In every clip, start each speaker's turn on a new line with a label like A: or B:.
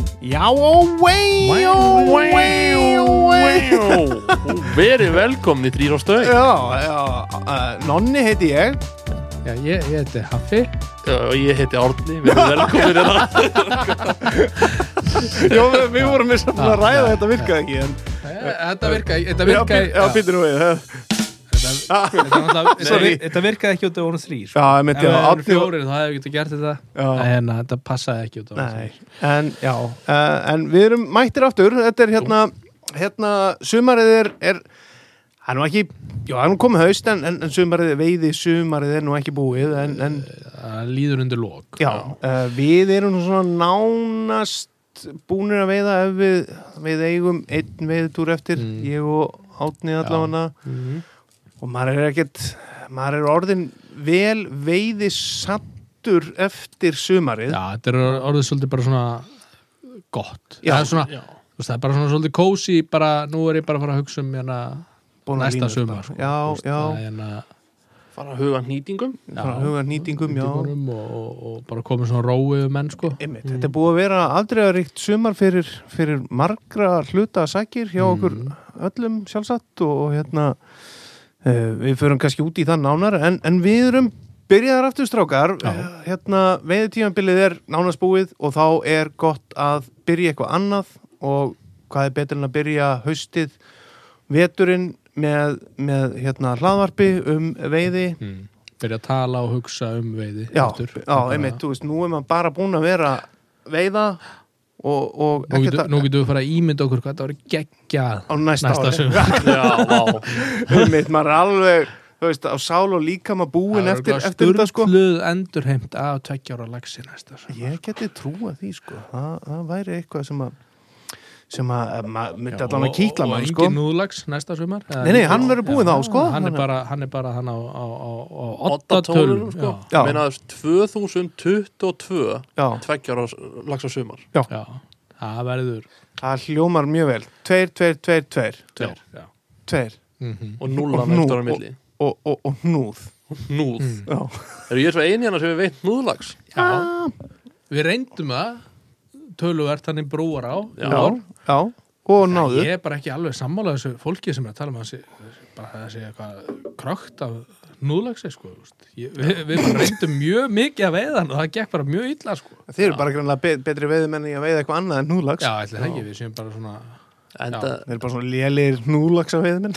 A: wow, wow, wow.
B: Og verið velkomni þrýr á stöð
A: Já, já, eh, Nonni heiti ég
C: Já, ég, ég heiti Hafi.
B: Og ég heiti Árni, verið velkomni hérna
A: Jó, við, við vorum með saman að ræða þetta virkaði ekki en,
C: Eh, Þetta virkaði, þetta
A: Eh, Já,
C: virkaði,
A: být- já, býttu nú við eh.
C: þetta, þetta,
A: Sorry.
C: þetta virkaði ekki út af voru þrýr.
A: Já, ég myndi
C: Ef það
A: að
C: voru
A: Árni var-
C: fjórir þá hefði ekki gert þetta.
A: Já.
C: En hérna, þetta passaði ekki út af voru
A: Nei, en já uh, En við erum mættir aftur Þetta er hérna, hérna Sumarið er, er Það er nú ekki, já það er nú komið haust en, en, en sumarið, veiði sumarið er nú ekki búið en, en
C: Það líður undir lók.
A: já, uh, við erum nú svona nánast búnir að veiða ef við, við eigum einn veiðtúr eftir,
C: Mm.
A: ég og Átni allavega
C: Mhm.
A: og maður er ekkert, maður er orðin vel veiði sattur eftir sumarið
C: Já, þetta er orðið svolítið bara svona gott.
A: Já.
C: það er svona, þú veist, það er bara svona svolítið kósi, bara, nú er ég bara að fara að hugsa um hérna
A: búin að
C: næsta
A: línast
C: sumar.
A: bara.
C: sko. Þú veist,
A: Já, já,
C: það er Hérna,
B: Fara að huga nýtingum
A: Svona huga nýtingum, já.
C: nýtingunum Og, og, og bara komið svona róið um menn, sko.
A: Einmitt, Þetta er búið að vera afdregaríkt sumar fyrir, fyrir margra hluta sakir hjá okkur öllum sjálfsagt og, og hérna uh, við förum kannski út í það nánar en, en við erum byrjaðar aftur strákar
C: Já.
A: uh, hérna veiðutímanbilið er nánast búið og þá er gott að byrja eitthvað annað og hvað er betur en að byrja haustið veturinn með, með hérna hlaðvarpi um veiði
C: Mm. Byrja að tala og hugsa um veiði.
A: Já,
C: aftur.
A: já einmitt, þú veist, nú er maður bara búin að vera að veiða og, og
C: Nú
A: ekkert
C: getum, nú getum við fara að ímynda okkur hvað þetta voru geggjað
A: á næsta,
C: næsta
A: ári
C: sumar.
B: Já, vá
A: einmitt, maður er alveg, þú veist, á sál og líka maður búin eftir, eftir þetta sko
C: Sturluð endurheimt af tveggjára lagsi næsta sumar.
A: Ég geti trúa því sko, það, það væri eitthvað sem að sem að að maður myndi allan að kýtla
C: og, og,
A: mann
C: og
A: sko
C: engin núðlags næsta sumar Eða
A: Nei, nei,
C: engin-
A: hann verður búinn
C: Já,
A: þá, sko.
C: Hann
A: Hann
C: er
A: er-
C: bara hann, er bara hann á, á, á, á
B: Ottatólunum, sko
C: já.
A: Já.
B: Ég Meina þess 2022
A: Já,
B: Tveggjar á lagsa sumar
C: Já, það verður
A: það hljómar mjög vel Tveir, tveir, tveir, tveir,
B: Tveir.
C: Já.
A: tveir
C: Mhm.
B: Og
A: Og
B: núlan
A: nú-
B: eftir á milli
A: og, og, og hnúð
B: Núð
C: Mm.
A: Já,
B: Er ég svo eini hann sem við veit núðlags?
C: já,
A: Ah.
C: við reyndum það töluvert hann í brúar á í
B: Já.
C: ár.
A: já, og náðu
C: ég er bara ekki alveg sammála þessu fólki sem er að tala um að sé, bara að sé eitthvað krökt af núðlagsi sko, þú veist. ég, við, við bara reyndum mjög mikið að veiða hann og það gekk bara mjög illa sko.
A: Þeir eru bara grannlega be betri veiðumenn í að veiða eitthvað annað en núlags
C: já, ætli það ekki, við séum bara svona
B: Enda,
A: Þeir eru bara svona lélir núlags að veiðumenn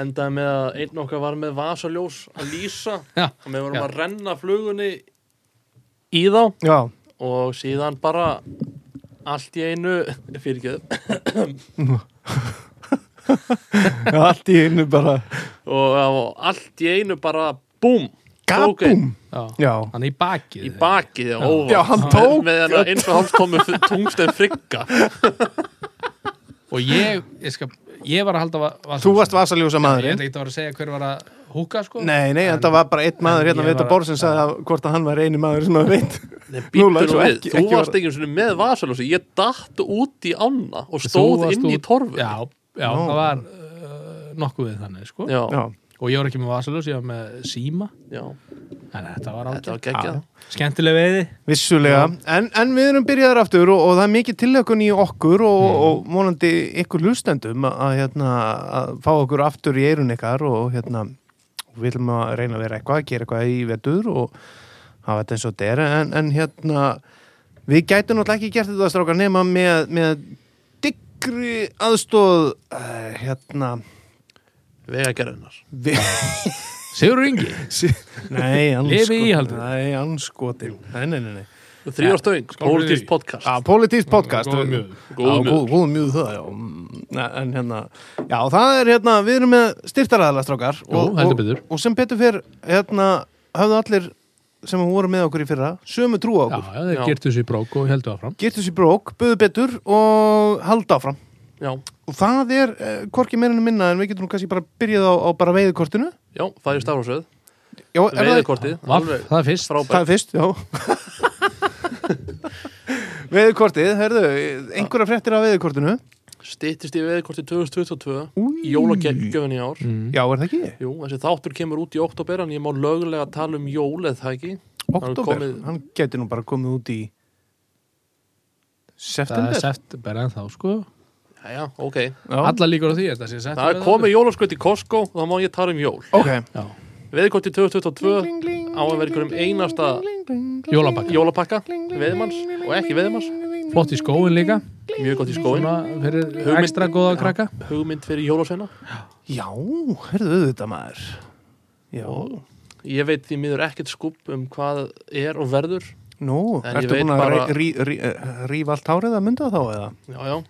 B: endaði með að einn okkar var með vasaljós að lýsa
C: Já.
B: og við vorum
C: Já.
B: að renna flugunni í þá
A: Já,
B: og síðan bara allt í einu fyrirgjöð
A: allt í einu bara
B: og það var allt í einu bara búm tók
A: Gabum
B: einn
C: já.
A: Já,
C: hann er í bakið
B: í bakið og óvart
A: Já, hann tók-
B: með hana eins og hálftómi tungsten frigga
C: og ég, ég, skal, ég var að halda va- vasaljósi.
A: þú varst vasaljósa
C: ég
A: maðurinn
C: ætla ekki að vera að segja hver var að húka sko.
A: Nei, nei, en það var bara einn maður hérna
C: ég
A: við þetta
C: var-
A: borð sem sagði að hvort að hann var eini maður sem að veit
B: Nú,
A: Núna, svo
B: við,
A: ekki-
B: þú
A: ekki var-
B: varst ekki einu sinni með vasaljósi ég datt út í ána og
C: Þú
B: stóð
C: varst
B: inn í
C: út-
B: torfu
C: já, já
A: Nó.
C: það var uh, nokkuð við þannig sko.
B: já,
A: Já,
C: og ég var ekki með vasaljós, ég var með síma
B: já.
C: en þetta var
B: þetta
C: ágætt
B: var geggjað
C: skemmtileg veiði
A: vissulega en, en við erum byrjaðar aftur og, og það er mikið tilökun í okkur og, og vonandi ykkur hlustendum að, hérna, að fá okkur aftur í eirun ykkar og hérna og við viljum að reyna að vera eitthvað, gera eitthvað í vetur og hafa þetta eins og þetta er en, en hérna við gætum náttúrulega ekki gert þetta strákar nema með, með diggri aðstóð uh, hérna
B: vegagerðunar
A: við,
C: Sigur Ingi
A: nei,
C: Lifi í
A: anskotin
C: íhaldið.
A: nei, anskotin nei, nei, nei, nei.
B: þrjóðstöðing,
C: Skál fyrir
B: Politics
C: því.
B: podcast
A: Já,
C: Mm,
A: politísk podcast
C: Góður mjöður.
B: Góður
A: Já, góð, góð mjög það, já Mm, En hérna, já, það er hérna Við erum með styrtaræðalastrákar
C: Jú, heldur betur.
A: og, og sem betur fyrr, hérna Höfðu allir sem voru með okkur í fyrra Sömu trú á
C: Já,
A: okkur,
C: já, þeir
B: Já.
C: gertu þessu í brók og heldu áfram
A: girtu sér brók Böðu betur og halda áfram
B: já,
A: Og það er eh, hvorki meirinu minna En við getum nú kannski bara byrjað á, á bara veiðkortinu
B: já, farið stafrósöð
A: Já, er það
B: veiðkortið,
C: Vaff,
B: alveg
C: það er fyrst
A: Það
B: frábært
A: er fyrst, já Veiðkortið, herðu, einhverja fréttir af veiðkortinu
B: Stittist í veðkorti 2022 Jólagjöfun í ár
C: Mm.
A: Já, er það ekki?
B: Jú, þessi þáttur kemur út í oktober En ég má lögulega tala um jól eða það ekki
A: Oktober,
B: komið-
A: hann geti nú bara komið út í
C: það er
A: September?
C: september en þá sko
B: Já, já, ok.
A: Já,
C: alla líkur á því að það sé september
B: Það er komið jólaskraut í Costco og þá má ég tala um jól.
A: ok.
C: Já.
B: Veðkorti 2022
A: Á
B: á að vera einhverjum einasta
C: Jólapakka.
B: jólapakka, veðmanns og ekki veðmanns,
C: flott í skóin líka
B: mjög gott í skóin,
C: svona fyrir
B: Hugmynd-
C: ekstra góða krakka
B: hugmynd fyrir jólasveina.
A: Já, herðu þetta maður. Já.
B: Ég veit því miður ekkert skúb um hvað er og verður.
A: Nú,
B: En ég
A: ertu
B: veit
A: búin að bara...
B: bara-
A: rí, rí, rí, rífa allt hárið að mynda þá eða?
B: Já, já.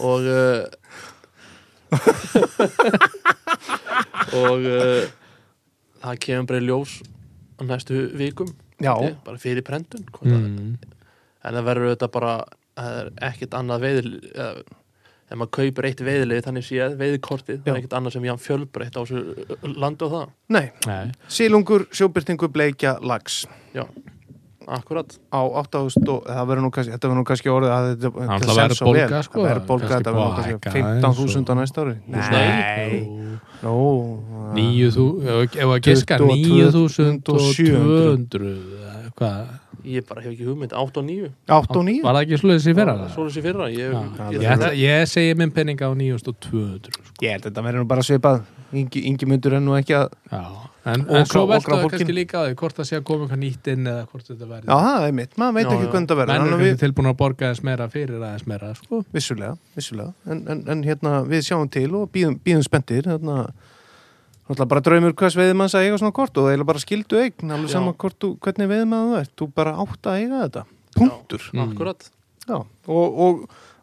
B: Og... Uh, og uh, það kemur bara í ljós á næstu vikum,
A: Já,
B: held ég, bara fyrir prentun. hvort að-
C: mm.
B: En það verður þetta bara, það er ekkert annað veiðil... Uh, ef maður kaupir eitt veiðilið þannig séð veiðkortið, það
A: Já.
B: er ekkert annað sem ég hann fjölbreytt á þessu landu og það.
A: nei.
C: Nei.
A: Sílungur, sjóbyrtingu, bleikja, lags.
B: Akkurat.
A: á 8000 og það verður nú kannski, þetta verður nú kannski orðið að þetta
C: Það
A: þetta
C: ætla að
A: selst
C: vera
A: svo vel.
C: bólga, sko,
A: það verður bólga,
C: kannski
A: þetta verður nú
C: búið að
A: kannski
C: hækka
A: 15.000 á
C: aðeins
A: næsta ári Nó, það-
C: Níu þú, ef ef að giska 9.700 eða hvað,
B: Ég bara hef ekki hugmynd, 8 og 9
A: 8 og 9
C: var það ekki slúðis í fyrra?
B: Svo er þessi fyrra Ég,
C: Já.
B: ég,
C: Ég, ætla, ég segi minn penning á 9.200 sko.
A: ég held að þetta verður nú bara svipað Ingi, Ingi myndur enn og ekki að
C: Já. en,
A: Og
C: en
A: grá-
C: svo
A: og
C: veltu það
A: gráfólkin.
C: kannski líka á því hvort það sé að koma eitthvað nýtt inn eða hvort þetta verði
A: Já, það er mitt, maður veit
B: Já,
A: ekki
B: já.
A: hvernig það verður
C: menn eru
A: Þannig að
C: kannski
A: við,
C: tilbúin að borga aðeins meira fyrir aðeins meira sko.
A: vissulega, vissulega en, en, en hérna, við sjáum til og býðum, býðum spenntir hérna Náttúrulega bara draumur hvers veiðmanns að eiga svona kort og það er bara skildu eign, alveg
B: Já.
A: saman hvort þú, hvernig veiðmann þú ert, þú bara átt að eiga þetta. Punktur.
C: Mm.
B: Akkurat
A: Já, og, og,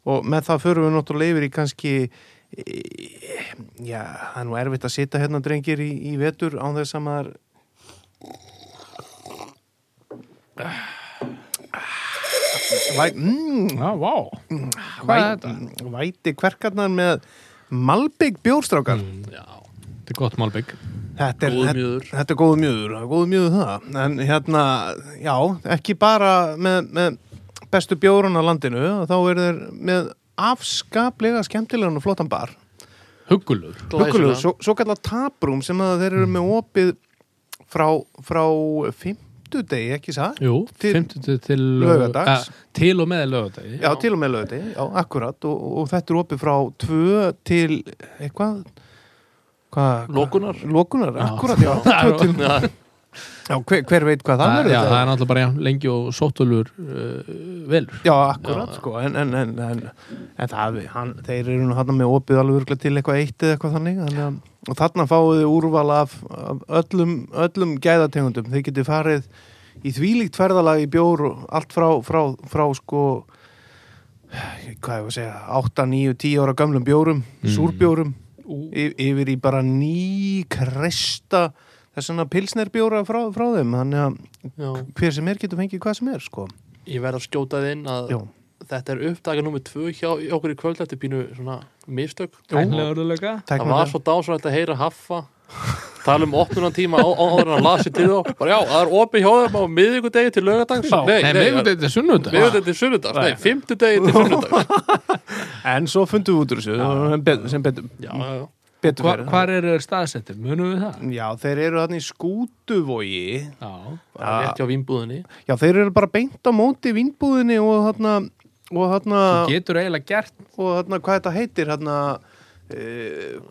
A: og með það förum við náttúrulega yfir í kannski e, já, það er nú erfitt að sitja hérna drengir í, í vetur án þess að maður Væ, mm,
C: Já, vá Hvað er
A: væ,
C: þetta?
A: væti kverkarnar með Malbygg
C: Mm.
A: bjórstrákar
B: Já
C: Þetta er gott málbygg
A: þetta, er,
B: Góður
A: þetta,
B: mjöður.
A: þetta er góð mjögur góð mjögur það en hérna, já, ekki bara með, með bestu bjórun á landinu þá eru þeir með afskaplega skemmtilegan og flottan bar
C: Huggulur
A: Huggulegur, svo, svo kallar taprúm sem að þeir eru með opið frá, frá fimmtudegi, ekki það?
C: Jú,
A: Til-
C: 50 til, til
A: Laugardags.
C: eh, Til og með lögadagi
A: Já, til og með lögði, já, akkurat og, og þetta er opið frá tvö til eitthvað hvað? hvað-
B: Lokunar.
A: Lokunar, akkurat, já, tvö til
B: Já,
A: Já, hver, hver veit hvað það
C: Það,
A: verður
C: já, það
A: þetta?
C: er náttúrulega bara já, lengi og sóttulur uh, velur
A: Já, akkurat, sko, en, en, en, en, en það, hann, þeir eru nú hann með opið alveg örgla til eitthvað eitt eða eitthvað þannig, þannig að, og þarna fáið þið úrval af, af öllum, öllum gæðategundum, þeir getið farið í þvílíkt ferðalag í bjór og allt frá, frá, frá sko, hvað ég var að segja, 8, 9, 10 ára gömlum bjórum,
B: Mm.
A: súrbjórum, y- yfir í bara ný kresta þessana pilsnerbjóra frá, frá þeim, þannig að
B: já.
A: hver sem er getur fengið hvað sem er, sko.
B: Ég verð að skjóta þið inn að
A: Já.
B: Þetta er uppdaga nummer 2 hjá í okkur í kvöld Þetta er pínu svona mistök
C: Tæknilega orðulega
B: Það var svo dásanlegt að heyra haffa tala um opnunan tíma á áður en að lasi til þá bara já, það er opið hjá þeim á miðvikudegi til lögadags
A: Já.
C: Nei, meðgut þetta er sunnudag
B: miðvikudegi til sunnudags, nei, fimmtudegi til sunnudags
A: En svo fundum við út úr þessu sem betur, sem betur,
B: Já, já, já,
A: betur
C: Hva,
A: fyrir.
C: Hvar eru þeir staðsettir? Munum við það?
A: Já, þeir eru þarna í skútuvogi.
C: Já,
B: bara
A: Já.
B: rétt hjá vinnbúðinni
A: Já, þeir eru bara beint á móti vinnbúðinni og þarna, og þarna,
C: þú getur eiginlega gert
A: og þarna, hvað þetta heitir, þarna, e,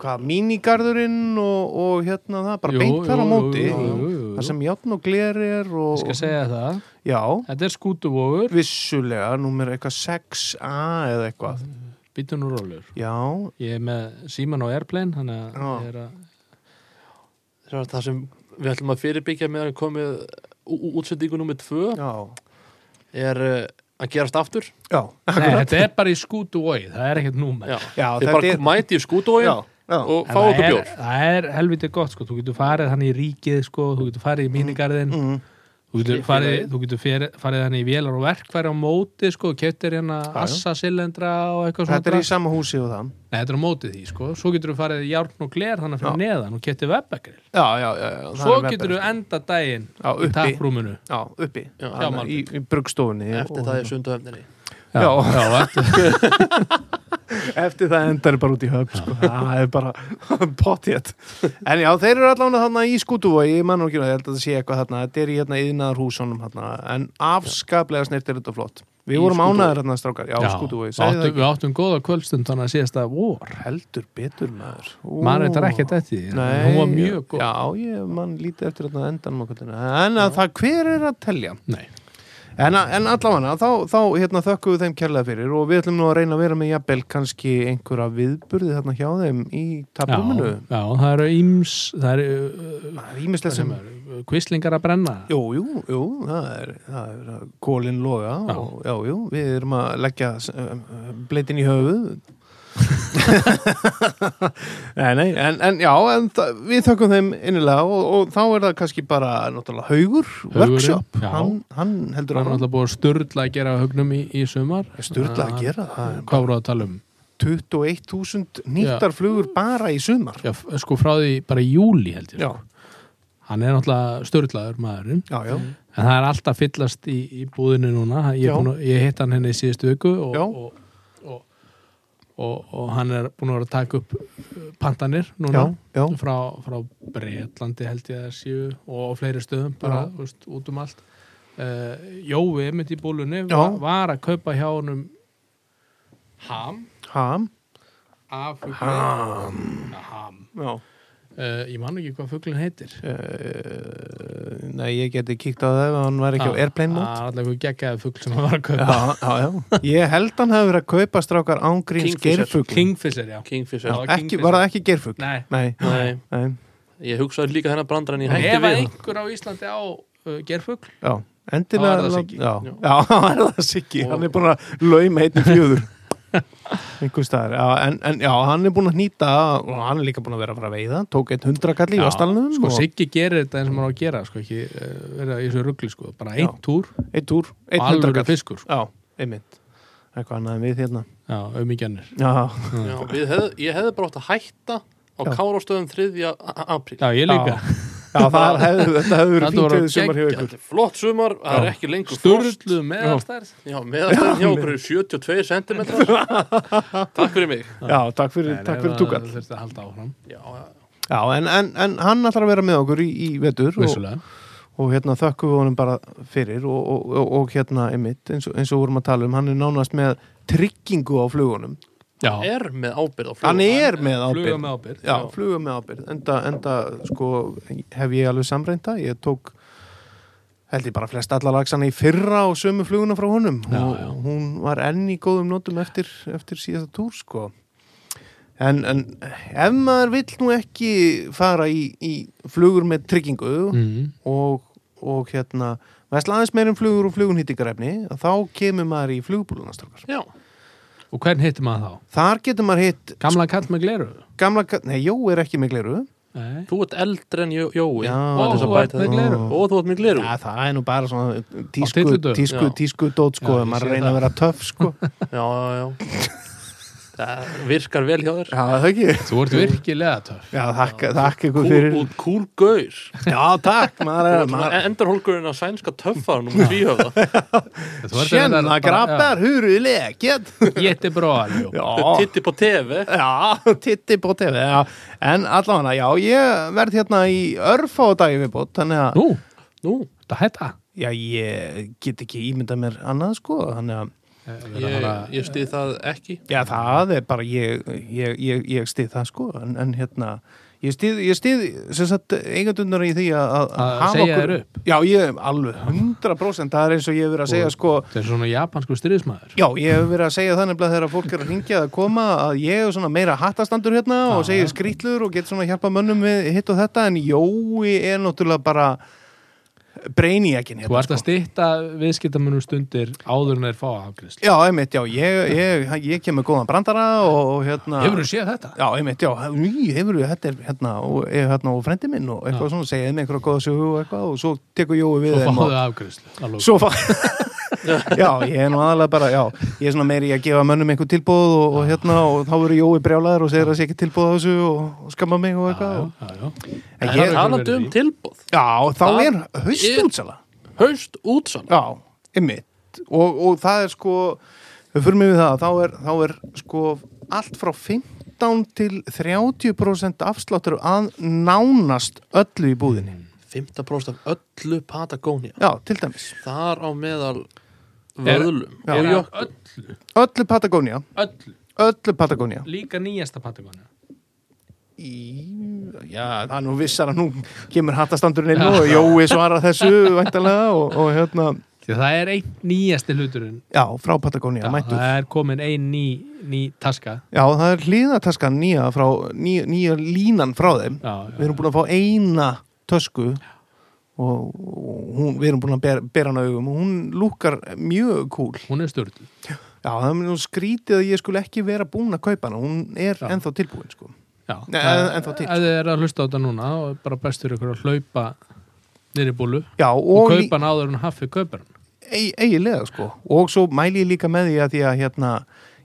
A: hvað, mínigarðurinn og, og hérna það, bara
C: Jú,
A: beint þar á
C: jú,
A: móti.
C: jú, jú, jú, jú.
A: Það sem játn og gler er
C: Ég
A: og,
C: skal segja það
A: já,
C: Þetta er skútuvogur,
A: vissulega, númer eitthvað 6A eða eitthvað.
C: býtun og rólur
A: Já,
C: Ég er með síman á airplane Þannig að
A: Já.
C: ég er að
B: Það er það sem við ætlum að fyrirbyggja meðan komið ú- ú- útsendingu nummer 2
A: já,
B: er uh, að gerast aftur
A: já,
C: Nei, þetta er bara í skútuvogi, það er ekkert númer
B: Já.
A: já,
B: Þið bara er... mæti í skútóin
A: já, já.
B: og
C: En
B: fá
C: það
B: okkur
C: er-
B: bjór
C: Það er helviti gott sko, þú getur farið hann í ríkið sko, þú getur farið í mínigarðin
A: Mm.
C: þú getur
B: Skiffilagið.
C: farið, þú getur fyrir, farið hann í vélar og verkfæri á móti sko, keftir hérna
A: já.
C: assa silendra og eitthvað svona
A: Þetta er í
C: drasl.
A: sama húsi og það.
C: Nei, þetta er á móti því sko, svo getur þú farið í járn og gler þannig fyrir neðan og keftir webbekgril
A: Já, já, já. já það
C: Svo
A: er webber.
C: getur þú enda daginn
A: Já,
C: í
A: uppi.
C: tapprúminu
A: Já, uppi.
B: Já,
A: Þarna
C: já, Malbik.
A: í, í brugstofunni.
B: eftir það er sunduhöfninni
A: Já.
C: eftir,
A: Eftir það endar bara út í höfn, sko. Það er bara potjett. En já, þeir eru allavega þarna í skútuvogi, ég mann og ekki, ég held að það sé eitthvað þarna. Þetta er í hérna yðnaðarhúsunum þarna. En afskaplega snirtir þetta flott. Við vorum
B: Skútu-
A: ánæður hérna strákar, já, skútu og ég
C: við
A: segi það
C: áttum,
A: ekki
C: við áttum góða kvöldstund þannig að síðast að vor
A: heldur betur maður Ó.
C: maður þetta ekkert eftir því, en
A: Nei,
C: hún var mjög góð
A: Já, ég mann lítið eftir þarna endan á kvöldinu. En að það, hver er að telja?
C: Nei.
A: En, að- en allavega, þá, þá hérna, þökkum við þeim kærlega fyrir og við ætlum nú að reyna að vera með jafnvel kannski einhverja viðburði þarna hjá þeim í
C: já,
A: tabúminu.
C: já, það eru íms það eru uh,
A: Það er ímislegt sem...
C: sem er kvislingar að brenna
A: Jú, jú, jú, það er, það er að kólin loga
C: Já.
A: og já, jú, við erum að leggja um, bleitin í höfuð. nei, nei, en, en já, en það, við þökkum þeim innilega og, og þá er það kannski bara náttúrulega haugur,
C: Haugurinn,
A: workshop,
C: já.
A: hann, hann heldur
C: það er
A: að
C: alltaf búið að sturla að gera högnum í, í sumar
A: styrla að gera það. er
C: hvað voru að tala um?
A: 21.000 nýttar flugur bara í sumar.
C: Já, f- sko frá því bara í júli held ég
A: Já,
C: hann er náttúrulega störtlaður maðurinn
A: já, já.
C: en það er alltaf fyllast í, í búðinu núna ég,
A: Já.
C: er búinn að- ég hitt hann henni í síðustu viku og,
A: Já.
C: og, og, og, og hann er búin að vera að taka upp uh, pantanir núna
A: Já, já.
C: frá, frá Breitlandi held ég að séu og á fleiri stöðum bara
A: Já.
C: þú veist, út um allt uh, Jói mitt í búlunni
A: Já.
C: var, var að kaupa hjá honum ham
A: Ham,
C: af ham, ham.
A: já.
C: Uh, ég man ekki hvað fuglinn heitir
A: Uh, nei, ég geti kíkt á það ef hann var ekki á
C: Já,
A: airplane mode.
C: Það er alltaf eitthvað geggaði ah, fugl sem hann var að kaupa
A: Já, já, já. Ég held hann hafi verið að kaupa strákar ángríns
B: Kingfisher.
A: geirfugl.
C: Kingfisher, já
A: Já,
B: Kingfisher
C: Já.
A: ekki,
C: Kingfisher.
A: var það ekki geirfugl?
C: Nei,
A: Nei,
B: Nei,
A: nei,
B: ég hugsaði líka þennan brandar en ég
C: en
B: hætti
C: ef
B: við
C: að
B: hann.
C: einhver á Íslandi á uh, gerfugl
A: já, endilega.
C: Þá er það
A: lát-
C: Siggi.
A: Já,
B: Já.
A: já, þá er það Siggi,
B: Og-
A: hann er búin að lauma einni fjöður. Einhvers staðar, já, en, en já, hann er búin að hnýta og hann er líka búin að vera að fara að veiða, tók eitt hundrakall í
C: Já,
A: vastalunum
C: Sko,
A: og
C: Siggi gerir þetta eins og maður á að gera sko, ekki uh, verið í þessu ruggli sko, bara einn
A: Já.
C: túr
A: eitt úr, eitt
C: og alvöru
A: hundrakall.
C: fiskur sko.
A: Já, einmitt. Eitthvað annað en við hérna.
C: Já, um í gennir
A: Já,
B: Já, við hefði- Ég hefði bara átt að hætta á
A: Já.
B: kárástöðum 3. a- a- apríl
C: Já, ég líka
A: já það hefði, þetta hefði
C: Þetta
A: verið fínt
C: voru
A: við sumar hjá ykkur.
B: Þetta er flott sumar, það er ekki lengur frost
C: Sturluð meðalstærð
B: Já, meðastöðum hjá okkur er 72 cm Takk fyrir mig
A: Já, takk fyrir, takk fyrir túkall.
C: Það þurfti að halda áfram,
B: Já,
A: Já, en, en, en hann ætlar að vera með okkur í, í vetur og,
C: vissulega
A: og hérna þökkum við honum bara fyrir og, og, og, og hérna einmitt eins og, eins og vorum að tala um, hann er nánast með tryggingu á flugunum.
C: Já,
B: er með ábyrð á flugum
A: Hann er með
C: fluga
A: ábyrð.
C: með ábyrð
A: Já, fluga með ábyrð. Enda, enda sko, hef ég alveg samreynda, ég tók held ég bara flest allar lagsana í fyrra og sömu fluguna frá honum
C: Já,
A: og
C: já.
A: hún var enn í góðum nótum eftir, eftir síðasta túr sko en, en ef maður vill nú ekki fara í, í flugur með tryggingu
C: mm,
A: og, og hérna vesla aðeins meir um flugur og flugunhýttingarefni þá kemur maður í flugbúlunastrókar
B: Já,
C: Og hvern hittir maður þá?
A: þar getur maður hitt
C: Gamla kall með gleru
A: gamla, ka- nei, Jó er ekki með gleru
C: Nei
B: þú ert eldri en Jó- Jói
A: Já.
B: Það er þess
C: Og þú
B: að
C: ert með
B: bæta það.
C: gleru.
B: Og þú ert með gleru
A: ja, það er nú bara svona tísku,
C: tyllidögum?
A: tísku,
B: Já.
A: tísku dót sko,
C: Já,
A: ef
C: ég
A: maður
C: sé
A: reyna að vera töff sko
B: Já, já, já Það virkar vel hjá þér
A: já, það ekki
C: Þú ert virkilega töff
A: já, takk, takk ykkur fyrir
B: Kúl, kúl gaur
A: já, takk, maður er maður,
B: Endurhólkurinn að sænska töffar Númer tvíhöfða
C: Þú ert
A: tjena,
C: reyndar bara-
A: grabbar, huru, legget
C: Já, Jättebra alljó
A: já,
B: Titti på TV
A: Já, titti på TV, já. En allavega, já, ég verð hérna í örf á dagi viðbót, þannig að,
C: Nú,
B: Nú,
C: það hætta
A: já, ég get ekki ímyndað mér annað, sko, þannig að,
B: ég, ég stið það ekki
A: já, það er bara, ég, ég, ég, ég stið það, sko, en, en hérna, ég stið, ég stið, sem sagt, eigendundur í því að,
C: Að segja þér upp.
A: Já, ég, alveg, 100%, það er eins og ég hef verið að segja, sko,
C: Það er svona japansku stríðismæður
A: Já, ég hef verið að segja það nefnilega þegar fólk er að ringja að koma að ég er svona meira hattastandur hérna og segir skrýtlur og get svona að hjálpa mönnum við hitt og þetta en Jói er náttúrulega bara breynijækin
C: Þú
A: hérna.
C: ert að stýtta viðskiptamönnum stundir áður en þeir fá afgriðslu
A: Já, einmitt, já, ég, ég, ég kem með góðan brandara og, og hérna...
C: Hefur þú séð þetta?
A: Já, einmitt, já, ný, hefur þú, þetta er hérna og, er, hérna, og frendi minn og eitthvað svona, segjaði mig einhverja góða sögu og eitthvað og svo tekur Jói við
C: Svo
A: þeim
C: fá
A: og-
C: þau afgriðslu
A: Svo fá Já, ég er nú aðalega bara, já Ég er svona meiri í að gefa mönnum einhver tilbúð og, og hérna, og þá verður Jói brjálaður og segir að sé ekki tilbúð á þessu og, og skamma mig og eitthvað og,
C: Svo
A: en
B: En
A: ég,
B: ég talandi um tilbúð
A: Já, þá
B: Það
A: er haustútsala
B: Haust útsala
A: Já, ymmit og, og það er sko, við fyrir mig við það þá er, þá er sko allt frá 15 til 30% afsláttur að nánast öllu í
B: Mm.
A: búðinni
B: 15% af öllu Patagonia
A: Já, til dæmis
B: Þar á meðal vöðlum
A: Já.
B: og jökk
C: öllu,
A: öllu Patagonia,
C: öllu,
A: öllu Patagonia
C: líka nýjasta Patagonia
A: Í, já, það er nú vissar að nú kemur hattastandurinn inn og Jói svarar þessu væntalega og, og hérna,
C: Því að það er einn nýjasti hluturinn
A: já, frá Patagonia, mættur.
C: það er komin einn ný, ný taska
A: Já, það er hlýðataskan nýja, frá, nýja, nýja línan frá þeim.
C: já,
A: Við erum búin að fá eina tösku og, og hún, við erum búin að bera, bera hana augum og hún lúkar mjög cool.
C: hún er störtlu
A: Já, það er nú skrítið að ég skulle ekki vera búin að kaupa hana, hún er
C: Já.
A: ennþá tilbúin, sko.
C: Já,
A: Nei,
C: það-
A: en þá til.
C: Ef þið er að hlusta á þetta núna og bara bestur ykkur að hlaupa niður í búlu
A: Já,
C: og,
A: og,
C: kaupa
A: og
C: kaupan áður en haffið kaupar hann
A: Eig- eiginlega sko og svo mæli ég líka með því að því að hérna,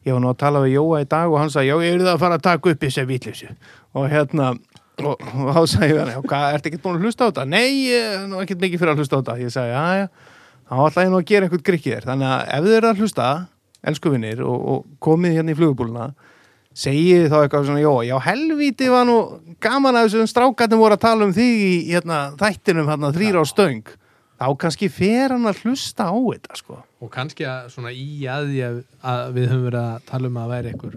A: ég var nú að tala við Jóa í dag og hann sagði, já ég er það að fara að taka upp þessi vitleysu og hérna og, og þá sagði ég hann, já hvað, ertu ekkert búin að hlusta á þetta? Nei, ég er nú ekkert mikið fyrir að hlusta á þetta ég sagði, já já, þá ætla ég nú að gera einhvern grikkið þér, þannig að ef þið eru að hlusta elsku vinnir og, og komið hérna í flugubúluna segið þið þá eitthvað svona, já, já helvíti var nú gaman að þessum strákarnir voru að tala um þig í hérna, þættinum hérna, þrýra á stöng þá kannski fer hann að hlusta á þetta sko.
C: og kannski að svona í að því að, að við höfum verið að tala um að væri ykkur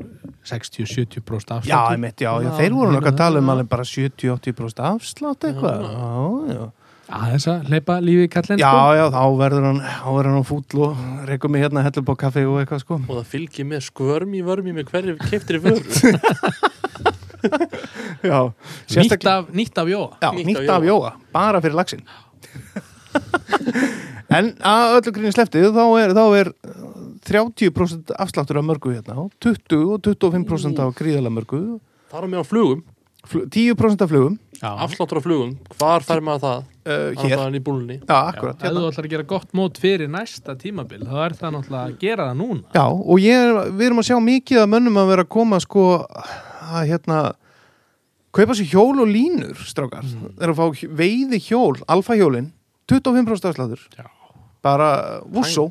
C: 60-70% afslutur
A: Já, einmitt, já, já, þeir voru nokkað að tala um alveg bara 70-80% afslátt eitthvað Já, sko- já,
C: aðeins að hleypa lífi í sko. kallin
A: um- já, já, þá verður hann þá verður hann fúll og rekum mig hérna hellum bók kaffi og eitthvað sko
B: og það fylgir með skvörmi vörmi með hverju keftri vörðu
A: Já,
C: sko. nýtt, af, nýtt af jóa
A: Já,
B: Nýtt
A: nýtt
B: af
A: af jóa, bara fyrir laxin En að öllu grínu sleftið þá er, þá er uh, 30% afsláttur af mörgu hérna og 20 og 25% af gríðala mörgu
B: þar á meðan flugum,
A: fl- 10% af flugum
C: já,
B: afsláttur á flugum hvar fær maður það?
A: uh,
B: Annars
A: hér,
B: staðar en í búlunni
A: já,
C: já
A: akkurat hérna.
C: ef þú ætlar að gera gott mót fyrir næsta tímabil þá er það náttúrulega að gera það núna
A: Já, og ég, er- við erum að sjá mikið að mönnum að vera að koma sko að hérna kaupa sér hjól og línur, strákar þeir eru að fá hj- veiði hjól, alfa hjólin 25% afsláttur
C: já,
A: bara Vusso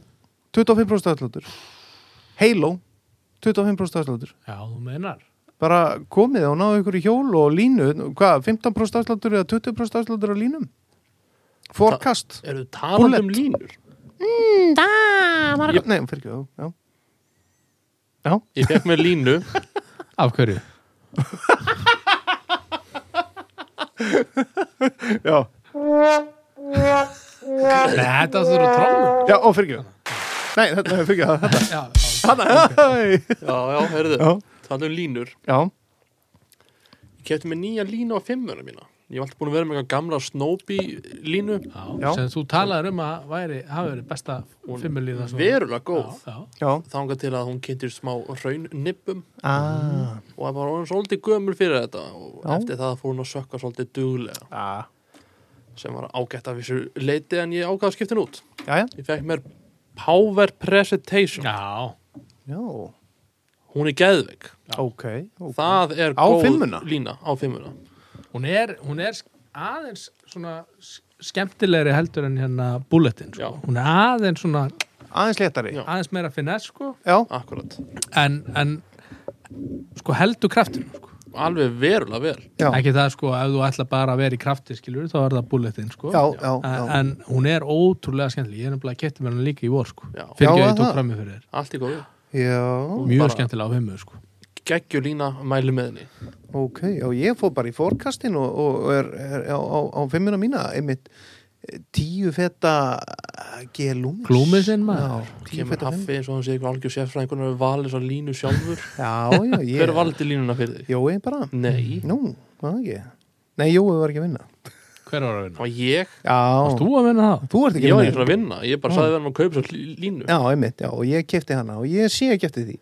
A: 25% afsláttur Halo 25% afsláttur
C: já þú meinar
A: bara komið og náðu ykkur í hjól og línu hvað, 15% afsláttur eða 20% afsláttur á línum Forecast
B: eru þið talað um
A: Bullet.
B: línur?
A: Nei, fyrir ekki, já Já,
B: ég fekk með línu
C: af hverju?
A: já,
C: Nei, þetta þú eru trómur
A: já og fyrir Nei, þetta er fyrir þetta
C: já, já.
A: Hæ,
B: já, já, heyrðu,
A: Já.
B: talað um línur
A: Já,
B: ég kefti með nýja línu á fimmuna mína ég var alltaf búin að vera með eitthvað gamla Snoopy línu
A: Já.
C: Já, sem þú talaður um að væri, hafi verið besta fimmulíða
B: verulega góð
C: Já,
A: já
B: þangað til að hún kynntir smá raunnippum
A: ah.
B: og það var hún svolítið gömul fyrir þetta og
A: Já.
B: eftir það fór hún að sökka svolítið duglega
A: Ah.
B: sem var ágætt af þessu leiti en ég ágæða skiptin út
A: Já, já,
B: ég fekk mér Power Presentation
C: já. já.
A: já
B: hún er geðveik
A: Ok, ok
B: það er
A: Á
B: góð
A: fimmuna?
B: lína á fimmuna
C: Hún, er, hún er aðeins svona s- skemmtilegri heldur en hérna bulletin sko.
B: Já.
C: hún er aðeins svona
A: Aðeins léttari
B: Já.
C: aðeins meira finess sko
A: já,
B: akkurat
C: en, en sko heldur kraftinu sko.
B: alveg verulega vel
A: já,
C: ekki það sko ef þú ætla bara að vera í krafti skilur þá er það bulletin sko
A: já, já,
C: En,
A: já.
C: en hún er ótrúlega skemmtileg ég er nefnilega að kætti mér hann líka í vor sko
B: Já.
C: fyrir
A: Já, er
C: ekki að ég tók
A: það?
C: frammi fyrir þér
B: allt í góðu
A: já.
C: mjög
B: Bara-
C: skemmtilega á heimu sko
B: geggjur lína mæli með henni
A: Ok, já, ég fór bara í fórkastin og, og er, er á, á, á fimmina mína einmitt eh, tíu feta gelúmis
C: Glúmisinn, maður.
A: Já, tíu
B: kemur
A: feta fimm
B: haffi eins og hann sé eitthvað algjör sérfræðingur hann hefur valið svo línu sjálfur
A: Já, já, ég
B: hver valdi línuna fyrir þig?
A: Jói bara
B: nei,
A: Nú, það ekki Nei, Jói var ekki að vinna
C: hver var að vinna?
B: það var ég
A: Já,
C: Varst þú að vinna það?
A: þú ert
B: ég
A: ekki að
B: var ekki
A: vinna
B: að vinna, ég bara sagði verðum að kaupa svo línu
A: Já, einmitt, já, og ég kefti hana og ég sé ekki eftir því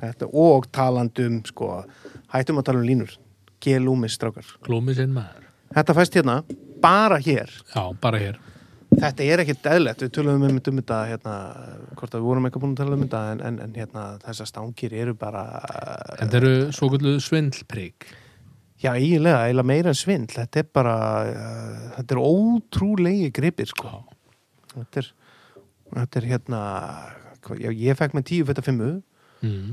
A: Þetta, og talandum, sko hættum að tala um línur, gelúmis strákar
C: Glúmisinn maður
A: Þetta fæst hérna, bara hér
C: Já, bara hér
A: Þetta er ekkert eðlert, við tölum um um þetta hérna, hvort að við vorum eitthvað búin að tala um þetta en, en, en hérna, þessar stangir eru bara
C: Þetta eru svo kvöldu svindlprygg
A: já, eiginlega, eiginlega meira en svindl þetta er bara, uh, þetta er ótrúlegi gripir, sko þetta er, þetta er hérna hvað, já, ég fekk með tíu fætta fimmu
C: mm.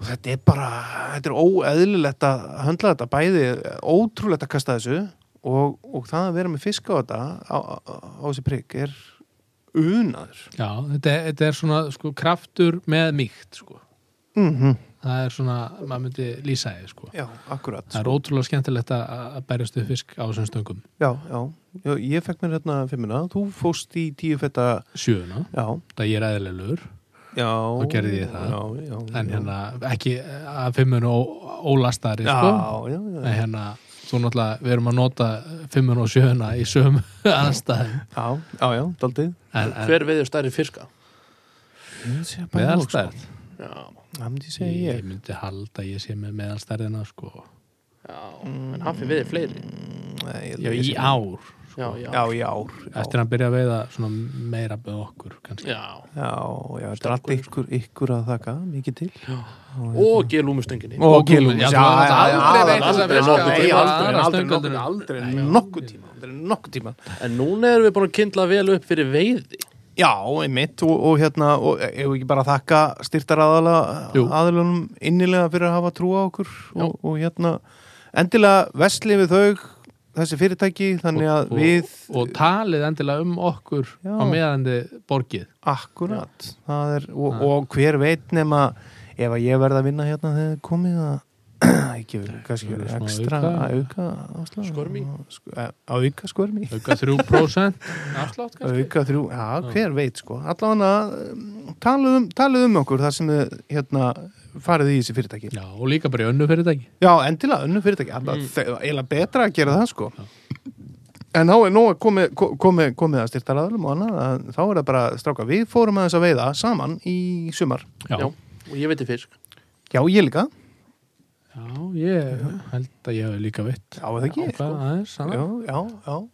A: og þetta er bara, þetta er óeðlilegt að höndla þetta, bæði ótrúlegt að kasta þessu og, og það að vera með fisk á þetta á, á, á þessi prigg er unaður
C: Já, þetta, er- þetta er svona sko, kraftur með mýkt sko.
A: mm
C: það er svona, maður myndi lýsa því sko.
A: Já, akkurat
C: það er ótrúlega skemmtilegt að- að berjast við fisk á þessum stöngum
A: Já, já, já, ég fekk mér hérna fimmina, þú fóst í tíu fetta
C: sjöuna,
A: Já,
C: það ég er eðlilegur
A: já
C: Þá gerði ég það.
A: Já, já,
C: en
A: já.
C: hérna, ekki að fimmunu ó- ólastari
A: Já,
C: sko.
A: já, já,
C: en hérna, þú náttúrulega við erum að nota fimmunu og sjöuna í sömu aðstæðum
A: já, já, já, daldið
C: en, en
B: Hver veður stærri fiska?
C: meðalstærð
B: Já,
A: Það myndi
C: ég,
A: segja ég
C: myndi halda að ég sé með meðalstærðina sko.
B: já, en hann fyrir veður fleiri
A: Nei, ég held
C: já,
A: að ég
C: í
A: sé-
C: ár
B: Já, já,
A: Já, í ár
C: eftir að hann byrja að veiða svona meira með okkur kannski
B: já.
A: Já, já, þetta er allt ykkur, ykkur að þaka, mikið til
B: Og gelúmustöngin
A: Og gilum,
C: gilum, já, þú hefur aldrei veitt
B: þessa fiska.
A: Aldrei,
B: Nei,
A: aldrei,
C: aldrei,
A: aldrei,
C: aldrei,
A: nokkurn- aldrei,
C: Nei,
A: nokkuð tíma Aldrei nokkuð tíma
B: En núna erum við búin að kindla vel upp fyrir veiði
A: Já, einmitt og, og hérna, og ef ekki bara þakka styrtar aðala
C: Jú.
A: aðalunum innilega fyrir að hafa trú á okkur og, og hérna, endilega vesli við þau, þessi fyrirtæki þannig að við,
C: og, og talið endilega um okkur
A: Já.
C: á meðandi borgið
A: akkurat það er, og,
C: Já.
A: og hver veit nema ef að ég verð að vinna hérna þegar þið komið að ekki, kannski
C: verður smá
A: ekstra
C: auka.
A: að auka áslag.
B: Skörmi.
A: Sk- e, að auka skörmi
C: auka 3% afslátt kannski
A: auka þrjú, já, hver veit sko allavega um, talið um, talið um okkur þar sem þið hérna farið í þessi fyrirtæki
C: já, og líka bara í önnu fyrirtæki
A: já, endilega, önnum fyrirtæki alltaf,
B: Mm.
A: mm. eiginlega betra að gera það sko en þá er nóg að komi, komi, komið að styrta og annað, að þá er það bara stráka við fórum að þess að veiða saman í sumar
C: já,
B: Já.
C: já.
B: Og ég veiti fisk
A: já, ég líka,
C: ég held að ég hef líka veitt
A: já, það ekki sko.
C: Ákvað aðeins, hana.
A: já, já, já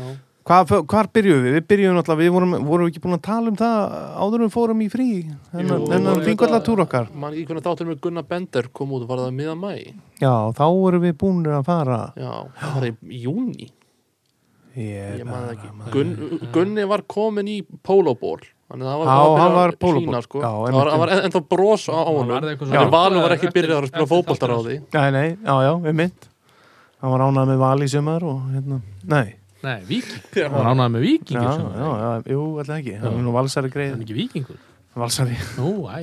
B: Já,
A: Hvað, hvar byrjuðum við? Við byrjuðum alltaf, við vorum, vorum við ekki búin að tala um það áður en við fórum í frí
B: Jú,
A: en
B: vorum
A: það fengur
B: við þetta-
A: alltaf túr okkar
B: Man ekki hvernig þáttur með Gunnar Bender kom út og var það miða mæ
A: Já, þá vorum við búinir að fara
B: Já, það var í júni
A: Ég
B: Ég man það
A: bara-
B: ekki Gun, Gunni var komin í pólóból Þannig að
A: Já,
B: það var byrjað
A: hann var
B: að
A: pólóból.
B: hlýna, sko.
A: Já,
B: Það
A: einmitt.
B: var, hann var en- ennþá bros á honum
C: varð eitthvað
B: En
C: svona-
B: Valur var ekki
C: Eftir-
B: byrjað að spila
C: eftir
B: fótboltar á
C: þáttinn.
B: því
A: Nei, nei, já, já, við mynd Hann var ánað með val í sumar og hérna Nei,
C: nei, viking, hann var ánægð með viking
A: já, já, já, jú, alltaf ekki Hann er nú valsari
C: hann
A: greið
C: er ekki vikingur
A: Valsari
C: nú, æ,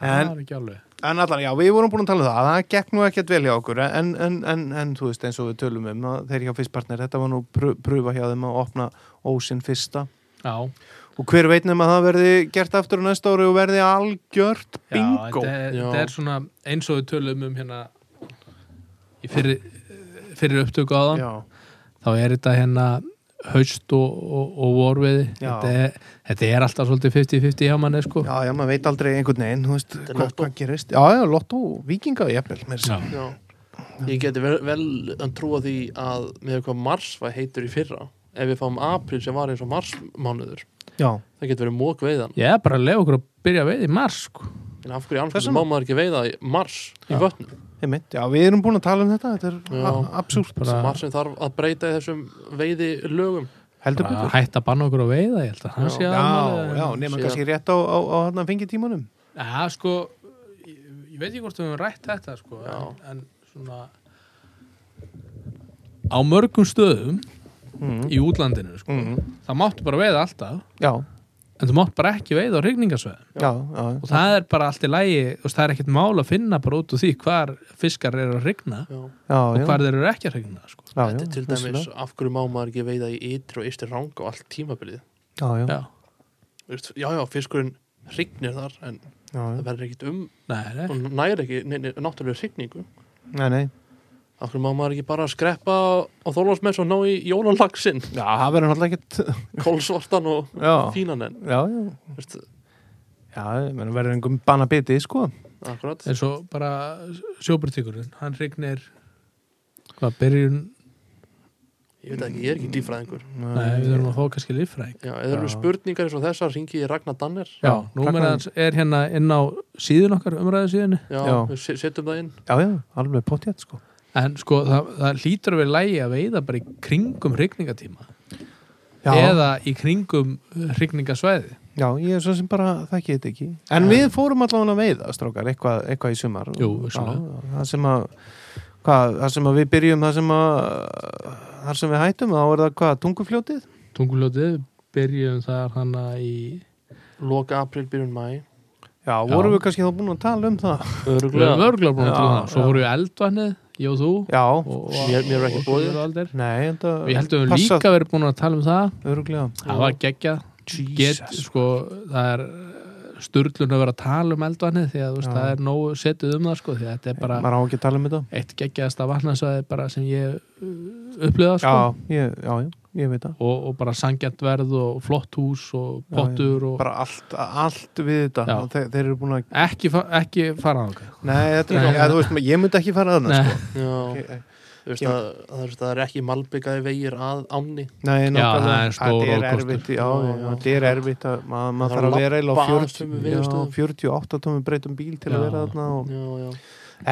C: það
A: En,
C: var ekki alveg
A: en allan, já, við vorum búin að tala um það Það gekk nú ekkert vel hjá okkur En, en, en, en þú veist, eins og við tölum um að Þeir hjá fyrstpartner, þetta var nú pru- prufa hjá þeim að opna ósinn fyrsta
C: já,
A: Og hver veit nema að það verði gert aftur á næsta ári og verði algjört bingo
C: Já, þetta er-
B: Já.
C: þetta er svona eins og við tölum um hérna í fyrir, fyrir upptöku áðan
A: Já,
C: þá er þetta hérna haust og, og, og vorviði
A: Já.
C: þetta er, þetta er alltaf svolítið 50-50 hjá manni sko
A: já, já, maður veit aldrei einhvern veginn, þú veist,
B: er
A: hvað,
B: lottó.
A: hvað gerist Já, já, lotto, vikinga, jafnvel, mér sér
C: Já.
B: Já. Ég geti vel, vel að trúa því að með eitthvað mars var heitur í fyrra Ef við fáum april sem var eins og marsmánuður
A: Já,
B: Það getur verið mók veiðan
C: ég er bara að lega okkur að byrja að veiða í mars sko
B: En af hverju
A: Þess
B: annars
A: vegna.
B: má maður ekki veiða í mars í
C: Já.
B: vötnum
A: einmitt, já, við erum búin að tala um þetta, þetta
B: Já.
A: er absúrt
C: Bara-
B: Mars sem þarf að breyta í þessum veiði lögum
A: Heldur
C: bara
A: betur
C: að hætta að banna okkur að veiða ég held að hann
B: Já.
C: sé
A: Já,
C: aðmálið.
A: já, nema
B: Síðan-
A: kannski rétt á, á, á hann að fengi tímanum
C: Já, sko, ég, ég veit ekki hvort við höfum rætt þetta, sko,
B: Já.
C: en, en svona á mörgum stöðum í útlandinu, sko, það máttu bara veiða alltaf,
A: Já,
C: en þú mátt bara ekki veiða á hrygningasveðum.
A: já, já,
C: Og það er bara allt í lægi, þú veist, það er ekkert mál að finna bara út úr því hvar fiskar eru að hrygna
B: Já.
A: já,
C: og
A: já,
C: hvar þeir eru ekki að hrygna, sko.
A: já,
B: Þetta
A: já,
B: er til dæmis
A: vissulega.
B: af hverju má maður ekki veiða í ytri og ystir ranga og allt tímabilið
A: Já, já, já,
C: Já,
B: Þú veist, Já, já, fiskurinn hrygnir þar en það
A: já,
B: verður ekkit um
C: nei, nei.
B: og næri ekki neini, náttúrulega hrygningu
A: nei, nei
B: Af hverju má maður ekki bara skreppa á þólasmess og ná í jólanlagsinn
A: Já, það verður náttúrulega ekkert
B: kólsvartan og
A: Já.
B: fínan en
A: Já, já,
B: Þú veist,
A: já, ég meina, verður einhver banna biti, sko
B: akkurat
C: En svo bara sjóbyrtíkurinn, hann hrygnir, hvað, byrjun,
B: Ég veit ekki, ég er ekki lífræðingur
C: nei, við þurfum að fá kannski líffræðing.
B: Já, eða eru
A: Já.
B: spurningar eins og þessar ringi ég Ragnar Danner
C: Já,
A: Já,
C: númerið
A: Ragnar-
C: hans er hérna inn á síðun okkar, umræðu síðunni
B: Já,
A: Já.
B: við se- setjum það inn
A: Já, já, alveg pottjætt, sko
C: En sko, það, það lítur að vera lægi að veiða bara í kringum hrygningatíma
A: Já,
C: Eða í kringum hrygningasvæði
A: já, ég er svo sem bara þekki þetta ekki En við fórum allavega að veiða, strákar, eitthvað, eitthvað í sumar
C: Jú,
A: Já,
C: vissulega.
A: já, það sem að Hvað, það sem að við byrjum, það sem að, þar sem við hættum, þá er það hvað, tungufljótið?
C: Tunguljótið byrjum þar hana í
B: Loka april, byrjun mæ
A: Já, vorum við kannski þá búin að tala um það
B: Öruglega
C: Lörgla búin að
A: Já,
C: tala um það. Svo
A: já.
C: voru við eldvannið, ég og þú
A: Já,
C: og,
B: Mér- mér er ekki
C: og-
B: boðið.
C: og Alder.
A: nei, þetta
C: Við heldum við líka verið búin að tala um það
A: Öruglega
C: Það var geggjað Get, sko, það er eh, sturlun að vera að tala um eldvannið því að þú veist,
A: Já.
C: það er nógu setið um það sko, því að þetta er bara
A: Maður á ekki að tala um þetta
C: eitt geggjaðasta vatnasvæði bara sem ég upplifa sko.
A: Já, ég, já, já, ég veit það
C: og, og bara sangjant verð og flott hús
A: Já,
C: og
A: já.
C: pottur og
A: Bara allt, allt við þetta
C: Já.
A: Þeir, þeir eru búin að
C: ekki, fa ekki fara á það
A: Nei, þetta
C: Nei.
A: er, ja, þú veist, ég myndi ekki fara sko. að það
B: Já, þú veist
A: Ég-
B: að, að, þú veist, það er ekki malbyggaði vegir að ánni
A: Nei, nákvæmlega.
C: það er stór
A: Þetta er
C: ókostur.
A: erfitt, já, já,
B: Já, já.
A: þetta er erfitt að maður
B: Það
A: maður
B: þarf
A: þarf
B: að
A: að vera eiginlega á
B: labba aðeins
A: 40,
B: sömu
A: já,
B: veðurstöðum.
A: 48 tómum breytum bíl til að
C: Já.
A: vera þarna og
B: Já, já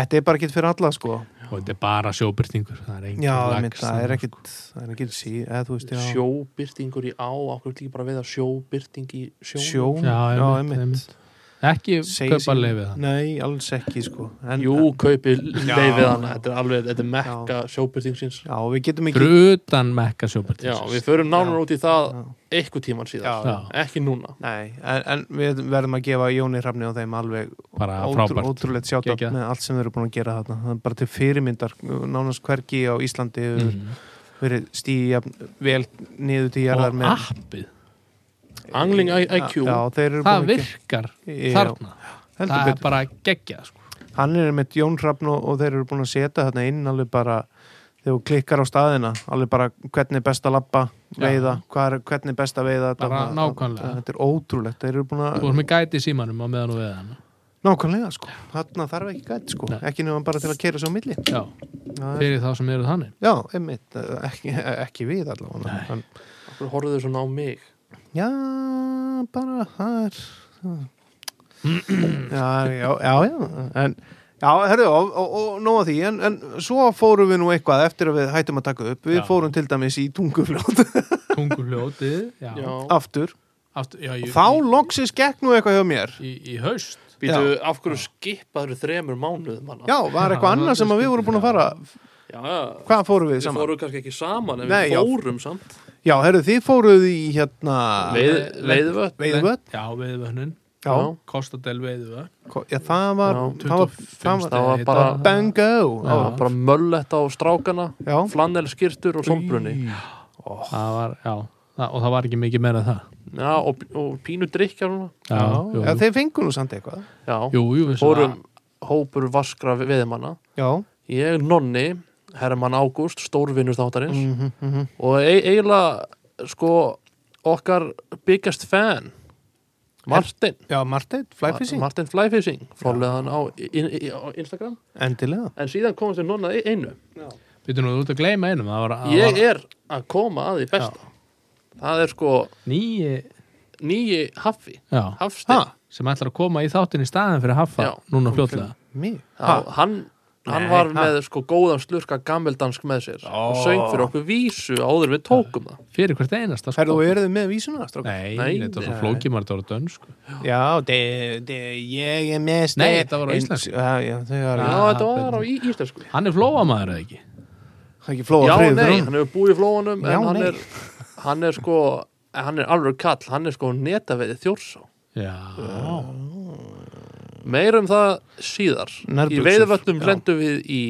A: þetta er bara ekkert fyrir alla, sko
C: og þetta er bara sjóbyrtingur það er engin
A: Já,
C: lax
A: einmitt, það er
C: þarna,
A: ekkert það er ekkert sí, eða þú veist, já
B: Sjóbyrtingur í á, okkur líka bara við að sjóbyrting í sjónum
A: Sjón,
C: Já,
A: já,
C: einmitt,
A: einmitt
C: sko. ekki
A: Segir
C: kaupa
A: sín-
C: leifið það
A: Nei, alls ekki, sko En-
B: Jú, kaupi
A: Já.
B: leifið hana Þetta er alveg, þetta er mekka sjóbyrtingsins
A: Já, við getum ekki
C: brutan mekka sjóbyrtings
B: Já, við förum nánar
A: Já.
B: út í það
A: Já.
B: eitthvað tíman síðar,
C: Já.
B: ekki núna
A: Nei, en, en við verðum að gefa Jóni Hrafni og þeim alveg
C: bara
A: ótrú,
C: frábært
A: ótrúlegt sjátt
C: Geggjað.
A: með allt sem þeir eru búin að gera þarna það er bara til fyrirmyndar, nánast hvergi á Íslandi hefur
C: Mm.
A: verið stíja vel niður til jarðar
C: og
A: með
C: appið,
B: Angling IQ
A: Já, þeir eru
C: það
A: búin að
C: virkar
A: ge- Já,
C: þarna,
A: heldur
C: það er
A: betur.
C: bara geggjað sko.
A: Hann er með Jón Hrafn og, og þeir eru búin að setja þarna inn alveg bara þegar þú klikkar á staðina alveg bara hvernig er best að labba
C: Já.
A: veiða, hvað er, hvernig er best að veiða þetta,
C: Bara nákvæmlega.
A: Þetta er ótrúlegt, þeir eru búin
C: þú
A: að
C: erum með gæti í símanum á meðan og við hann
A: Nákvæmlega sko, þarna þarf ekki gæti sko
C: Nei.
A: ekki nefnum bara til að keira svo á milli
C: já,
A: Það er-
C: fyrir þá sem eru þannig
A: Já, einmitt, eh, ekki, ekki við allavega
C: Nei.
A: en,
B: Okkur horfðu þau svona á mig
A: Já, bara það er Já, já, já, já en, Já, herru, og, og, og nóg að því en, en svo fórum við nú eitthvað eftir að við hættum að taka upp, við
C: Já.
A: fórum til dæmis í tungufljóð
C: tunguljótið, já,
B: Já,
A: aftur,
C: Aftur, já ég,
A: þá loksis gekk nú eitthvað hjá mér
C: í, í haust
B: býtu, af hverju skipaður þremur mánuðum hana?
A: Já, var
C: Já,
A: eitthvað annað sem að við vorum búin að fara
B: já, já.
A: Hvað fórum við
B: Við
A: saman?
B: fórum kannski ekki saman en
A: Nei, já.
B: við fórum samt
A: Já, herru, þið fóruð í hérna
B: Veið, Veiðvöld
A: Veiðvöld
C: já, veiðvötnin,
A: Já,
B: Já.
C: Kostadel veiðvöt
A: ko- já, það var,
B: Já,
A: það var, það var
B: það var
C: Þetta-
B: bara-
A: Bango
C: Já.
B: Það var bara mölletta á strákana
A: Já,
B: Flannel skýrtur og sombrunni
C: það var, já, það, og það var ekki mikið meira en það
B: Já, og, og pínu drikja núna
C: já, jú,
A: já, þeir fengur nú samt eitthvað
B: Já,
C: jú, jú, við
B: fórum hópur vaskra veðmanna
A: Já,
B: Ég, Nonni, Herman Ágúst Stórvinnur þáttarins
A: mhm, mhm
B: Og e eiginlega, sko Okkar biggest fan Martin
A: Já, Martin, flyfishing,
B: Martin Flyfishing Fórleðan á, in, in, á Instagram
A: endilega
B: En síðan komast við Nonna e- einu
C: Býtu nú, þú ert að gleyma einum, það var, það
B: Ég
C: var
B: er að koma að því besta Það er sko
C: nýji,
B: nýji haffi
C: já,
B: Hafstein,
A: Ha?
C: sem ætlar að koma í þáttin í staðin fyrir Haffa,
B: Já.
C: núna fljótlega.
A: Mig?
B: ha? hann, hann
A: Nei,
B: var
A: ha?
B: með sko góðan slurka gammeldansk með sér og söng fyrir okkur vísu áður við tókum það
C: Fyrir hvert einasta, sko.
A: Herðu, og eruðu með vísuna, strók?
C: Nei,
B: Nei,
C: þetta var svo
A: nei.
C: flókið maður þetta var dönsk.
A: Já, de, de, ég er mest
C: Nei, þetta var á íslensku.
A: Já, já, þau var
B: Já,
A: já.
C: Ah,
B: þetta var á
C: betur.
B: í íslensku
C: Hann er flóamaður eða ekki?
A: Ekki flóa
B: Já,
A: friður
B: nei, hann hefur búið í flóanum
A: Já,
B: en hann
A: nei.
B: er, hann er sko hann er alveg kall, hann er sko netaveiði þjórsá
C: Já,
B: meir um það síðar í
A: Nærbuxur, já.
B: veiðvötnum
A: Eh.
B: lendum við í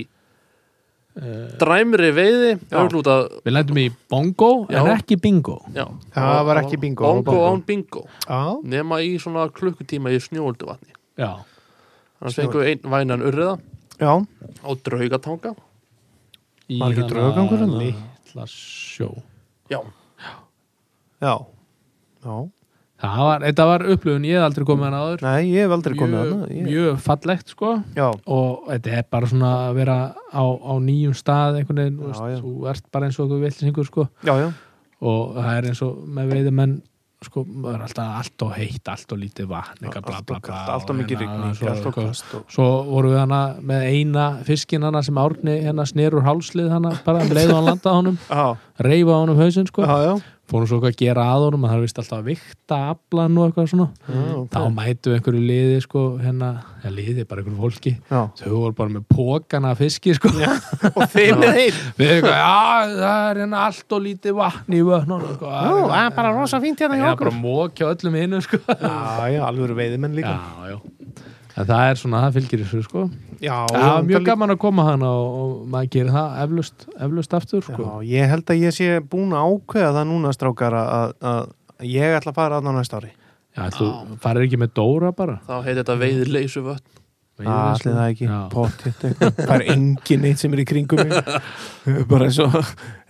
B: dræmri veiði
A: Já.
B: örglúta,
C: við lendum í bongo en
B: Já.
C: ekki bingo.
B: já,
A: Það var ekki bingo,
B: bongo
A: bongo.
B: án bingo
A: Já,
B: nema í svona klukkutíma í snjóöldu vatni
C: Já,
B: þannig fengum við einn vænan urriða
A: já,
B: á draugatanga
C: í
A: Var ekki
C: hana
A: draugagangur hérna?
C: Litla sjó.
B: já,
A: já Já,
C: Það var, þetta var upplöfun, ég hef aldrei komið hann áður.
A: nei, ég hef aldrei komið
C: Mjög-
A: hana ég...
C: Mjög fallegt, sko.
A: Já,
C: og þetta er bara svona að vera á, á nýjum stað einhvern veginn,
A: Já,
C: þú veist,
A: já.
C: þú ert bara eins og okkur villisingur sko
A: já, já
C: og það er eins og með veiðumenn sko, maður er alltaf allt og heitt, allt og lítið vatn eitthvað bla bla bla
A: Allt og mikið
C: hérna,
A: rigning,
C: svo-
A: allt og kast og...
C: Svo vorum við hana með eina fiskin hana sem árni hérna snerur hálslið hana bara um leið og hann landaði honum,
A: Já,
C: reyfa honum hausinn sko
A: já, já
C: fórum svo eitthvað að gera að honum að það er vist alltaf að vikta aflan og eitthvað svona þá mætu einhverju liði sko hérna, ja, liði bara einhverju fólki
A: Já.
C: þau voru bara með pókana af fiski sko
A: og þeim er þeir
C: við eitthvað, já það er hérna allt og lítið vatn í vötnum sko,
A: Ú, það er bara rosa fínt hérna hjá
C: Já,
A: okkur
C: bara mókja öllum hinu sko
A: Já, já, alveg veiðimenn líka
C: Já, já En það er svona, það fylgir þessu sko
A: Já,
C: Það var mjög
A: það
C: gaman að koma hana og, og maður gerir það eflust, eflust aftur sko
A: Já, ég held að ég sé búin að ákveða það núna strákar að, að ég ætla að fara aðna næsta ári
C: Já, þú farir ekki með Dóra bara
B: Þá heitir þetta veiðir leysu vötn
A: Allir Ah, það ekki,
C: Já.
A: pottitt eitthvað Það er engin eitt sem er í kringum mig bara eins og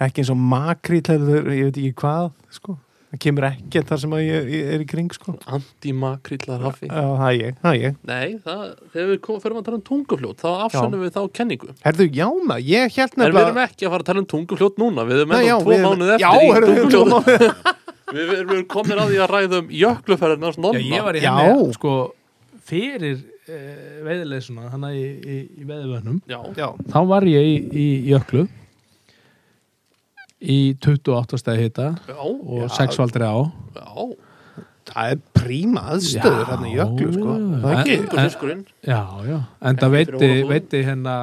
A: ekki eins og makrítlelður, ég veit ekki hvað sko, það kemur ekkert þar sem að ég, ég er í kring sko
B: Antimakrillar hafi
A: Já, það er ég, það er ég
B: Nei, það, þegar við kom, förum að tala um tungufljót þá afsannum við þá kenningu
A: Herðu, já maður, ég held
B: En við erum
A: nefnilega
B: ekki að fara að tala um tungufljót núna Við erum
A: Nei, já,
B: ennum tvo
A: við erum-
B: mánuð eftir
A: Já,
B: í
A: erum við tvo
B: Tunguhljóð.
A: mánuð
B: Við við erum komin að því að ræða um jökluferðinars
D: Já,
B: nonna
D: ég var í
A: Já.
D: henni sko fyrir
C: eh,
D: uh, veiðileg svona, hann í, í, í veiðivögnum
B: Já.
A: Já,
C: Þá var ég í, í Jöklu í 28 stæði hita
B: Já,
C: og sexfaldri á
B: já,
A: það er príma aðstöður
C: Já.
A: hann í jöklu sko Það er ekki,
C: Eh.
B: gengur fiskurinn
C: Já, já, en það
B: Ekki fyrir
C: veiti,
B: Ólafsson.
C: veiti hérna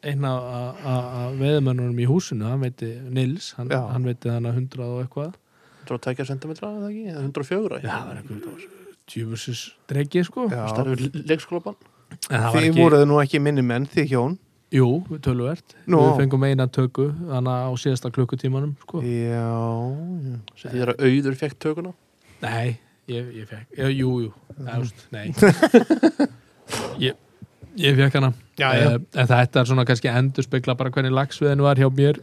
C: einn af- af af veðmönnunum í húsinu, hann veiti Nils, hann,
A: Já.
C: hann veiti hann að 100 og eitthvað
B: 102 cm, eða ekki, eða 104
C: Já, það er einhver djúfusins dregi, sko.
A: já
B: Starfið leikskólabann
C: En það var
A: Þið
C: ekki,
A: voruðu nú ekki minni menn, þið hjón
C: jú, töluvert.
A: Nú.
C: Við fengum eina tökku, þannig á síðasta klukkutímanum, sko.
A: Já, já
B: sem því er að auður fekk tökuna
C: Nei, ég, ég fekk, já, jú, jú, ást, nei. ég, ég fekk hana.
A: Já, já.
C: Eh, En þetta er svona kannski endur spekla bara hvernig lagsviðin var hjá mér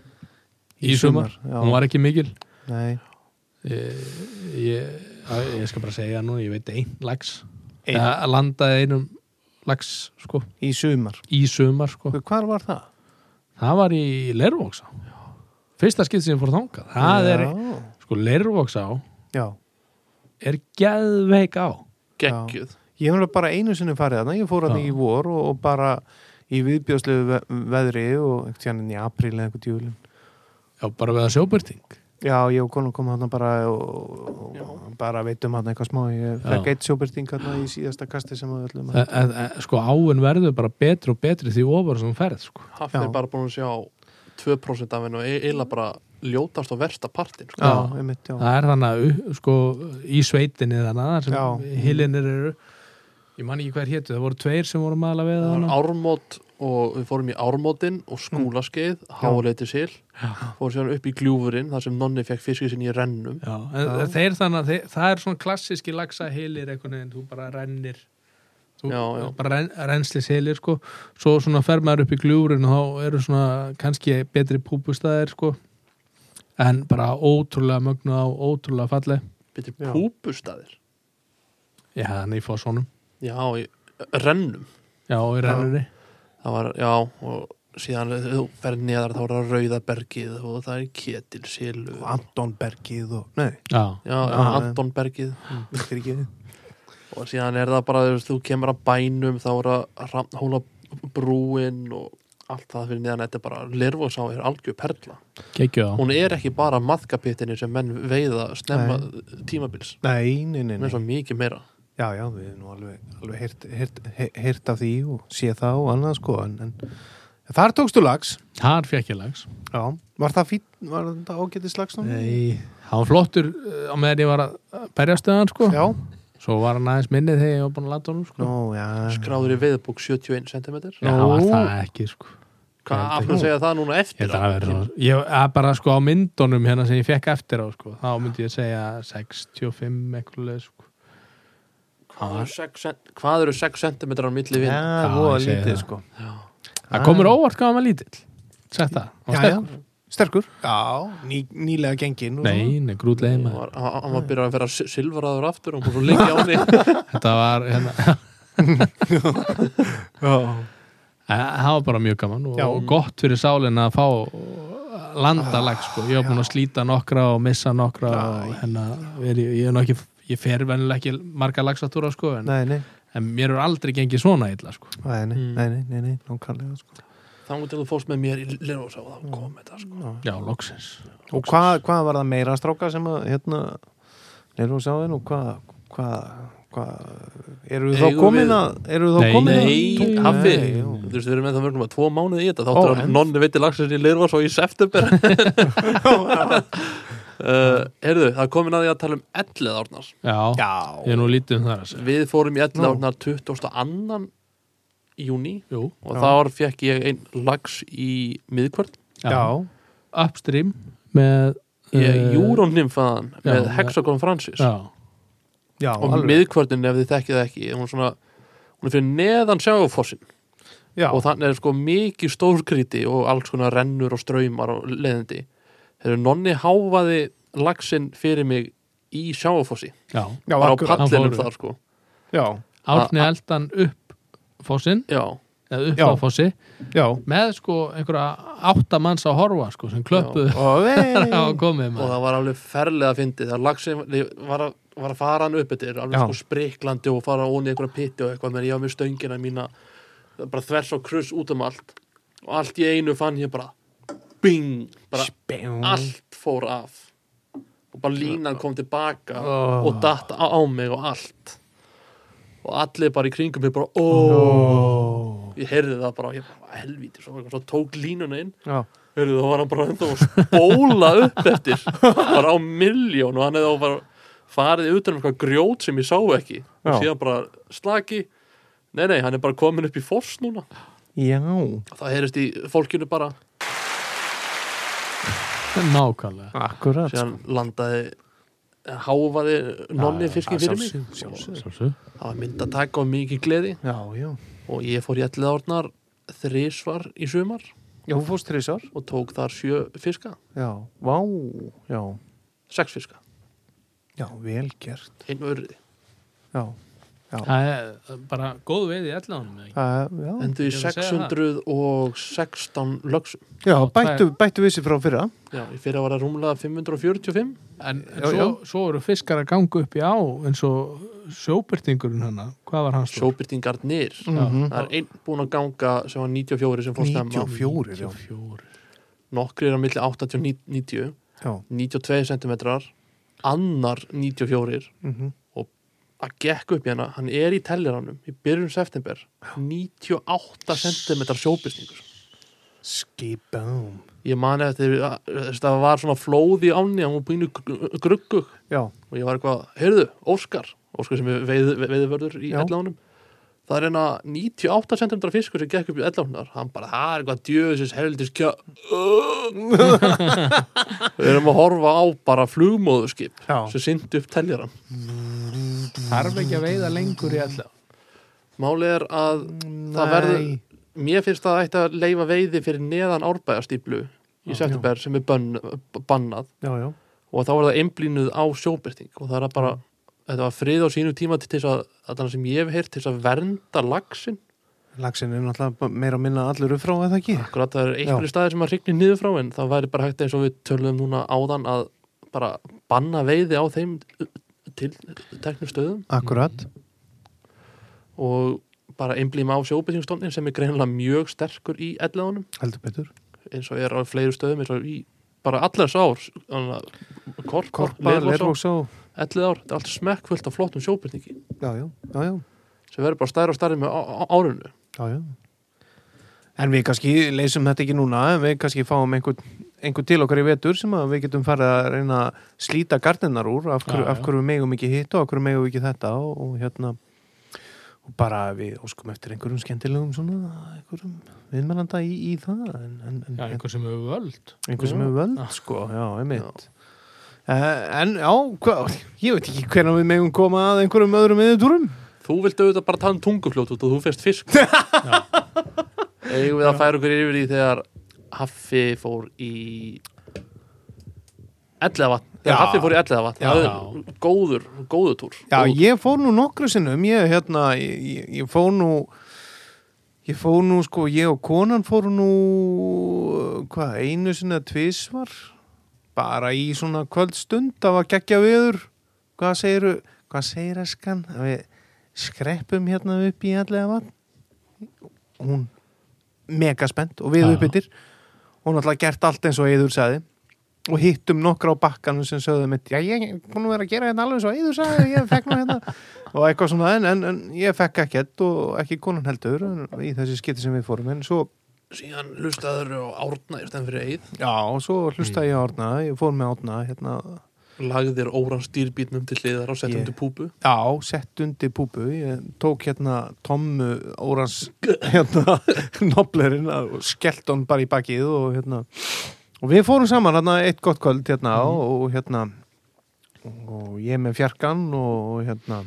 C: í, sumar.
A: já.
C: Hún var ekki mikil.
A: Nei,
C: Ég, ég, ég skal bara segja nú, ég veit einn lags.
A: Einn?
C: Eða landaði einum lags, sko,
A: í sumar
C: í sumar, sko.
A: Hvar var það?
C: Það var í Lervóksá Fyrsta skipt sem ég fór þangað Það er,
A: Já,
C: sko, Lervóksá
A: já.
C: er geðveik á
B: geggjuð
A: Ég hef nefnilega bara einu sinni farið þarna Ég fór þarna
C: Já.
A: í vor og, og bara í viðbjóðslegu ve veðri og ekkert hérna í apríl eða eitthvað djúlin
C: Já, bara við að sjóbyrting
A: Já, ég og konum kom þarna bara og, og, og bara veitum þarna eitthvað smá Ég
C: Já.
A: fekk eitt sjóbyrting þarna í síðasta kasti sem við öllum að
C: en, en, en, Sko, áin verður bara betri og betri því ofar sem hún ferð, sko
B: Hafið er bara búin að sjá 2% af hennu og e- eiginlega bara ljótast og versta partin sko.
A: Já, einmitt, já
C: Það er þannig, að, uh, sko, í sveitinni þannig þar sem
A: Já.
C: hilinir eru Ég man ekki hver hétu, það voru tveir sem voru maður að veiða
B: Það var
C: hana
B: ármót og við fórum í ármótin
A: Mm.
B: og skúlaskeið, háleiti sil fórum síðan upp í gljúfurinn þar sem nonni fekk fiskið sinni í rennum
C: Já, en
A: Já.
C: þeir þannig að þeir, það er svona klassíski lagsahilir einhvern veginn, þú bara rennir þú
B: Já, já.
C: bara ren, rennslishilir sko, svo svona fer maður upp í gljúfurinn og þá eru svona kannski betri púpustæðir sko en bara ótrúlega mögnu á ótrúlega falleg,
B: betur
A: Já.
B: púpustæðir
C: já þannig ég fá svonum
B: já, í rennum
C: já, og í rennurni
B: það var, já, og síðan þegar þú ferð neðar þá er það rauðabergið og það er ketilsilu
A: Og Anton Bergið og, nei,
C: já,
B: já,
A: Já.
B: Antonbergið
C: Mm.
A: myndir ekki
B: og síðan er það bara, þú veist, þú kemur að bænum þá er það hóla brúin og allt það fyrir neðan þetta er bara, Lervosá er algjör perla
C: kekju á
B: hún er ekki bara maðkapittinni sem menn veiða snemma tímabils
A: Nei, nei, nei,
B: hún
A: nei.
B: er svo mikið meira
A: Já, já, við erum nú alveg, alveg heyrt, heyrt, heyrt, heyrt af því og sé það og annað sko en, en þar tókstu lags
C: þar fekk ég lags
A: Já, var það fín, var það ágætið slags núna?
C: nei, hann var flottur uh, á meðan ég var að berjast við hann sko
A: Já,
C: svo var hann aðeins minnið þegar ég var búin að landa honum sko
A: nú, já
B: skráður í veiðbók 71 cm
C: já, hann var
A: Nú.
C: það ekki sko
B: hvað af hverju segja það núna
C: Ég
B: eftir
C: held að það verður svona- Ég er bara sko á myndunum hérna sem ég fekk eftir á sko. Þá myndi ég segja 65 eitthvað leið, sko.
B: hvað eru sex cent- hvað eru 6 cm á milli vinn
A: Já,
C: Já,
A: voða
C: ég segi
A: lítið
C: það.
A: sko
C: Það komur óvart hvað hann var lítill Sett það Hann var
A: Já, já,
C: sterkur.
A: sterkur Já, ný, nýlega gengin og
C: Nei, nei, grútlegið
B: hann
C: maður
B: var hann var byrjað að vera si- silfraður aftur og hún búið svo lengi á henni
C: Þetta var hérna
A: svona.
C: Eh, Það var bara mjög gaman og,
A: Já.
C: og gott fyrir sálinn að fá uh, landalag sko. Ég var búin að slíta nokkra og missa nokkra og hérna er, ég, ég, er nú ekki, ég fer venjulega ekki marga lagsatúra sko, en,
A: Nei, nei,
C: en mér er aldrei gengið svona illa sko.
A: nei, nei, nei, nei, nei, nei, nákvæmlega sko
B: Þannig til þú fórst með mér í Lervosá og þá kom þetta sko
E: já, loksins
A: Og hvað, hvað var það meira stráka sem að hérna erum við sáðin og hvað hvað, hvað eru við þá
B: Eigum
A: komin
B: við-
A: að eru við
E: Nei,
A: þá komin að
B: Nei,
A: Nei,
B: hafi
A: já.
B: Þú veist, við erum með það mörgum að tvo mánuði í þetta Þáttur
A: Ó,
B: að
A: en-
B: nonni veiti lagsins í Lervosá í september uh, Herðu, það er komin að því að tala um 11 árnars
E: já, ég
A: Já,
E: er nú lítið um það að segja
B: Við fórum í 11
A: Nú.
B: árnar 22. júni
E: Jú,
B: og
A: Já.
B: þar fekk ég einn lags í miðkvörn
E: já.
A: já,
E: Upstream með eh,
B: ég júrónimfaðan
E: já,
B: með
E: já.
B: Hexagon Francis
E: Já,
A: já
B: og
A: alveg.
B: miðkvörnin ef þið þekkið það ekki hún er svona, hún er fyrir neðan sjáfossin
A: já,
B: og þannig er sko mikið stórkríti og alls konar rennur og straumar og leðindi þegar nonni háfaði laxinn fyrir mig í sjáfossi
E: já
A: já,
B: bara á
A: akkurat,
E: Hann
B: pallinum
E: fór-
B: þar sko
A: já,
E: Árni eldan upp fósinn,
B: já,
E: eða upp
A: Já.
E: á fósi
A: já
E: með sko einhverja átta manns að horfa sko sem klöppuðu
A: og
E: og
A: vei
E: komið
B: og
E: með
B: það var alveg ferlega fyndið þegar laxinn var að, var að fara hann upp yfir alveg
A: Já.
B: sko spriklandi og fara ón í einhverja pitti og eitthvað með ég á mér stöngina mína bara þvers og kruss út um allt og allt í einu fann ég bara bing, bara allt fór af og bara línan kom tilbaka
A: Oh.
B: og datt á, á mig og allt og allir bara í kringum mig bara óóó ég heyrði það bara, ég bara helvíti svo, svo tók línuna inn
A: Já,
B: heyrði það var hann bara ennþá að spóla upp eftir bara á miljón og hann hefði þá bara farið utan um eitthvað grjót sem ég sá ekki og
A: Já.
B: síðan bara slaki nei nei, hann er bara komin upp í foss núna
A: já
B: og það heyrist í fólkinu bara
E: nákvæmlega
A: akkurat
B: síðan landaði eh, háfaði nonni fiskin fyrir mig
A: sjálfsög
E: Sjálfsög.
B: það var mynd að taka og mikið gleði
A: Já, já,
B: og ég fór í 11 árnar þrísvar í sumar
A: já, hún fórst þrísar
B: og tók þar sjö fiska
A: Já, vá, já,
B: sex fiska,
A: já, vel gert
B: einu örði
A: Já, já,
E: Það er bara góð veið í ellanum
A: það, já
B: endu í
E: Ég er að segja
B: 616 lögsum
A: Já, bættu, bættu vissi frá fyrra
B: já, ég fyrir að vara rúmlega 545
E: En, en
A: Já,
E: svo, svo eru fiskar að ganga upp í á eins og sjóbyrtingurinn hana hvað var hans stór?
B: sjóbyrtingarnir
A: Mhm.
B: það er einn búin að ganga sem var 94 sem fór stemma
A: 94, já,
B: nokkri er á milli 80 og 90
A: já.
B: 92 cm annar 94
A: mhm.
B: að gekk upp í hana, hann er í telliranum í byrjun september 98 cm sjóbyrtingur
A: Skibum
B: ég man eftir að þess að það var svona flóð í áni og hún býnu gruggu og
A: Já,
B: ég var eitthvað, heyrðu, Óskar Óskar sem er veið, veiðvörður í
A: Já.
B: ellánum það er hérna 98 cm fiskur sem gekk upp í ellánar hann bara, það er eitthvað djöðsins heldis kjá við erum að horfa á bara flugmóðuskip
A: Já.
B: sem syndi upp telliran
E: Þarf ekki að veiða lengur í ellan
B: málið er að það verður Mér finnst það ætti að leifa veiði fyrir neðan árbæðastýplu í september sem er bönn, bannað
A: Já, já,
B: og þá er það einblínuð á sjóbyrting og það er að bara, þetta var frið á sínu tíma til þess að, að þannig sem ég hef heyrt til þess að vernda laxin,
A: lagsin er náttúrulega bara meira að minna allur upp frá eða ekki
B: akkurat það er einhverju staðir sem að hrygni niður frá en það væri bara hægt eins og við tölum núna áðan að bara banna veiði á þeim uh, til uh, teknum stöðum
A: Akkurat,
B: og bara einblíma á sjóbyrtingstónin sem er greinilega mjög sterkur í elleðunum
A: heldur betur
B: eins og er á fleiri stöðum eins og í bara allars ár þannig að korpa,
A: Korpa,
B: lervóksá,
A: lervóks á
B: 11 ár þetta er allt smekkfullt af flottum sjóbyrningi
A: Já, já, já, já,
B: sem verður bara stærri og stærri með á- á- árinu
A: já, já En við kannski leysum þetta ekki núna en við kannski fáum einhvern einhvern til okkar í vetur sem að við getum farið að reyna að slíta gardinnar úr af hverju,
E: Já, já.
A: af hverju við megum ekki hitt og af hverju megum við ekki þetta og, og hérna og bara við óskum eftir einhverjum skemmtilegum svona einhverjum viðmælanda í, í það en, en, en,
E: Já,
A: en,
E: einhver sem hefur völd
A: einhver sem
B: Já.
A: hefur völd sko, já, einmitt Uh, en já, hva, ég veit ekki hvernig við megum koma að einhverjum öðrum yfirtúrum
B: þú vilt auðvitað bara tala um tungufljót út og þú fyrst fisk eigum við að færa okkur yfir í þegar Haffi fór í 11 vatn
A: Já.
B: Haffi fór í 11 vatn
A: Já.
B: það er góður, góður túr
A: Já,
B: Góður.
A: ég fór nú nokkru sinnum ég, hérna, ég, ég- ég fór nú ég fór nú, sko, ég og konan fór nú hvað, einu sinna tvisvar bara í svona kvöldstund það var geggja viður hvað segiru, hvað segir eskan við skreppum hérna upp í allega vatn hún mega spennt og við
E: Já.
A: uppbyttir og náttúrulega gert allt eins og Eður sagði og hittum nokkra á bakkanum sem sögðu mitt, já ég er búin að vera að gera hérna alveg eins og Eður sagði, ég fekk nú hérna og eitthvað svona, en, en, en ég fekk ekkert og ekki konan heldur en í þessi skipti sem við fórum, en svo
B: síðan hlustaður og árna í stæðan fyrir eigið
A: já, og svo hlustaði ég á Árna ég fór með Árna, hérna
B: lagðir óran stýrbítnum til hliðar og settum
A: Ég-
B: til púpu
A: Já, sett undir púpu, ég tók hérna Tommu Órans hérna, noblerinn og skellt hann bara í bakið og hérna og við fórum saman hérna eitt gott kvöld hérna og, og hérna og ég með fjarkan og hérna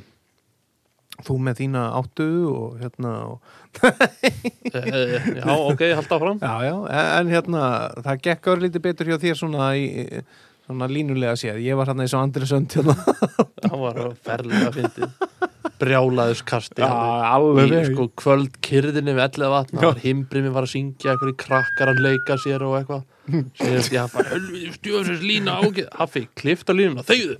A: þú með þína áttu og hérna og,
B: Eh, já, ok, halda áfram
A: já, já, en hérna það gekk árið lítið betur hjá þér svona í, svona línulega séð, ég var hérna eins og Andri Sönd hérna
B: það var ferlega fyndið brjálaðis kasti hann í
A: alveg
B: sko, kvöld kyrðinni við ellið vatna var himbrimi var að syngja einhverju krakkar að leika sér og eitthvað segist ég hafa helviti stjóðsins lína ágið hafi, klifta línuna, þegðu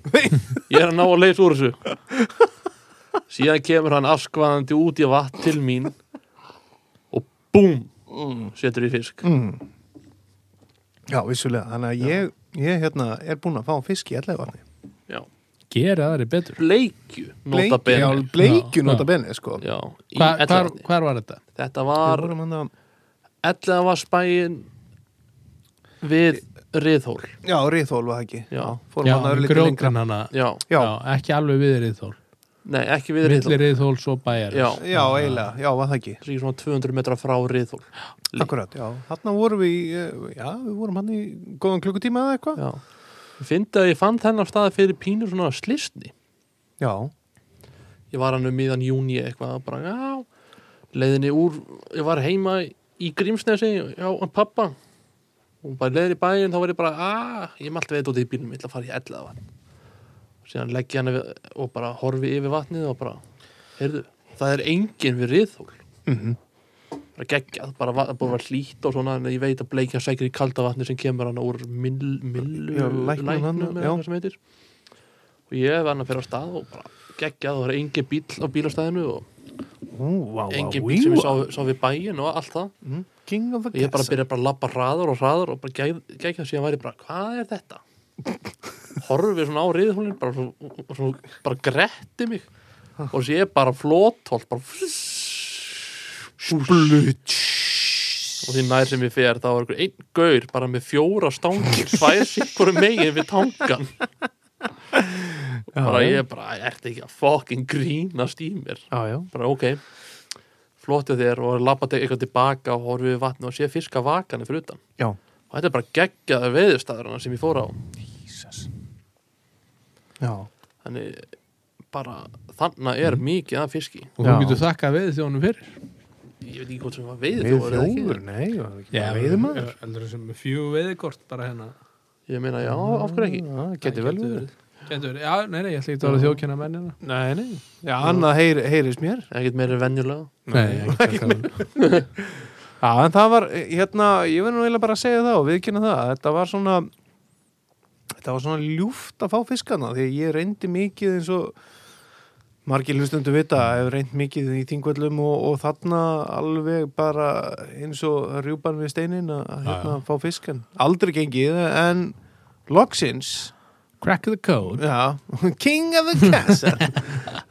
B: ég er að ná að leysa úr þessu síðan kemur hann askvaðandi út í vatn til mín og búm setur í fisk
A: mm. Já, vissulega, þannig að ég, ég hérna, er búinn að fá fisk í ellegavatni
B: já.
E: Gera aðri betur.
B: bleikju, nota bene
A: bleikju
E: Já,
A: nota benni, sko
B: já, í
E: Hva, hvar,
B: Elliðavatni.
E: hvar var þetta?
B: þetta
A: Við
B: var
A: vorum hérna- hann að-
B: ellega var spæin við riðhól
A: Já, Ríðhól var það ekki
B: Já.
A: fórum
E: Já,
A: hann að örlítið lengra
E: grjókan hana.
B: já,
A: Já,
E: Já, ekki alveg við Riðþól.
B: nei, ekki við riðhól
E: Milli Riðþól svo bæjar.
B: já,
A: já, eiginlega, já, var það ekki
B: það er ekki svona 200 metra frá riðhól Líka.
A: Akkurat, já, hann vorum við í, eh, já, við vorum hann í góðan klukkutíma eða eitthvað
B: já ég fyndi að ég fann þennan staði fyrir pínur svona slistni
A: Já,
B: ég var hann um miðan júni eitthvað og bara, já, leiðinni úr ég var heima í Grímsnesi já, og pappa og bara leiðin í bæinn, þá var ég bara, aaa ég maður alltaf veit út í bílnum, ég ætla að fara í ellaða vatn síðan legg ég hann yfir, og bara horfi yfir vatnið og bara heyrðu, það er enginn við riðhól
A: Mhm.
B: bara geggjað, bara va- búið að vera hlýtt og svona, en ég veit að bleikja sækir í kalda vatni sem kemur hann úr mill, millu,
A: Já, læknum hann,
B: læknum
A: já.
B: eða hvað sem heitir og ég var hann að fyrir á stað og bara geggjað og það er engin bíl á bílastæðinu og
A: ú, vá, vá,
B: engin
A: ví,
B: bíl sem
A: vá
B: ég sá, sá við bæin og allt það
A: Mm, King of the
B: og ég bara
A: Castle
B: byrja bara að labba hraðar og hraðar og bara gegg- geggjað síðan væri bara, hvað er þetta? horfið svona á riðhólinn bara, svona, svona, bara gretti mig og sé bara flótholt bara
A: Blut
B: og því nær sem ég fer þá er einhver einn gaur bara með fjóra stangir svær sikkur megin við tangan bara ég bara, ég ert ekki að fucking grínast í mér
A: Já, já,
B: bara ok flóttið þér og lappa til eitthvað tilbaka og horfið við vatni og sé fiska vakani fyrir utan
A: já
B: og þetta er bara geggjaða veðurstaðurna sem ég fór á
A: Já,
B: þannig bara þannig
A: Mm.
B: er mikið að fiski
E: Og þú
A: Já.
E: getur þakkað við þjónum fyrir.
B: ég veit ekki hvort sem var veiður
A: við þjófur, nei, var það ekki bara veiðimaður?
E: Eldur sem er fjú veiðikort bara hérna.
B: ég meina já, af hverju ekki
A: Já, Geti vel verið
E: Getur, verið. já, nei, nei, ég ætla ekki að vera þjókjana mennina.
A: Nei, nei, já, annað heyr, heyrist mér
B: ekkert meira en venjulega
E: Nei, ekki um- það.
A: Já, en það var, hérna, ég verður nú eiginlega bara að segja það og viðkynna það, að þetta var svona þetta var svona ljúft að fá fiskana því að ég reyndi mikið eins og margir hlustundu vita hef reynd mikið í þingvöllum og, og þarna alveg bara eins og rjúpan við steinin að hérna fá fiskan. Aldrei gengið en loksins
E: Crack the code.
A: Já, King of the Castle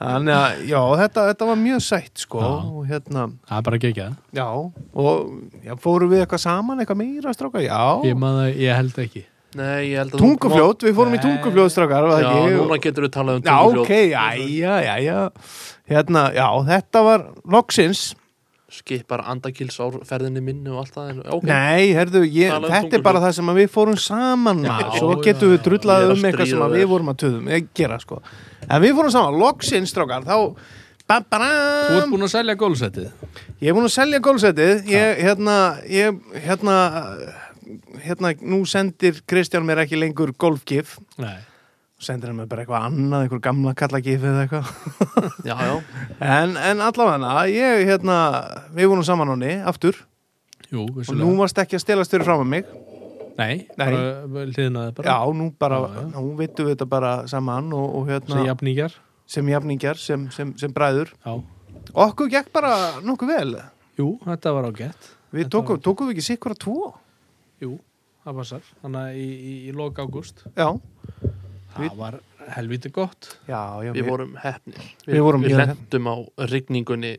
A: Þannig að, já, þetta, þetta var mjög sætt sko,
E: Já.
A: og hérna
E: Það er bara ekki ekki það.
A: Já, og já, fórum við eitthvað saman, eitthvað meira strákar? Já,
E: Ég, maður, ég held ekki.
B: nei, ég held að þú-
A: tungufljót, við fórum í
E: Nei.
A: tungufljót strákar, var
B: já,
A: það ekki?
B: núna getur við talað um
A: Já,
B: tungufljót
A: ok, já, já, já Hérna, já, þetta var loksins
B: skipar andakilsár ferðinni minni og allt það en, ok,
A: Nei, herðu, ég,
B: Talaðu um
A: þetta er
B: tungufljót.
A: bara það sem að við fórum saman já,
E: Já,
A: Svo
E: já,
A: getum við
E: já.
A: drullað
B: Ég er að
A: um eitthvað sem
B: stríða
A: að við
B: þér.
A: vorum að töðum eh, gera, sko En við fórum saman, loksins strákar, þá ba
E: Þú ert
A: -ba
E: búin að selja gólsettið.
A: Ég er búin að selja gólsetið ég, hérna, ég, hérna hérna, nú sendir Kristján mér ekki lengur golfgif
E: Nei.
A: sendir hann mér bara eitthvað annað, eitthvað gamla kallagif eða eitthvað
B: já, já,
A: en, en allavega, ég, hérna við vorum saman honni, aftur
E: Jú,
A: og nú
E: vissulega.
A: varst ekki að stelast fyrir fram að mig
E: Nei,
A: Nei.
E: bara hliðnaði bara.
A: já, nú bara,
E: Já, já.
A: nú veitum við þetta bara saman og, og hérna,
E: Sem jafnýjar.
A: sem jafningar sem, sem, sem bræður,
E: Já.
A: okkur gekk bara nokkuð vel
E: Jú, þetta var á gett.
A: Við
C: Þetta
A: tókum,
C: var-
A: tókum við ekki sikkur að tvo?
C: Jú, það passar. Þannig að í, í, í lok ágúst.
A: Já, Við-
C: Það var helviti gott.
A: já, já.
B: Við vorum hefnir
A: Við vorum
B: Við
A: mjög
B: lendum á rigningunni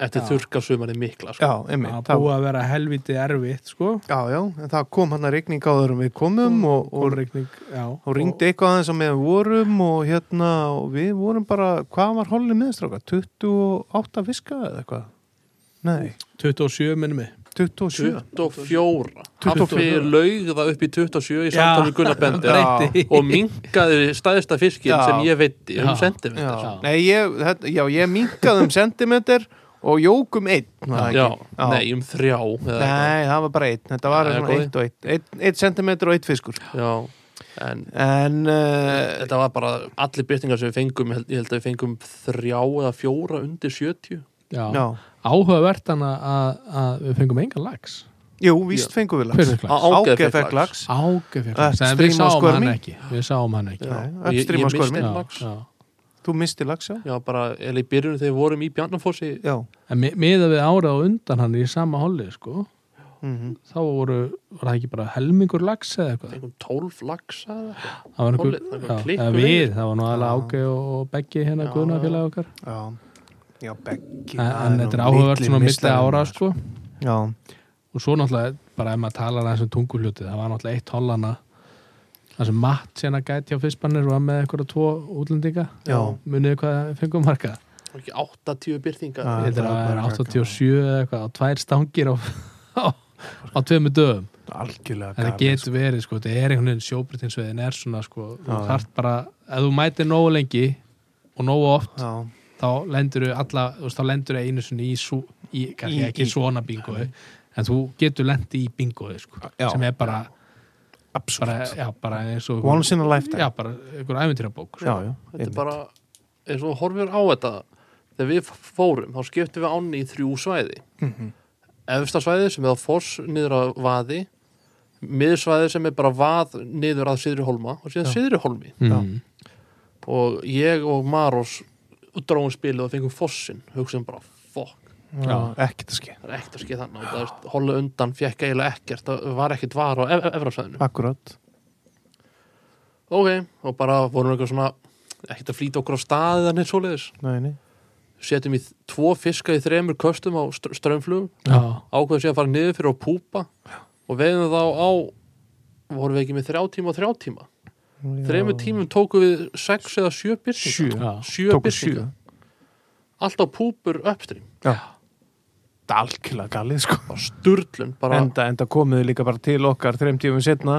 B: eftir
C: Já.
B: þurrkasumarni mikla sko.
A: Já, einmitt.
C: Það
A: Það,
C: búið að vera helviti erfitt, sko.
A: já, já, en það kom hérna hann að regning á þeirum við komum
B: Mm,
A: og, og,
C: Kólrigning, já.
A: og, ringdi eitthvað aðeins á meðan við vorum og hérna, og við vorum bara, hvað var hollið meðstráka? 28 fiska eða eitthvað? Nei,
C: 27 minnum við.
A: 27.
B: 24 Haffi
A: 24.
B: laug það upp í 27 í
C: Já.
B: samtalið Gunnabendi
A: Já.
B: og minkaði staðista fiskin
A: Já.
B: sem ég veit um
C: Já.
B: sentimentar
A: Já,
C: Já.
A: Nei, ég, þetta, já, ég minkaði um sentimeter og jókum einn. var það
B: Já,
A: ekki? Já.
B: nei, um þrjá eða eitthvað.
A: Nei, það var bara einn. Þetta var
B: Já,
A: svona
B: góði.
A: eitt og eitt. Eitt, eitt sentimeter og eitt fiskur.
B: Já, en
A: En, uh,
B: þetta var bara allir byrtingar sem við fengum, ég held- ég held að við fengum þrjá eða fjóra undir 70
C: Já.
A: já,
C: Áhugavert hann að- að að við fengum engan lags.
A: jú, víst fengum við lags.
C: Hver er lags?
A: Ágeð fekk lags.
C: Ágefjörn.
A: Upstream
C: En við
A: á
C: sáum hann
A: skörmi.
C: ekki. Við sáum hann ekki.
B: Já.
A: Nei,
B: Og ég- ég
A: upstream á
B: missti
A: skörmi.
B: einn lax.
C: já.
A: Þú misti lags, já?
B: Já, bara, eða í byrjunum þegar við vorum í Bjarnafossi
A: Já.
C: En mi- miðað við árað og undan hann í sama holli, sko,
A: mhm.
C: þá voru, var það ekki bara helmingur lags eða eitthvað?
B: fengum 12 lagsa eða eitthvað.
C: Það var
B: Hollið,
C: einhver,
B: það var
C: já,
B: klikkur
C: eða
B: yfir.
C: við, það var nú aðalega
A: Já.
C: ágæði og og beggi hérna
B: Já.
C: guðnafélag okkar.
A: Já, já, beggi.
C: En,
A: það
C: en
A: nú
C: þetta er áhugavert
A: mikli
C: svona milli
A: meistarinn
B: hérna,
C: ára,
A: maður.
C: sko.
A: Já,
C: Og svo náttúrulega, bara ef maður talar aðeins um tunguljótið, það var náttúrulega eitt hollana, það sem Matt sérna gæti á fyrstbannir var með eitthvað tvo útlendinga.
A: Já.
C: Munið hvað fengum marka?
B: Það var ekki 80 byrtingar
A: Já.
C: Ég
A: það
C: heldur að það
A: var
C: er
A: bara
C: 87 eða eitthvað, á tvær stangir á, á, á tveimu dögum.
A: algjörlega.
C: En það
A: galið, sko.
C: getur verið, sko, þetta er einhvern veginn sjóbritinsveiðin er svona, sko, þú
A: Já.
C: þarft bara, ef þú mætir nógu lengi og nógu oft,
A: Já,
C: þá lendur þú alla, þú veist, þá lendur þú einu sinni í, sú, í kannski
A: Í-
C: ekki
A: í-
C: svona bingoi, en þú getur lendi í bingoi, sko,
A: Já.
C: sem er bara, bara,
A: absolutt.
C: já, bara eins og,
A: Once in a lifetime.
C: já, bara einhver æfintýrabók, sko.
A: já, já.
B: Þetta er bara, eins og horfir á þetta þegar við f- fórum, þá skiptum við ánni í þrjú svæði
A: Mhm.
B: Efsta svæði sem er á Foss niður að Vaði miðsvæði sem er bara Vað niður að Siðri Holma og síðan
A: Já.
B: Siðri Holmi
C: Mm.
B: og ég og Maros dráum spilið og fengum Fossin hugsaðum bara, fokk,
A: Já, ekkert að skil.
B: það er ekkert að skeið þannig og það er hola undan, fekk eiginlega ekkert það var ekkert var á E- ef efrafsvæðinu
A: Akkurat.
B: ok, og bara vorum eitthvað svona ekkert að flýta okkur á staðið en eitt svoleiðis
A: Nei, nei.
B: setjum í þ- tvo fiska í þremur köstum á str strömmflugum
C: Já.
B: ákveðum sér að fara niður fyrir á púpa og veiðum þá á vorum við ekki með þrjá tíma og þrjá tíma
A: Já.
B: þremur tímum tókum við sex eða sjö
A: Sjö.
B: byrtinga
C: Já.
B: sjö
A: Tóku
B: byrtinga allt á púpur uppstrým
A: Já. Það er algjörlega galið, sko.
B: bara sturlun, bara
A: enda, enda komuðu líka bara til okkar þreim tífum setna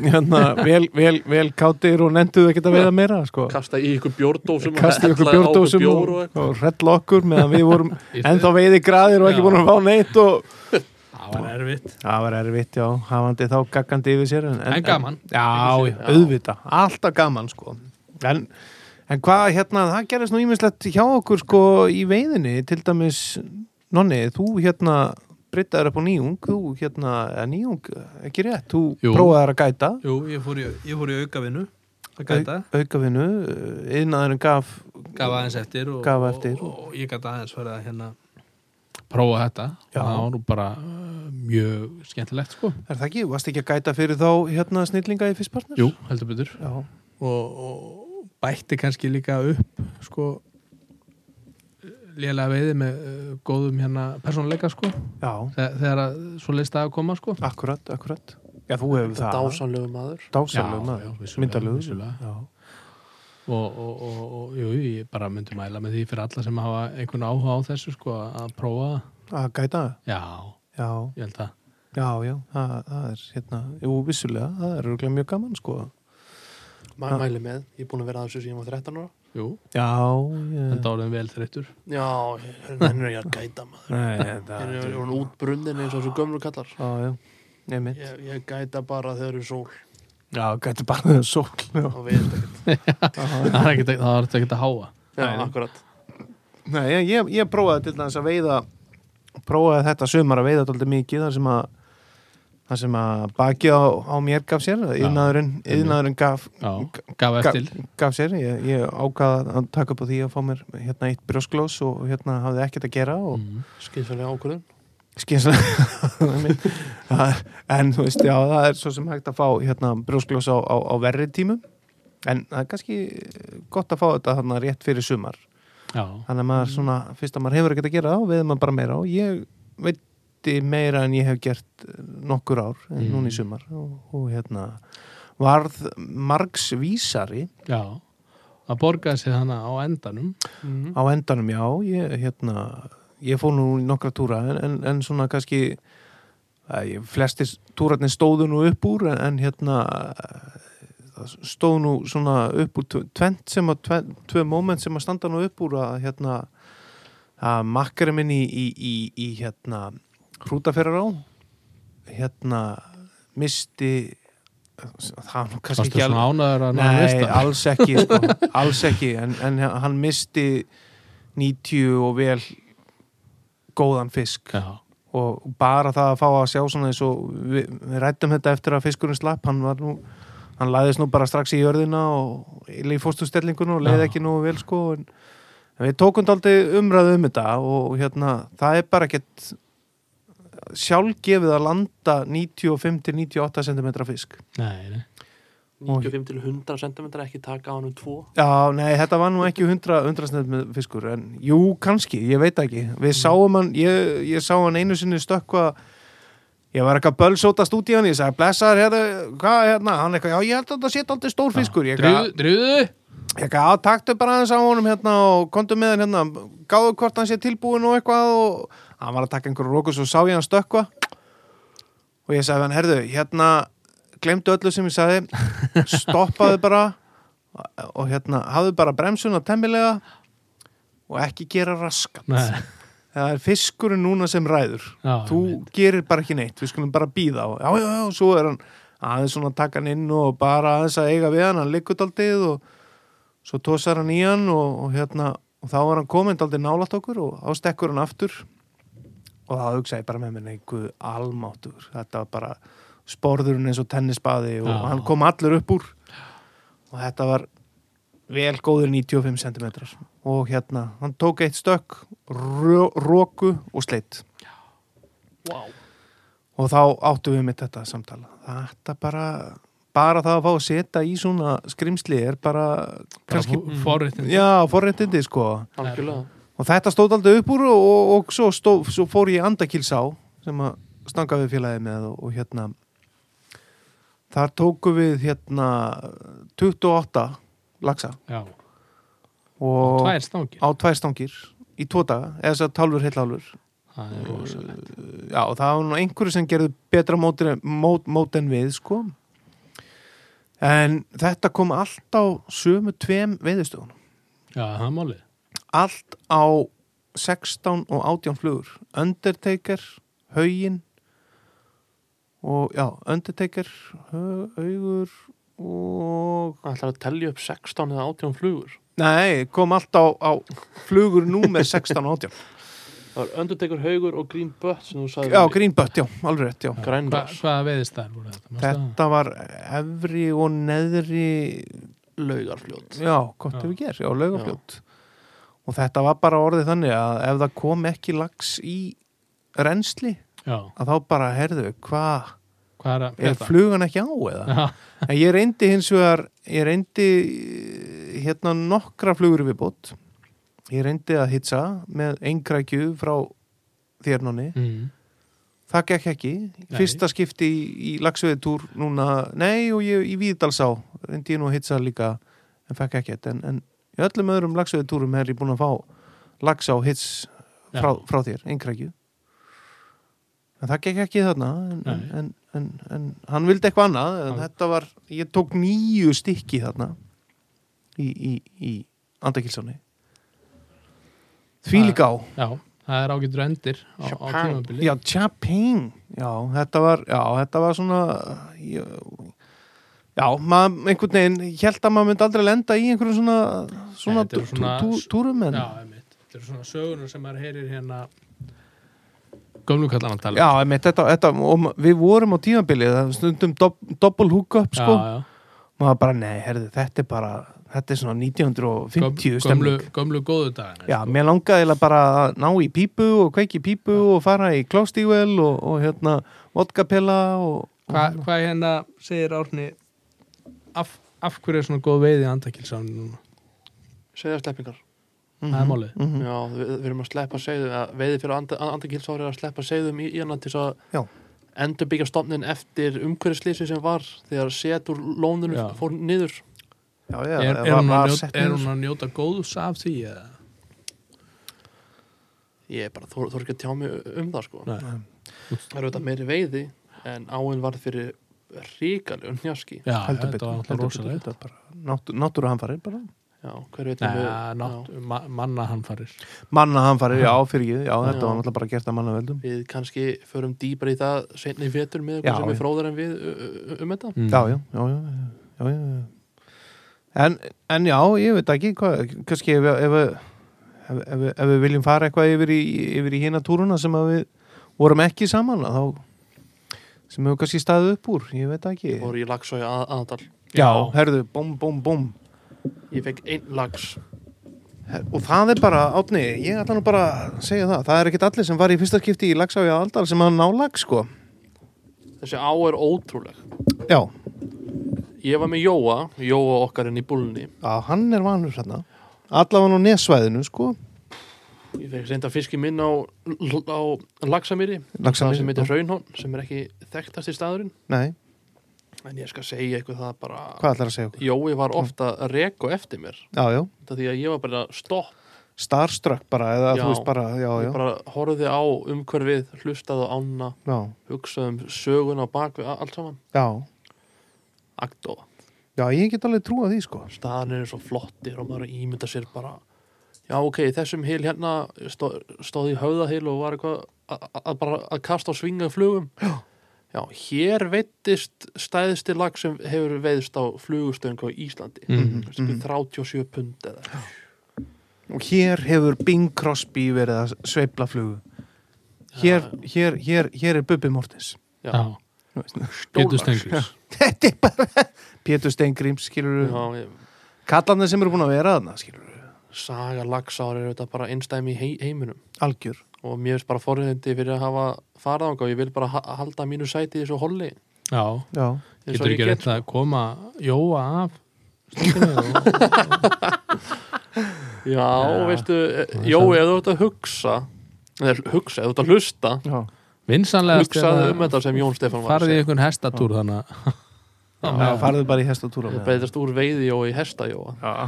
A: hérna, vel, vel, vel kátir og nenduðu ekkert að veiða meira sko.
B: kasta í ykkur bjórdósum og
A: kastið okkur
B: hellaði á
A: bjórdósum
B: bjór
A: og,
B: og
A: og,
B: eitthvað.
A: hrella okkur meðan við vorum
C: Í stað-
A: ennþá veiði graðir og ekki
C: Já.
A: búin að fá neitt og
C: Það var erfitt.
A: það var erfitt, já, hafandi þá gaggandi yfir sér en,
C: En gaman.
A: já, já, auðvita, alltaf gaman sko. en, en hvað hérna það gerist nú ímislegt hjá okkur sko, í veiðinni, til dæmis Nonni, þú hérna breyttaður upp á nýjung, þú hérna eða nýjung, ekki rétt, þú
C: Jú.
A: prófaður að gæta
C: Jú, ég fór í, ég fór í aukavinnu að gæta.
A: Au- aukavinu, yðnaðurinn gaf
C: gaf aðeins eftir og,
A: Gaf eftir.
C: og, og, og ég gæti aðeins fyrir að hérna prófa þetta
A: Já.
C: og það var nú bara uh, mjög skemmtilegt sko
A: er það ekki, varst ekki að gæta fyrir þá hérna snillinga í fyrstpartner?
C: Jú, heldur betur
A: Já,
C: og, og bætti kannski líka upp sko lélega veiði með uh, góðum hérna persónuleika sko
A: já,
C: Þe- þegar að svo leist að koma sko
A: akkurat, akkurat Já, þú hefur það
B: dásanlegu maður
A: Dásamlegu
C: Já, já,
A: maður,
C: vissulega,
A: myndalegu
C: vissulega.
A: Já,
C: og, og, og, og jú, ég bara myndi mæla með því fyrir alla sem hafa einhvern áhuga á þessu sko að prófa það.
A: að gæta,
C: já,
A: já,
C: ég held að
A: já, já það, það er hérna, jú, vissulega það er örugglega mjög gaman, sko
B: Ma mæli með, ég er búin að vera að þessu síðan á 13 ára
C: jú,
A: Já, ég
C: en dáðum vel þreyttur
B: já, henni er ég að gæta maður
A: Nei, þetta
B: Þeir eru hún útbrunnin eins og þessu gömlu kallar
A: Já, já, nefnir
B: Ég, ég gæta bara þegar eru sól
A: Já, gæti bara þegar sól já.
B: og við erum ekkert
C: það er ekkert það er ekkert að háa
B: Já,
A: Nei.
B: akkurat
A: Nei, ég, ég, ég prófaði til dæmis að veiða prófaði þetta sumar að veiða alltaf mikið þar sem að þar sem að bakið á, á mér gaf sér yðnaðurinn, yðnaðurinn gaf,
C: Já, gaf eftir
A: gaf, gaf sér ég, ég ákvað að taka upp á því að fá mér hérna eitt brjósklós og hérna hafði ekkert að gera og
C: mm.
B: Skynfælega ákvörðun
A: skynslega en þú veist, já, það er svo sem hægt að fá hérna, brjóskljós á, á, á verri tímum en það er kannski gott að fá þetta hérna, rétt fyrir sumar
E: já,
A: þannig að maður svona, fyrst að maður hefur ekkert að gera þá veður maður bara meira og ég veitti meira en ég hef gert eh, nokkur ár, en
E: Mm.
A: núna í sumar og, og hérna varð margs vísari
E: já að borga sig þannig á endanum
C: Mhm.
A: á endanum, já, ég hérna ég fór nú í nokkra túra en, en, en svona kannski að ég, flestir túrarnir stóðu nú upp úr en, en hérna það stóð nú svona upp úr tv- tvennt sem að, tvennt, tvö moment sem að standa nú upp úr að hérna að makkari minn í, í, í, í hérna hrútaferðar á hérna misti það var nú kannski
E: Varstu
A: ekki
E: svona ánæður að ná að
A: Nei,
E: lista?
A: alls ekki, sko, alls ekki en, en hann misti 90 og vel góðan fisk
E: Já,
A: og bara það að fá að sjá svona eins og við, við rættum þetta eftir að fiskurinn slapp hann var nú, hann læðist nú bara strax í jörðina og í fórstustellinguna og leiði
E: Já.
A: ekki nú vel sko en, en við tókum aldrei umræðu um þetta og hérna, það er bara ekkert sjálfgefið að landa 95-98 cm fisk
E: nei, nei
B: 95 til 100 cm ekki taka á hann um 2
A: Já, nei, þetta var nú ekki 100, 100 snett með fiskur, en jú, kannski, ég veit ekki. Við sáum hann, ég, ég sá hann einu sinni stökkva, ég var eitthvað bölsótast út í hann, ég sagði, blessaður, hérna, hvað, hérna, hann eitthvað, já, ég held að þetta sé aldrei stór fiskur, ég eitthvað,
E: Drúðu, drúðu
A: ég eitthvað, "Já, taktu bara aðeins á honum hérna og komdu með hann hérna, gáðu hvort hann sé tilbúin og eitthvað og hann var að taka einhverju rókus og sá ég hann stökkva og ég sagði við hann, herðu, hérna glemdu öllu sem ég sagði stoppaðu bara og hérna, hafðu bara bremsuna temmilega og ekki gera raskat
E: Nei,
A: það er fiskurinn núna sem ræður
E: já,
A: þú gerir bara ekki neitt, við skulum bara býða á já, já, já, og svo er hann aðeins svona að taka hann inn og bara aðeins að eiga við hann hann liggur daldið og svo tosar hann í hann og, og hérna og þá var hann komin daldið nálat okkur og þá stekkur hann aftur og þá hugsa ég bara með mér einhver almáttur þetta var bara sporðurinn eins og tennisbaði og
E: Já.
A: hann kom allur upp úr og þetta var vel góður 95 cm og hérna, hann tók eitt stökk ró- roku og sleitt
B: wow.
A: og þá áttum við mitt þetta samtala þetta bara, bara það að fá að setja í svona skrimsli er bara kannski, Mm.
E: kannski Forréttin
A: já, forréttindi sko
B: algjörlega
A: og þetta stóð aldrei upp úr og, og, og svo, stó, svo fór ég í andakilsá sem að stanga við félagið með og, og hérna þar tóku við hérna 28 laxa
E: Já,
A: og
E: tvær stangir
A: á tvær stangir í tvo daga, eða þess að tálfur heill álfur
E: Það er rosalegt
A: já, og það var nú einhverju sem gerðu betra mót, mót, mót en við, sko en þetta kom allt á sömu tveim veiðustöðunum
E: Já, það er málið
A: allt á 16 og 18 flugur Undertaker, Haugin og já, Undertaker Hau- Haugur og
B: ætlar að telja upp 16 eða 18 flugur
A: nei, kom allt á, á flugur númer 16 og 18
B: það var Undertaker Haugur og Green Butt sem þú sagði
A: já, Greenbutt, já, alveg rétt, já
E: Hva,
B: Grænvars
E: Hvaða veðistæðar voru þetta? Manstu það?
A: Þetta var efri og neðri
B: laugarfljót
A: Já, gott
E: Já.
A: ef við gerir, já, laugafljót Og þetta var bara orðið þannig að ef það kom ekki lax í rensli
E: Já,
A: að þá bara, herðu, hvað
E: hvað er að
A: er
E: frétta?
A: flugan ekki á eða?
E: Já,
A: En ég reyndi hins vegar ég reyndi eh, hérna nokkra flugur við bótt ég reyndi að hitsa með engrækju frá þérnóni
E: mm.
A: Það gekk ekki.
E: Nei.
A: Fyrsta skipti í, í lagsveðitúr núna, nei og ég í Víðdalsá, reyndi ég nú að hitsa líka en fekk ekki þetta, en, en í öllum öðrum lagsveðitúrum er ég búin að fá lagsá hits
E: Já.
A: frá, frá þér, einkrækju. En það gekk ekki þarna, en, en,
E: Nei.
A: en, en, en hann vildi eitthvað annað, en
E: Hann-
A: þetta var, ég tók nýju stykki þarna í, í, í Andakilsóni. Því líka á.
E: já, það er ágætur endir á, á
B: Japan.
E: tímabili
A: Já, Chapin Já, þetta var, já, þetta var svona Já, já maður, einhvern veginn ég held að maður myndi aldrei lenda í einhverjum svona
E: Nei,
A: svona,
E: þetta
A: tú,
E: eru svona-
A: tú, túrum en
E: Já, einmitt. Þetta eru svona sögunar sem maður heyrir hérna Gömlu kallan að tala
A: Já, einmitt, þetta, þetta og ma- við vorum á tímabilið það var stundum dob, doppel húka upp, sko
E: já,
A: maður bara, nei, herði, þetta er bara þetta er svona 1950
E: Göm- gömlu, sko.
A: stemning
E: gömlu góðu dagana
A: Já, mér langaði eiginlega bara að ná í pípu og kveiki í pípu og fara í klóstível og, og hérna vodkapilla og,
E: Hva- Hvað hérna segir Árni af, af hverju er svona góð veiði andakilsamni núna?
B: segja sleppingar
E: Það er málið.
A: Mhm.
B: Já, við, við erum að sleppa segðum að veiði fyrir and, andakilsári er að sleppa segðum í, í hana til þess að
A: Já.
B: endurbyggja stofnin eftir umhverfislýsi sem var þegar set úr lónunum
E: Já.
B: fór niður
A: já, já,
E: Er,
A: það
E: er, hún
A: var
E: að njóta,
A: sett
E: er
A: niður.
E: hún að njóta góðs af því eða?
B: ég er bara, þú er ekki að tjá mig um það sko
E: Nei.
B: það eru þetta meiri veiði en áin varð fyrir ríkalegu njaski
E: Já,
A: heldur
E: þetta
A: betur,
E: var
A: heldur
E: alltaf
A: betur,
E: rosalegt.
A: þetta er bara náttú- náttúruhamfarir bara
B: já, hver veit
E: Nei,
B: um við-
E: nátt, ma manna hann farir.
A: mannahamfarir, já, fyrir ekki, já, þetta
B: Já.
A: var náttúrulega bara gert að
E: Mm.
A: mannaveldum
B: við kannski förum dýpar í það seinni í vetur
A: Já,
B: með eitthvað sem
A: já.
B: er fróðar en við ö, ö, um þetta
E: Mm.
A: já, já, já, já, já, já, já. En, en já, ég veit ekki hvað, kannski ef, ef, ef, ef, ef við viljum fara eitthvað yfir í, yfir í hina túruna sem að við vorum ekki saman að þá sem hefur kannski staðið upp úr, ég veit ekki
B: og ég lagsa í aðdal
A: Já, herðu, búm, búm, búm
B: ég fekk einn lags
A: Her- og það er bara, átni, ég ætla nú bara að segja það, það er ekkit allir sem var í fyrsta skipti í lagsája aldar sem að ná lag, sko
B: þessi á er ótrúleg
A: Já,
B: ég var með Jóa, Jóa okkar inn í búlunni
A: á, hann er vanur hérna allavega á nesvæðinu, sko
B: ég fekk reynda fiski minn á, á lagsamýri það sem
A: Laxamýri,
B: heitir Hraunhón sem er ekki þekktast í staðurinn
A: nei,
B: en ég skal segja eitthvað það bara
A: hvað ætlar að segja okkur?
B: Jói var ofta að reka eftir mér
A: Já, já
B: þetta því að ég var bara stopp
A: starstruck bara eða
B: Já.
A: þú veist bara, já, já,
B: ég bara horfði á umhverfið hlustaði á ána,
A: já,
B: hugsaði um sögun á bakvið, a- allt saman
A: já
B: Agdóa,
A: já, ég get alveg trúa því sko
B: staðan er svo flottir og maður ímynda sér bara já ok, í þessum hil hérna stó, stóð í höfðahil og var eitthvað að- að- að bara að kasta á svingað flugum já. hér veittist stæðisti lag sem hefur veiðst á flugustöng á Íslandi
E: Mhm,
B: Veistu, 37 pund eða
A: og hér hefur Bing Crosby verið að sveifla flugu hér, hér, hér, hér er Bubbi Mortens
B: já,
E: Já, getur stengur.
A: þetta er bara Pétur Steingríms, skilur
B: já,
A: við
B: ég,
A: kallarnir sem eru búin að vera þarna, skilur við
B: saga lagsári er þetta bara einstæmi í hei, heiminum
A: algjör,
B: og mér finnst bara forriðindi fyrir að hafa farað og ég vil bara ha halda mínu sæti í þessu holli
E: Já,
A: já,
B: eins og
E: getur
B: ég
E: ekki
B: get.
E: reynda að koma Jóa af. stundinu og-
B: Já, veistu, e,
E: það er
B: Jói,
E: það.
B: ef þú ert að hugsa eða hugsa, ef þú ert að hlusta
A: já,
E: Vinsanlegast
B: hugsaðu
E: er
B: um þetta sem Jón Stefán var að
E: farið í
B: segja
E: einhvern hestatúr þannig að-
A: já farðu bara í hestatúra
B: það breytast úr veiði Jói í hesta Jóa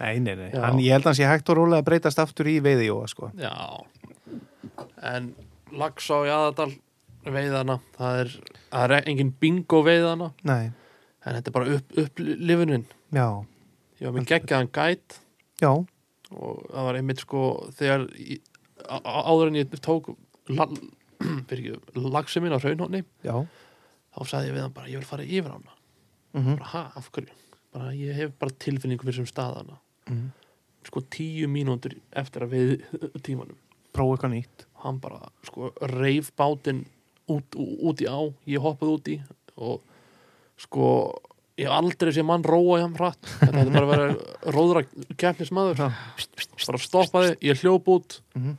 A: nei, nei, nei,
B: Já.
A: hann, ég held að hans ég hægt og rólega að breytast aftur í veiðijóa, sko
B: Já en lagsá í aðadal veiðana, það er, það er engin bingo veiðana,
A: nei,
B: en þetta er bara upp, upplifunin
A: já,
B: ég var með geggjaðan gæt
A: já,
B: og það var einmitt sko þegar í- á- á- áður en ég tók lagsi mín á raunhóni
A: já
B: þá sagði ég við hann bara ég vil fara yfir hana
A: mhm,
B: bara ha, af hverju, bara ég hef bara tilfinningu fyrir sem staðana
A: Mhm.
B: sko tíu mínútur eftir að við tímanum,
A: prófa eitthvað nýtt
B: hann bara sko reif bátinn út, ú- út í á ég hoppaði út í og sko ég hef aldrei sé mann róa hjá hann hratt þetta er bara að vera róðra keppnismadur
A: já,
B: bara stoppaði, ég hljóp út
A: Mhm.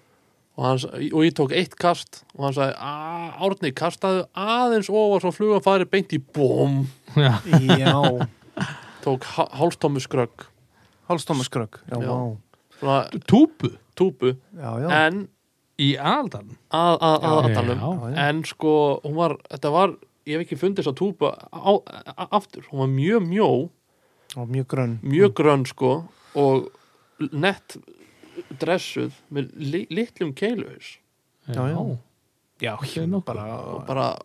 B: og, hans, og ég tók eitt kast og hann sagði, "Á, Árni, kastaðu aðeins ofar svo flugan fari beint í bóm
E: Já,
A: já.
B: tók hálstómu skrögg
A: Hálstóma skrögg já,
B: Já.
A: já.
B: svona
E: túpu
B: túpu
A: Já, já.
B: en
E: í aldan.
B: að að- að- að tala um.
A: Já, já.
B: en sko, hún var, þetta var ég hef ekki fundið þess að túpa á, a, aftur, hún var mjög mjó
A: og mjög grönn
B: mjög grönn sko og nett dressuð með li, litlum keiluhaus
A: Já, já.
E: Já,
A: já,
E: nokkuð.
A: bara,
B: og bara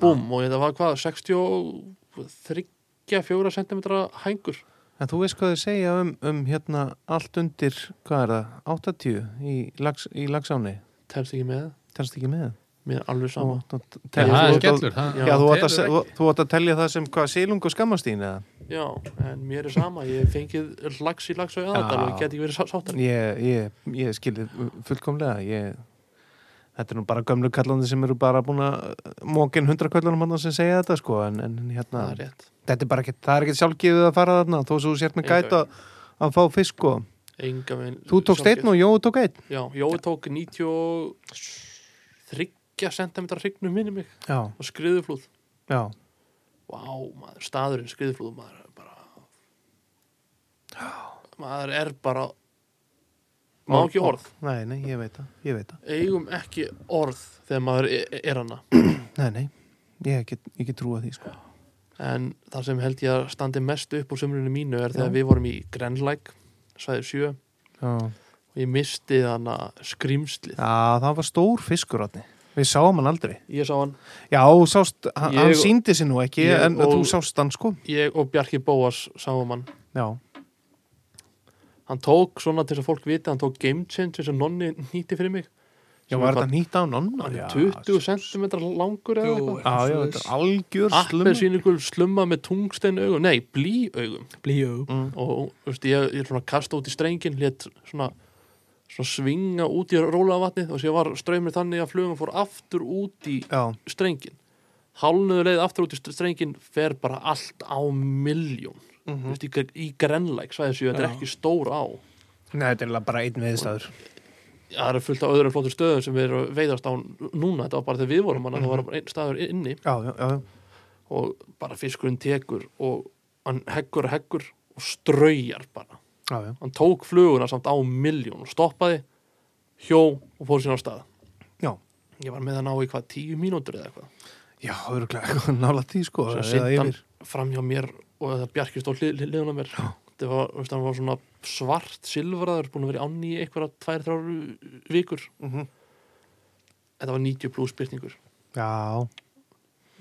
B: búm og þetta var hvað 63-4 cm hængur
A: en þú veist hvað þau segja um, um hérna allt undir, hvað er það 80 í, lags, í lagsáni
B: telst ekki með,
A: telst ekki með
B: mér er alveg
A: þú
B: sama
A: átt að
E: Já,
A: telja-
E: það er
A: þú átt að-
E: skellur. það-
A: Já, þú átt að,
E: telur
A: þú, þú átt að telja það sem hvað sílung og skammastín eða?
B: já, en mér er sama, ég hef fengið lags í lags og aðdal og ég get ekki verið sá- sáttan
A: Ég, ég, ég skilði fullkomlega ég, Þetta er nú bara gömlu eh, kallandi sem eru bara búin að mókin hundra kallunum hann sem segja þetta sko en, en
B: það er
A: hérna,
B: rétt
A: þetta er bara ekki, það er ekki sjálfgefið að fara þarna þó svo þú sért með
B: Engan
A: gæta að fá fisk sko.
B: Enga veginn
A: Þú tókst
B: sjálfgefið.
A: einn og Jói tók einn
B: Já, Jói tók 93 cm hrygnum minni mig
A: Já,
B: og skriðuflúð
A: já
B: Vá, maður, staðurinn skriðuflúð maður er bara maður er bara má ekki orð
A: Nei, nei, ég veit það, ég veit það
B: eigum ekki orð þegar maður e-, er, er hana
A: Nei, nei, ég get, ég get trúa því sko.
B: en það sem held ég að standi mest upp úr sömrunni mínu er
A: Já.
B: þegar við vorum í Grenlæk svæði 7
A: Já,
B: og ég misti hana skrýmslið
A: það var stór fiskur átni Við sáum hann aldrei
B: ég sá hann,
A: Já, þú sást, hann, hann
B: Ég-
A: síndi sér nú ekki
B: ég
A: en
B: og-
A: þú sást hann sko
B: ég og Bjarki Bóas sáum hann
A: Já,
B: hann tók svona til þess að fólk vita hann tók game change eins og nonni nýtti fyrir mig
A: já
B: Sem
A: var
B: er
A: þetta nýtt á nonna?
B: hann
A: Já,
B: er 20 cm langur eða
C: Jú,
B: eitthvað
A: Já, já, þetta er algjör slum
B: appið síningul slumma með tungstein augum nei, blí augum
C: blíu
A: Mm.
B: og þú veist, ég, ég svona kasta út í strengin létt svona, svona svinga út í rólavatnið og sér var ströymir þannig að flugum fór aftur út í
A: Já,
B: strengin hálnuðu leið aftur út í st- strengin fer bara allt á miljón
A: Mhm.
B: mm veist, í, gr- í grenlæk svæði þessu, þetta er
C: Já.
B: ekki stór á
A: nei, þetta er eiginlega bara einn viðstæður
B: Já, það eru fullt af öðrum flottur stöðum sem við erum að veiðast á núna, þetta var bara þegar við vorum hann, mm það var bara einn staður inni
A: Já, já, já, já.
B: og bara fiskurinn tekur og hann heggur og heggur og straujar bara
A: já, já.
B: hann tók fluguna samt á miljón og stoppaði, hjó og fór sína á stað.
A: Já.
B: Ég var með hann á í hvað tíu mínútur eða eitthvað.
A: Já, örgulega eitthvað nála tí sko
B: Svo
A: eða
B: sinnti hann
A: yfir.
B: fram hjá mér og það bjarkist á liðuna mér. Það var, þú veist, hann var svona svart silfraður, búin að vera í ánni í einhverja tvær, þrjár vikur.
A: Mhm.
B: Þetta var 90 pluss byrtingur.
A: Já,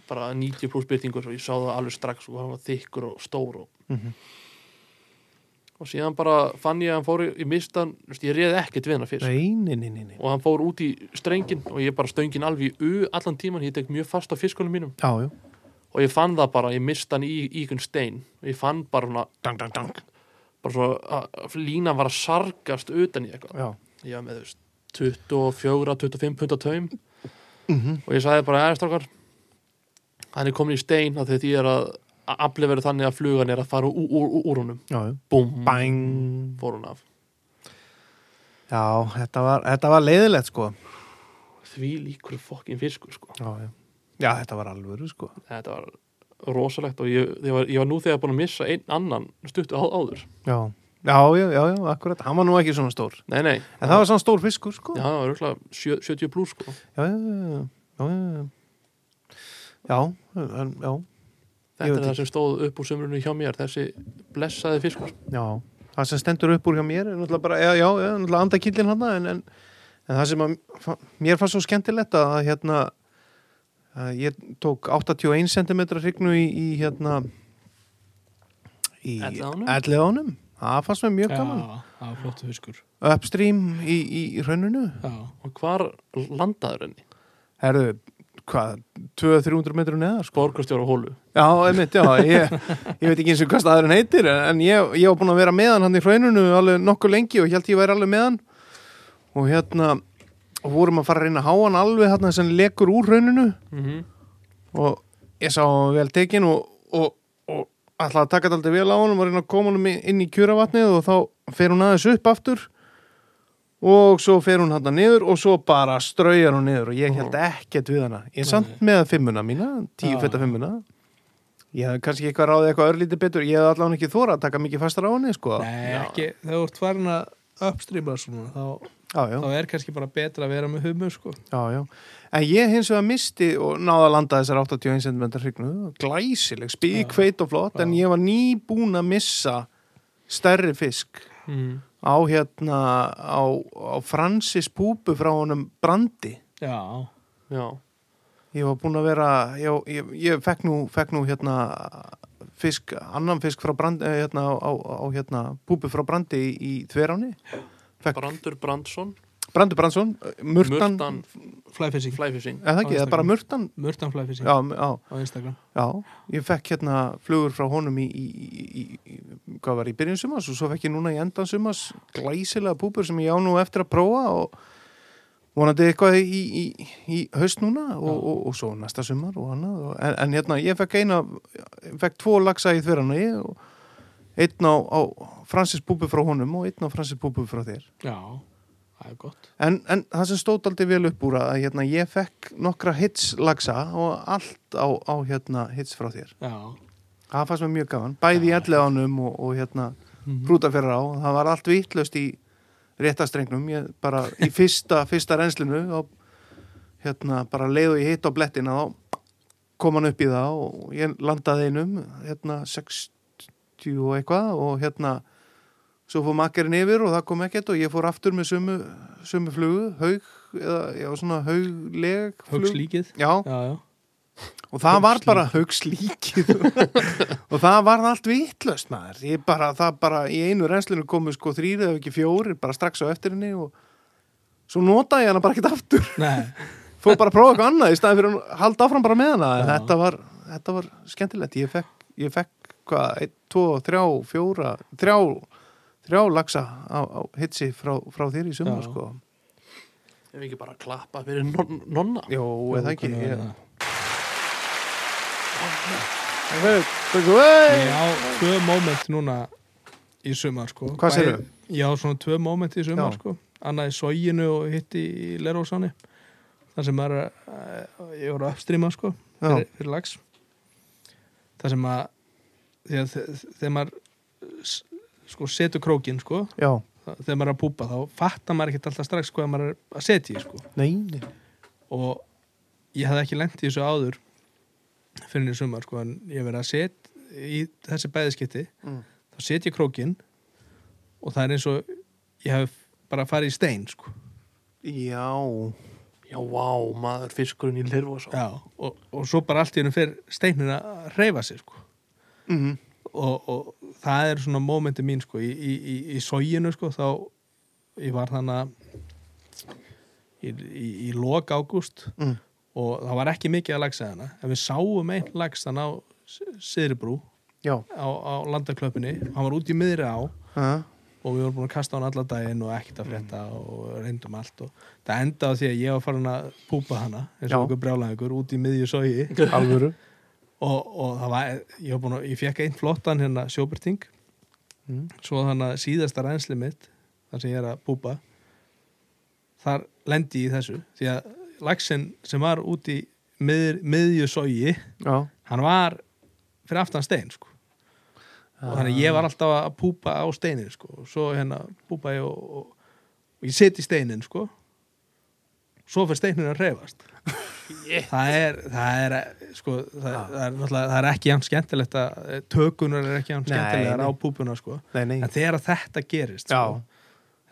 B: Bara 90 pluss byrtingur og ég sá það alveg strax og hann var þykkur og stór og
A: Mhm.
B: og síðan bara fann ég að hann fór í, í mistan, þú veist, ég reið ekkert við hann fyrst.
A: nei, nei, nei, nei, nei.
B: og hann fór út í strengin og ég bara stöngin alveg í u allan tíman ég tek mjög fast á fiskunum mínum
A: Já, já
B: og ég fann það bara, ég mist hann í í einhvern stein og ég fann bara svona,
A: Dang, dang, dang
B: bara svona að lína var að sargast utan í eitthvað
A: Já,
B: ég var með þú veist 24-25 pund á taum
A: Mhm.
B: og ég sagði bara, eða strákar hann er komin í stein af því að því er að að afli verið þannig að flugan er að fara úr, úr, úr, úr honum
A: já, já
B: búm,
A: Bang
B: fór hún af
A: Já, þetta var, þetta var leiðilegt sko
B: því líkur fokkin fiskur sko
A: Já, já Já, þetta var alvöru sko
B: þetta var rosalegt og ég, ég, var, ég var nú þegar búin að missa einn annan stuttu á, áður
A: Já, já, já, já, já akkurat Hann var nú ekki svona stór
B: nei, nei,
A: En það var svona stór fiskur sko
B: já,
A: Já,
B: það var örugglega sjö- 70 pluss sko.
A: já, já, já, já, já, já. Já, en, já, Ég
B: þetta
A: veit
B: er það sem stóð upp úr sömrunni hjá mér þessi blessaði fiskur
A: já Það sem stendur upp úr hjá mér er náttúrulega bara, já, já, já náttúrulega andakillin hann en, en, en það sem að mér fannst svo skemmtilegt að hérna að ég hrygnu tók 81 cm hrygnu í, í hérna í
B: Elliðaánum?
A: ánum Það fannst mér mjög gaman
C: Já, það var flottu fiskur
A: Upstream í, í rauninu
C: Já,
B: og hvar landaður henni?
A: Herðu, hvað, 200-300 metrur neðar sko?
B: Borgastjóra hólu
A: Já, einmitt, já, ég, ég veit ekki eins og hvað staðurinn heitir en, en ég, ég var búin að vera með hann hann í hrauninu alveg nokkuð lengi og ég held ég væri alveg með hann og hérna og vorum að fara að reyna að há hann alveg þarna sem lekur úr hrauninu
B: mm -hmm.
A: og ég sá hann vel tekin og, og, og ætlaði að taka þetta aldrei vel á hann og reyna að koma hann inn í kjöravatnið og þá fer hún aðeins upp aftur og svo fer hún hann niður og svo bara straujar hún niður og ég held ekkert við hana ég er samt með fimmuna mína, tíu
C: Já.
A: fetta fimmuna ég hef kannski eitthvað ráðið eitthvað örlítið betur, ég hef allavega ekki þóra að taka mikið fastar á henni sko
C: nei, ekki Þegar þú ert farin að uppstreama svona þá,
A: já, já,
C: þá er kannski bara betra að vera með humu sko
A: já, já en ég hins vegar misti og náða að landa þessar 81 cm hrygnu glæsileg, spíkveit og flott en ég var nýbúin að missa stærri fisk
B: Mm.
A: á hérna á, á Francis púpu frá honum brandi
C: Já,
B: já,
A: ég var búin að vera ég, ég, ég fekk, nú, fekk nú hérna fisk, annan fisk frá brandi eh, hérna á, á, á hérna púpu frá brandi í, í þveráni fekk
B: Brandur Brandsson
A: Brandur Brandsson, eh, Murtan, Murtan
B: Murtan
C: flyfishing
B: Flæfising
A: eða ekki,
C: Á
A: eða bara
C: Instagram.
A: Murtan
C: Mörtan flyfishing
A: já, já,
C: á Instagram
A: já, ég fekk hérna flugur frá honum í, í, í, í hvað var í byrjun sumas og svo fekk ég núna í endan sumas glæsilega púpur sem ég á nú eftir að prófa og vonandi eitthvað í, í, í haust núna og, og, og svo næsta sumar og annað og, en, en hérna ég fekk eina ég fekk tvo laxa í þverjana ég og einn á, á Francis Búbu frá honum og einn á Francis Búbu frá þér
C: Já, það er gott
A: en, en það sem stóð aldrei vel upp úr að hérna, ég fekk nokkra hits laxa og allt á, á hérna, hits frá þér
C: Já,
A: það fannst mér mjög gaman, bæði í elleðanum og, og hérna
C: Mhm.
A: hrútaferra á, það var allt vittlust í réttastrengnum, ég bara í fyrsta, fyrsta renslinu og hérna bara leiðu ég hitt á blettina þá kom hann upp í það og ég landaði einum hérna 60 og eitthvað og hérna svo fór makkerinn yfir og það kom ekkert og ég fór aftur með sömu, sömu flugu haug, eða já svona haugleg flug.
C: hugslíkið
A: Já,
C: Já, já
A: og það var bara haugslíkið og það var allt vitlöst maður ég bara, það bara, í einu reynslinu komu sko þrýri eða ekki fjóri, bara strax á eftir henni og svo notaði ég hana bara ekkert aftur
C: Nei,
A: fór bara að prófa eitthvað annað í staðin fyrir að halda áfram bara með hana en
C: Já.
A: þetta var, þetta var skemmtilegt ég fekk, ég fekk hvað, ein, tvo, þrjá, fjóra þrjá, þrjá lagsa á, á hitsi frá, frá þér í sumar
C: Já.
A: sko
B: Ef ekki bara klappa fyrir non nonna
A: Jó, eða ekki
C: hvernig
A: ég,
C: var
A: ég veit, tökum við.
C: það? Ég á tvö moment núna í sumar sko
A: Hvað
C: Bæði-
A: sérðu?
C: Ég á svona tvö moment í sumar
A: Já.
C: sko Annað í sóginu og hitt í lerósáni Það sem er að- ég voru að uppstríma sko
A: Já.
C: fyrir, fyrir lags Það sem að þegar, þe- þegar maður s- sko setur krókin sko
A: já,
C: þegar maður er að púpa þá fattar maður ekkert alltaf strax hvað maður er að setja í sko
A: nei, nei
C: og ég hafði ekki lent í þessu áður fyrir niður sumar sko en ég hef verið að set í þessi bæðiskipti
A: Mm.
C: þá set ég krókin og það er eins og ég hef bara farið í stein sko
A: Já,
B: Já, vá, maður fiskurinn í lirfu og svo
C: Já, og, og svo bara allt í hennu fyrir steinin að reyfa sig sko
A: mm
C: og, og það er svona mómenti mín sko í, í, í, í sóginu sko þá ég var þannig að í, í, í lok ágúst
A: Mm.
C: og það var ekki mikið að lagsa hana en við sáum einn lags þann á Siðribrú
A: já
C: á, á landaklöpunni hann var út í miðri á
A: uh,
C: og við vorum búin að kasta hann alla daginn og ekkert að frétta og reyndum allt og það endaði á því að ég var farin að púpa hana eins
A: Já.
C: og okkur brjálæðingur út í miðju sógi
A: Alvöru
C: og, og það var, ég, var búinn að, ég fekk einn flottan hérna sjóbyrting
A: Mm.
C: svo þannig að síðasta reynsli mitt þar sem ég er að búpa þar lendi ég í þessu því að laxinn sem var út í miður, miðju sógi
A: Já,
C: hann var fyrir aftan stein sko. og þannig að ég var alltaf að púpa á steinin sko. og svo hérna púpa ég og, og, og ég seti steinin sko. svo fyrir steinin að reyfast það er það er, sko, það,
A: Ah.
C: það, er náttúrulega- það er ekki ján skemmtilegt að eh, tökunar er ekki ján
A: Nei,
C: skemmtilegar
A: nei.
C: á púpuna sko.
A: nei, nei
C: en þegar þetta gerist
A: Já,
C: sko,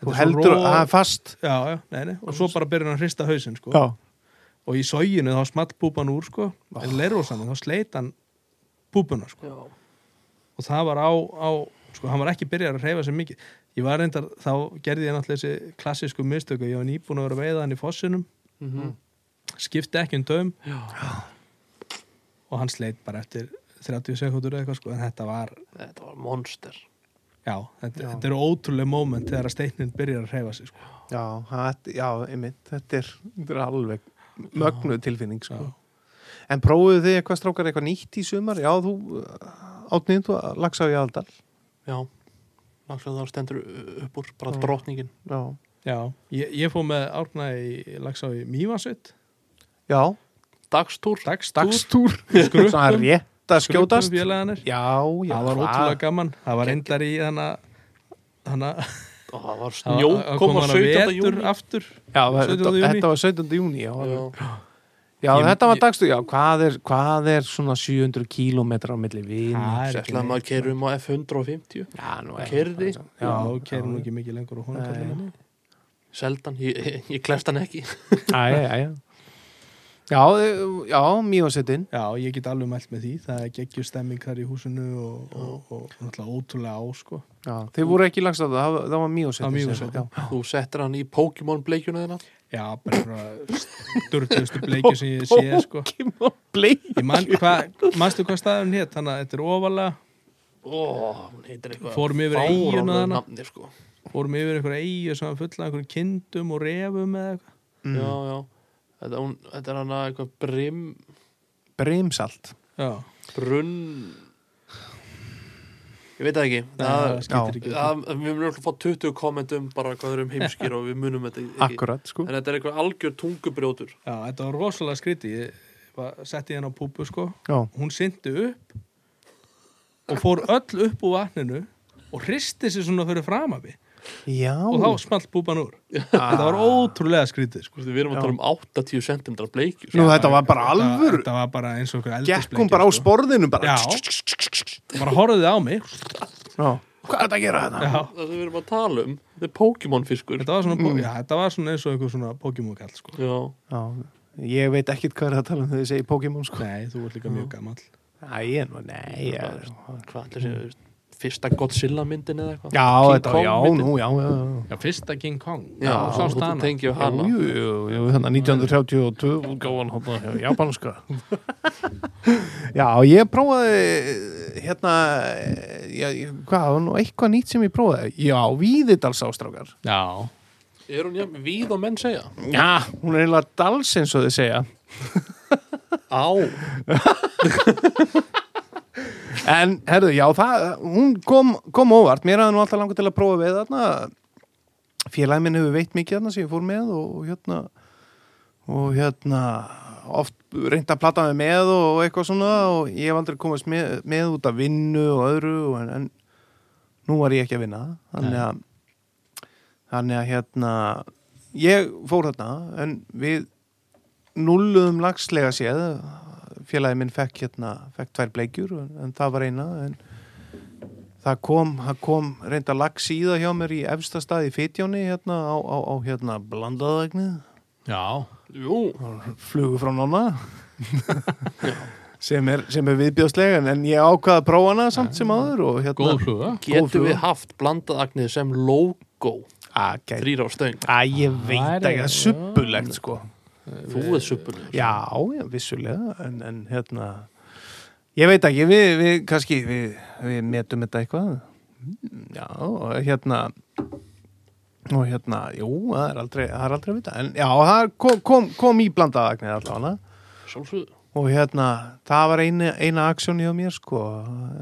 A: þú
C: þetta er svo
A: heldur
C: ró-
A: að það er fast
C: já, já, nei, nei, og svo bara byrjar hann að hrista hausinn sko.
A: Já,
C: og í sóginu þá small púpan úr sko,
A: Ah.
C: en leirúsanum þá sleit hann púpuna sko.
B: Já,
C: og það var á, á sko, hann var ekki byrjar að reyfa sér mikið ég var reyndar, þá gerði ég náttúrulega þessi klassísku mistöku, ég var nýbúin að vera að veiða hann í fossinum
A: Mm.
C: skipti ekki um taum
B: Mhm. já.
C: og hann sleit bara eftir 30 sekundur eða eitthvað sko, en þetta var,
B: þetta var monster
C: já, þetta, þetta eru ótrúlega moment þegar að steinin byrjar að reyfa sér sko.
A: já, það, já einmitt, þetta er, þetta er alveg mögnuð tilfinning sko.
C: Já.
A: En prófuðu þið eitthvað strákar eitthvað nýtt í sumar? Já, þú átnið, þú lagsaði í aðaldal
B: Já, langslega þá stendur upp úr bara drottningin
A: Já,
C: já, ég, ég fóð með árna í lagsá í Mývansut
A: já
B: Dagstúr
C: dagstúr,
A: Dagstúr,
C: Skrukkum.
A: svona rétt að skjótast Já,
C: félaganir
A: já,
C: það var ótrúlega gaman, það var reyndar í þannig að
B: og það var
C: að-
B: snjó
C: að
B: kom á
C: hann að
B: 17.
C: vetur
B: júni
C: aftur
A: Já, var-
C: 17. júní.
A: þetta var 17. júni Já, alveg.
B: Já,
A: já
C: Ég-
A: þetta var
C: ég-
A: dagstúr, já, hvað er, hvað er svona 700 kílómetrar á milli vinn
C: Það er ekki
B: Sætlaði maður kerum á F150
A: Já, nú er
B: Keyrði.
A: Já,
C: Já, þú keirir nú
A: já.
C: ekki mikið lengur á honum
A: Nei.
C: kallinni.
B: Seldan, ég, ég, ég klefst hann ekki
A: Æ, æ, æ, æ. Já, e, já, mjósettin
C: Já, ég get alveg mælt með því. Það er geggjur stemming þar í húsinu og, og, og náttúrulega ótrúlega á, sko.
A: Þeir voru ekki lagst að það, það var
C: Það
A: mjósettin
C: var Mývatnssveitin.
B: Þú settir hann í Pokémon bleikjuna þina
C: Já, bara svona sturðustu bleikju sem ég sé, sko.
A: Kimmo Blake
C: Ég man, hva, manstu hvað staðurinn hétt? Þannig að þetta er ofalega,
B: Ó, hún heitir eitthvað
C: Fórum yfir eyjuna
B: fáránlegu
C: þarna.
B: nafni, sko.
C: fórum yfir einhverja eigu sem var fulla af einhverjum kindum og refum eða eitthvað.
B: já, já Þetta, hún, þetta er hann að eitthvað brim
A: Brimsalt
E: já,
B: brunn Ég veit það ekki Það,
E: það skýtir ekki
B: það, við munum örugglega að fá 20 kommentum bara hvað þeir eru um heimskir og við munum þetta ekki
A: Akkurat, sko
B: En þetta er eitthvað algjör tungubrjótur
E: já, þetta var rosalega skrítið ég bara setti hérna á púpu sko
A: Já,
E: hún syndi upp og fór öll upp úr vatninu og hristi sér svona fyrir framabi
A: já
E: og þá smalt púpan úr
A: Ah.
E: þetta var ótrúlega skrítið sko.
B: Við erum að tala um 80 cm bleikjur
A: Nú, þetta var bara
E: Þetta-
A: alvöru
E: þetta var bara eins og okkur
A: Gekk
C: sko.
A: hún bara á sporðinu bara
E: já, bara horfðið á mig
A: Já. Hvað er þetta að gera þetta?
E: já
B: Það sem við erum að tala um Þetta er Pokémon fiskur
E: Þetta var svona, mm. já, þetta var svona eins og eitthvað svona Pokémon kall, sko.
B: Já,
A: Já, ég veit ekkit hvað er að tala um þegar ég segi Pokémon, sko
E: Nei, þú ert líka mjög gammal.
A: Æ, ég nú, nei Já,
B: hvað allir séu veist, Fyrsta Godzilla myndin eða eitthvað
A: já
B: King
A: þetta,
B: Kong
A: já,
B: myndin.
A: nú, já, já, já
C: Já, fyrsta King Kong.
B: Já,
C: Þú sást
B: þú
C: hana.
B: tengið við
A: Jú,
B: hana
A: jú, jú, jú, hérna þannig 1932 útgáfan hóta hérna, japanska Já, ég prófaði hérna já, ég- hvað, það var nú eitthvað nýtt sem ég prófaði Já, Víðidals ástrákar
C: Já.
B: Er hún jafn víð og menn segja?
A: Já, hún er eiginlega dals eins og þið segja
B: Á
A: En, herðu, já, það, hún kom, kom óvart Mér hafði nú alltaf langar til að prófa við þarna Félagin minn hefur veitt mikið þarna sem ég fór með og, og hérna og hérna oft reyndi að plata mig með og, og eitthvað svona og ég hef aldrei komast með, með út af vinnu og öðru og en, en nú var ég ekki að vinna þannig að þannig að hérna ég fór þarna en við nulluðum lagslega séð félagi minn fekk hérna fekk tvær bleikjur en, en það var eina en það kom, það kom reynda lags í það hjá mér í efsta stað í Fitjóni hérna á, á, á hérna blandaðagnið
C: Já.
B: Jú
A: flugu frá nonna sem er, sem er viðbjóðslega en ég ákvaða prófana samt sem áður og hérna
C: Góð fluga.
B: Getum
A: fluga.
B: við haft blandað agnið sem logo
A: að, gæt,
B: Þrýra á stöng
A: að ég veit
C: Væri-
A: ekki að suppulegt sko
B: Þú er suppunni
A: já, já, vissulega en, en hérna ég veit ekki, við, við kannski við, við metum þetta eitthvað já, og hérna og hérna, jú, það er aldrei, það er aldrei að vita en já, það kom, kom, kom í blandaðagnið allavega
B: Sjálfsögðu
A: og hérna, það var eina, eina aksjón hjá mér sko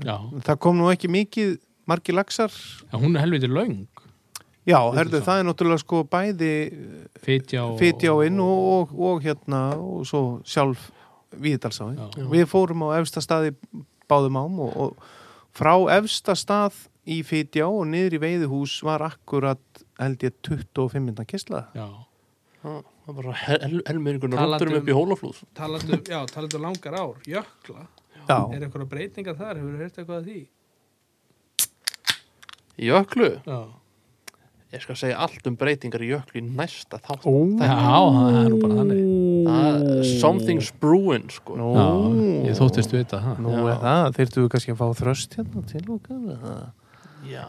C: Já.
A: það kom nú ekki mikið, margi laxar
C: Já, hún er helviti löng.
A: já, herðu, það er náttúrulega sko bæði
C: Fitja og...
A: fytjáinn og, og, og hérna og svo sjálf viðdalsáin
C: Já.
A: við fórum á efsta staði báðum ám og, og frá efsta stað í fytjá og niður í veiðuhús var akkurat held ég 25 minna kistla
C: Já.
B: Það það er bara hel, hel, helmingunum
C: Talandi
B: röndurum upp í
C: um-
B: hólaflúð
E: Talandu, já, talandu langar ár, jökla.
A: já,
E: Er eitthvað breytingar þar? Hefur þú hört eitthvað að því?
B: Jöklu
E: Já.
B: Ég skal segja allt um breytingar í jöklu í næsta þátt
A: Ó.
C: Já, það er nú bara þannig.
B: Það Something's brewing sko
A: Mm. nú,
C: Já, ég þóttist vita það.
A: nú er það, þyrftum við kannski að fá þröst hérna til okkar eða?
B: Já,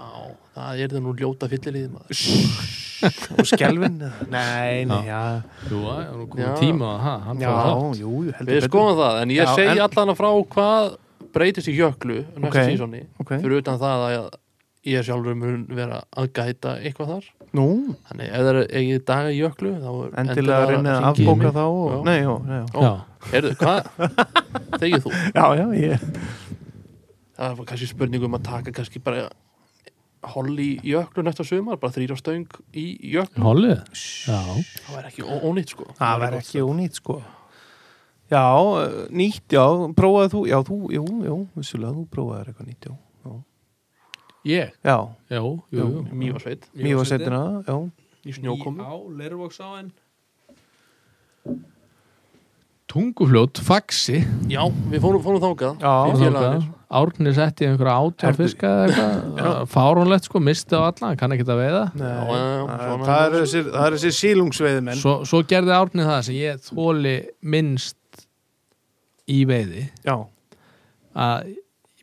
B: það er það nú ljóta fyllilið maður
A: og skelvin nei, nei, já
C: Jú, það er nú komið
B: Já.
C: tíma að það. hann
A: já,
C: fór þátt.
A: jú, heldur
B: Við
A: betur.
B: skoðum það, en ég
A: Já,
B: segi
A: en-
B: allan að frá hvað breytist í jöklu næsta
A: Ok,
B: sísoni
A: ok.
B: fyrir utan það að ég sjálfur mun vera að gæta eitthvað þar
A: nú,
B: Þannig ef það er eigið daga í jöklu þá er
A: endilega að reyna að afbóka þá og,
B: Já.
A: nei, já, já, já,
B: Ó,
C: Já.
B: heyrðu, hvað? Þegið þú?
A: já, já ég,
B: Það var kannski spurning um að taka kannski bara holl í jöklu næsta sumar bara þrýra stöng í jöklu
C: Hollið? Já.
B: það væri ekki ó- ónýtt sko
A: það var ekki ónýtt sko já, eh, nýtt, já prófaði þú, já, þú, jú, jú vissulega, þú prófaði eitthvað nýtt, já
C: Ég?
A: já,
C: Já, jú, jú.
B: Mývarsveit
A: mjög setina, já
B: í snjókomu
E: Á, Lervóksáin.
C: Tungufljót, faxi.
B: Já, við fórum, fórum þangað
A: Já,
B: við félagarnir.
C: Árni setti í einhverja átjá
A: Herðu.
C: fiska eða eitthvað. Fárunlegt sko, misti á alla, hann kann ekki að veiða.
A: Nei,
B: Já, já, já,
A: það
B: svona-
A: það eru þessir, það eru þessir sílungsveiðimenn
C: Svo, svo gerði Árni það sem ég þóli minnst í veiði
A: já,
C: að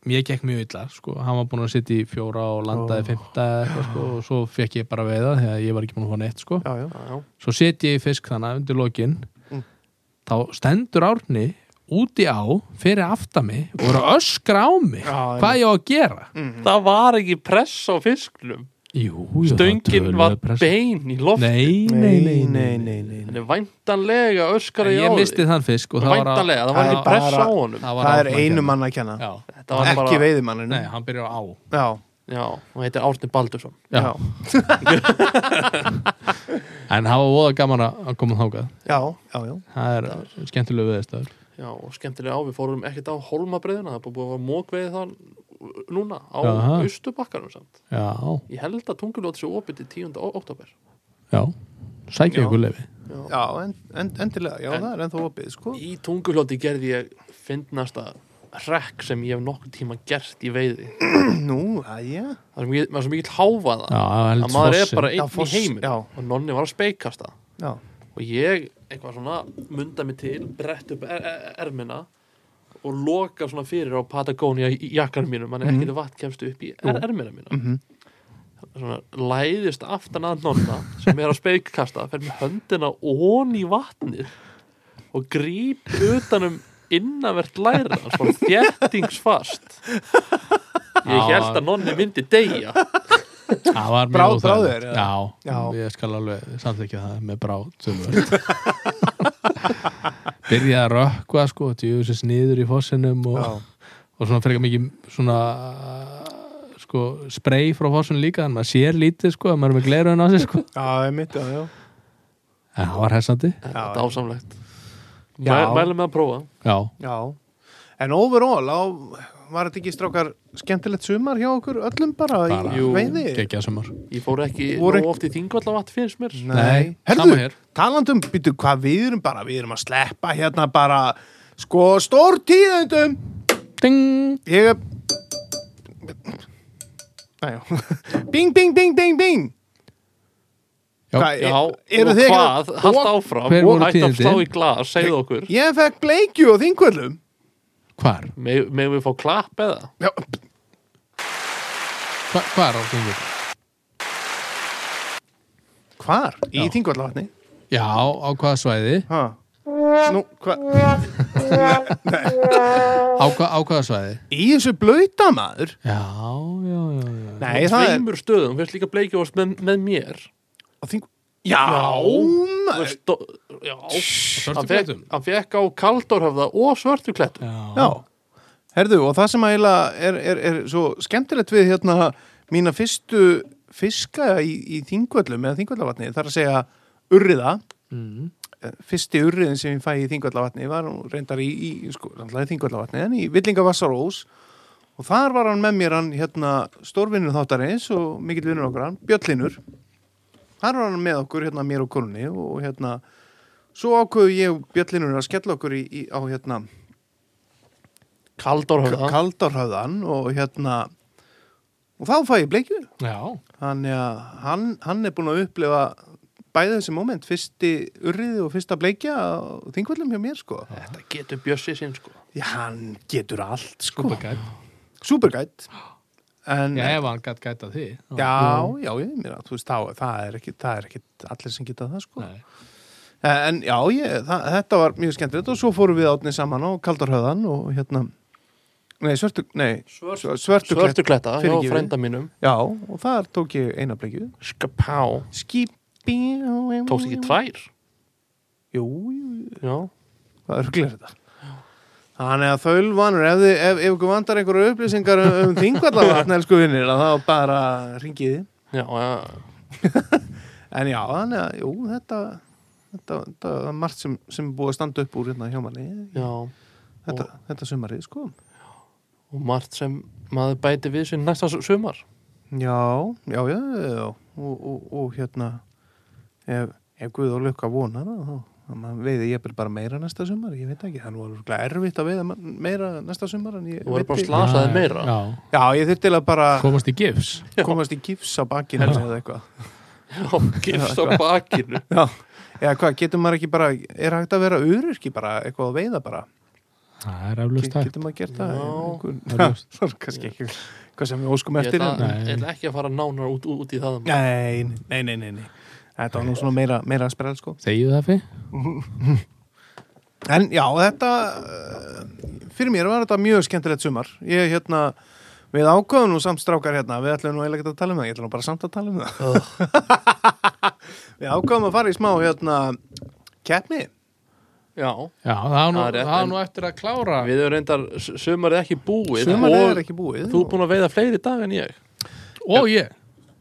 C: mér gekk mjög illa sko. hann var búin að sitja í fjóra og
A: Ó.
C: landaði oh. fymta eitthvað, sko, og svo fekk ég bara að veiða þegar ég var ekki búin að fá neitt sko.
A: já, já
B: Já, já.
C: svo setja ég í fisk þannig undir lokin
A: Mm.
C: þá stendur Árni úti á fyrir aftami og er að öskra á mig
A: Já,
C: hvað ég á að gera
B: Það var ekki press á fisknum
F: Jú, jú, það
B: stöngin
F: töluðu
B: var
F: press-
B: bein í loft
F: Nei, nei, nei, nei, nei.
B: hann er væntanlega
C: En
B: öskara í
C: ég
B: áður
C: misti þann fisk og það var að
B: væntanlega, það var
A: Það er
B: ekki press á
A: bara-
C: það
B: honum
C: var
A: það er
C: Árna
A: einu
C: Kjarr.
A: mann að kenna
C: Já,
B: þetta var
A: ekki
B: bara,
A: veiðimanninu
C: nei, hann byrjar á á
A: já,
B: já, hann heitir Árni Baldursson
A: já,
C: Já. En það var voða gaman að að koma þákað
A: já, já, já.
F: Það er skemmtilega við þess
B: já, og skemmtilega á, við fórum ekkert á holmabreiðina það er bara búið að vera mókveið það núna á
F: Jaha.
B: Östubakkanum samt
F: Já,
B: ég held að tungulóti sé opið til 10. ó- október
F: já, sækja
A: Já.
F: ykkur lefi
A: já en, en, endilega, já,
B: En-
A: það er ennþá opið sko.
B: í tungulóti gerði ég fyndnasta rekk sem ég hef nokkuð tíma gert í veiði
A: nú, aðja
B: það sem ég, maður sem ég vil háfa það
F: Já, það er
B: að maður er
F: fossin.
B: bara
A: Já,
B: einn í
A: foss,
B: heiminn
A: já.
B: og nonni var að speikast það
A: já,
B: og ég eitthvað svona munda mig til, brett upp er, er, ermina og loka svona fyrir á Patagonia í- í jakkanum mínum mann er ekkert mm. vatn kemstu upp í er, ermina mína
A: mhm.
B: svona læðist aftan að nonna sem er að speikasta fer með höndina ón í vatnið og gríp utanum innanvert læra svona þjættingsfast ég held að nonni myndi deyja
F: Það var mjög
A: Bráð-
F: óþægilegt.
A: bráðir, eða?
F: Já,
A: Já.
F: ég skal alveg samþykja það með bráð tölvöld Byrjaði að rökkva sko, djöfisins niður í fossinum
A: já,
F: og, og svona frekar mikið svona sko, spray frá fossinum líka en maður sér lítið sko, en maður er með glerun á sig sko.
A: já, einmitt, já, já
F: en það var hessandi
B: þetta er
A: já.
B: dásamlegt
A: Já.
B: Mæ- mælum með að prófa
F: Já,
A: Já, en overall á, var þetta ekki strákar skemmtilegt sumar hjá okkur öllum bara,
F: Bara.
A: í
B: Jú,
A: veiði?
F: gekkja sumar
B: Ég fór ekki
A: Voru
B: nóg oft í þingvallavatt finnst mér
F: Nei, sama
A: Herðu,
F: hér.
A: talandum, býtu hvað við erum bara, við erum að sleppa hérna bara, sko, stór tíðendum
F: Ding!
A: Ég er Æjá Bing, bing, bing, bing, bing
F: Já.
A: Hvað,
B: Já,
A: er-
B: og
A: eru þið
B: hvað,
A: ekki-
B: haldt
A: Og-
B: áfram
F: Hver
B: og
F: voru
B: hætti að
F: tíðindi?
B: slá í glas, segðu okkur
A: Ég fekk bleikju á þingvöllum
F: Hvar?
B: Meg- Megum við fá klapp eða?
A: Já,
F: Hva, hvar á þingur?
A: Hvar? Í þingvallavatni?
F: Já, á hvaða svæði?
A: Ha. Nú, hvað?
F: Á, hva, á hvaða svæði?
A: Í þessu blöyta maður?
F: Já, já, já, já.
A: Nei, það
B: Á
A: er
B: Tveimur stöðum, finnst líka bleikjóast með, með mér
A: á þing... Já,
B: Það
A: maður
B: stó, Já Hann
C: svörtu
B: fekk,
C: fléttum.
B: hann fekk á kaldórhöfða og svörtu klettum
A: Já, herðu, og það sem eiginlega er, er, er svo skemmtilegt við hérna mína fyrstu fiska í, í þingvöllum eða þingvallavatni, það er að segja urriða Eh,
F: Mm.
A: fyrsti urriðin sem ég fæ í Þingvallavatni var nú reyndar í, í, sko, náttúrulega í Þingvallavatni en í Villingavassarós og þar var hann með mér hann hérna stórvinnur þáttarins og mikill vinnur okkur hann, Bjöllinur þar var hann með okkur hérna mér og konunni og hérna svo ákveðu ég og Bjöllinur að skella okkur í, í, á hérna
B: Kaldórhöfða
A: Kaldárhöfðan og hérna og þá fæ ég bleikju
F: Já.
A: þannig að hann, hann er búin að upplifa bæði þessi moment, fyrsti urriði og fyrsta bleikja á þingvöllum hjá mér sko.
B: Þetta getur Bjössi sinn sko
A: Já, hann getur allt sko.
F: Gæt.
A: Supergætt En,
F: Já,
A: já,
F: ef hann gætt gæta því.
A: Mm. já, ég meina þú veist, þá, það er ekki, það er ekki allir sem geta það sko
F: Nei.
A: En já, ég, það, þetta var mjög skemmtilegt og svo fórum við átni saman á Kaldarhöðan og hérna Nei, svörtu, nei,
B: Svört,
A: svörtu, svörtu
B: Svörtu kletta hjá
A: Fyrirgefið.
B: frænda mínum
A: Já, og þar tók ég eina bleikju
B: Skapá
A: Skipi
B: Tókst ekki tvær
A: Jú, jú,
B: Já
A: hvað er glir þetta? Þannig að þaulvanur, ef, þið- ef, ef ykkur vandar einhverju upplýsingar um, um þingvallavatn, elsku vinnir, að þá bara ringiði.
B: Já, já,
A: En já, þannig að, jú, þetta, þetta, þetta er margt sem, sem er búið að standa upp úr hérna hjá manni,
B: já
A: þetta, þetta sumarið, sko.
B: Og margt sem maður bæti við sér næsta su- sumar
A: Já, já, já, já, já. Og, og, og hérna, ef, ef Guð og Lukka vonar það, þá að maður veiði ég bara meira næsta sumar, ég veit ekki, þannig var örugglega erfitt að veiða ma- meira næsta sumar en ég
B: Þú verður bara
A: veiddi-
B: að slasaði
F: Já,
B: meira
F: Já,
A: Já, ég þurfti til að bara
F: komast í gifs.
A: komast í gifs á bakinu eða eitthvað.
B: Já, gifst á bakinu
A: Já, eða hvað, getur maður ekki bara, er hægt að vera öryrki bara, eitthvað að veiða bara?
F: Það er
A: Ge-
F: eflust það.
A: getur maður gert það
B: Já.
A: Einhver-
F: Það er ljóst.
A: það er kannski ekki hvað sem við óskum
B: Ég
A: eftir
B: ætla,
A: en-
F: Nei.
B: ég ætla ekki að fara nánar út, út í það um
A: nei, nei, nei, nei, nei þetta var nú svona meira, meira að spyrja sko.
F: Segju það fyrir?
A: eh, en já, þetta uh, fyrir mér var þetta mjög skemmtilegt sumar ég hérna Við ákveðum nú samt strákar hérna, við ætlum nú eiginlega ekkert að tala um það, ég ætlum nú bara samt að tala um það. við ákveðum að fara í smá hérna keppni.
B: Já,
F: Já, það á nú,
B: Já, rétt,
F: það á
B: en-
F: nú eftir að klára
B: við erum reyndar, sumar er ekki búið
A: Sumar
B: og
A: er ekki búið.
B: þú er búin að veiða fleiri dag en ég
F: og ég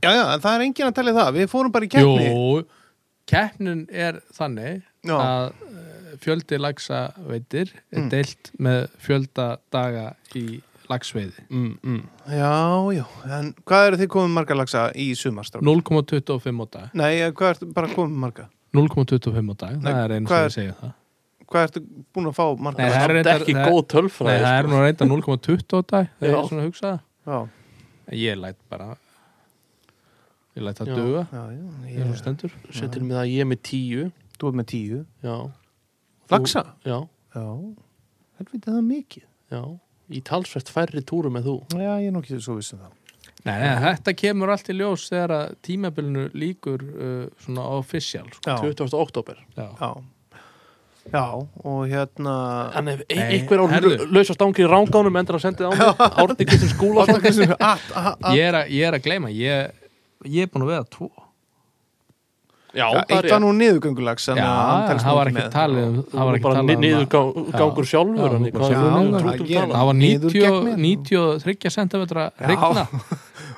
A: Já, já, en það er enginn að tala í það, við fórum bara í keppni.
F: Jú, keppnin er þannig
A: Já.
F: að eh, fjöldi lagsa veitir er deilt með fjölda daga í lagsveiði
B: mm, mm.
A: Já, já, en hvað eru þið komið marga lagsa í sumar, strákar?
F: 0,25 á dag
A: Nei, eh, hvað ertu bara komið marga?
F: 0,25 á dag,
A: Nei,
F: það er einu
A: hvað
F: sem
A: er-
F: ég segja það
A: Hvað ertu búin að fá marga
F: Nei,
A: lagsa?
F: það er
B: Samt
F: reyndar-
B: ekki
F: það-
B: góð
F: Nei,
B: tölfræði sko.
F: það er nú reynda 0,20 á dag það
B: Já.
F: er svona að hugsa það
A: Já,
F: En Ég læt bara Ég læt það
B: Já.
F: duga
A: já, já,
F: Ég er
A: ég,
F: svona stendur
B: Sér til mig að ég er með tíu
A: þú er með tíu.
B: Já,
A: Lagsa?
B: já,
A: Já, helviti það er mikið.
B: já Í talsvert færri túrum en þú
A: Já, ég er nú ekki svo vissum það.
F: Nei, nei, þetta kemur allt í ljós þegar að tímabilinu líkur uh, svona official sko.
A: Já.
B: 20. oktober
F: Já.
A: Já, já og hérna
B: En ef ein,
F: Nei,
B: einhver á
F: herðu.
B: lausast ángi í ránganum endur að senda þið á mig Árni Kristján Skúlason
F: Ég, er að, ég er að gleyma ég, ég er búin að veða tvo
A: Já,
B: Já, það
A: eitt
B: er
A: var
B: ég
A: nú niðugöngulags
F: Já, það var ekki talið um-
B: Það
F: það var ekki
B: bara
F: talið um að-
B: niðurgangur
F: Já,
B: sjálfur
F: þú
B: hann í
F: bara
B: hvað
A: sjálfur
B: við erum
A: niður-
B: trútt um
A: ég-
B: tala
F: það var
A: Niður
F: 90
A: gegn mér.
F: 93 cm
A: Já.
F: regna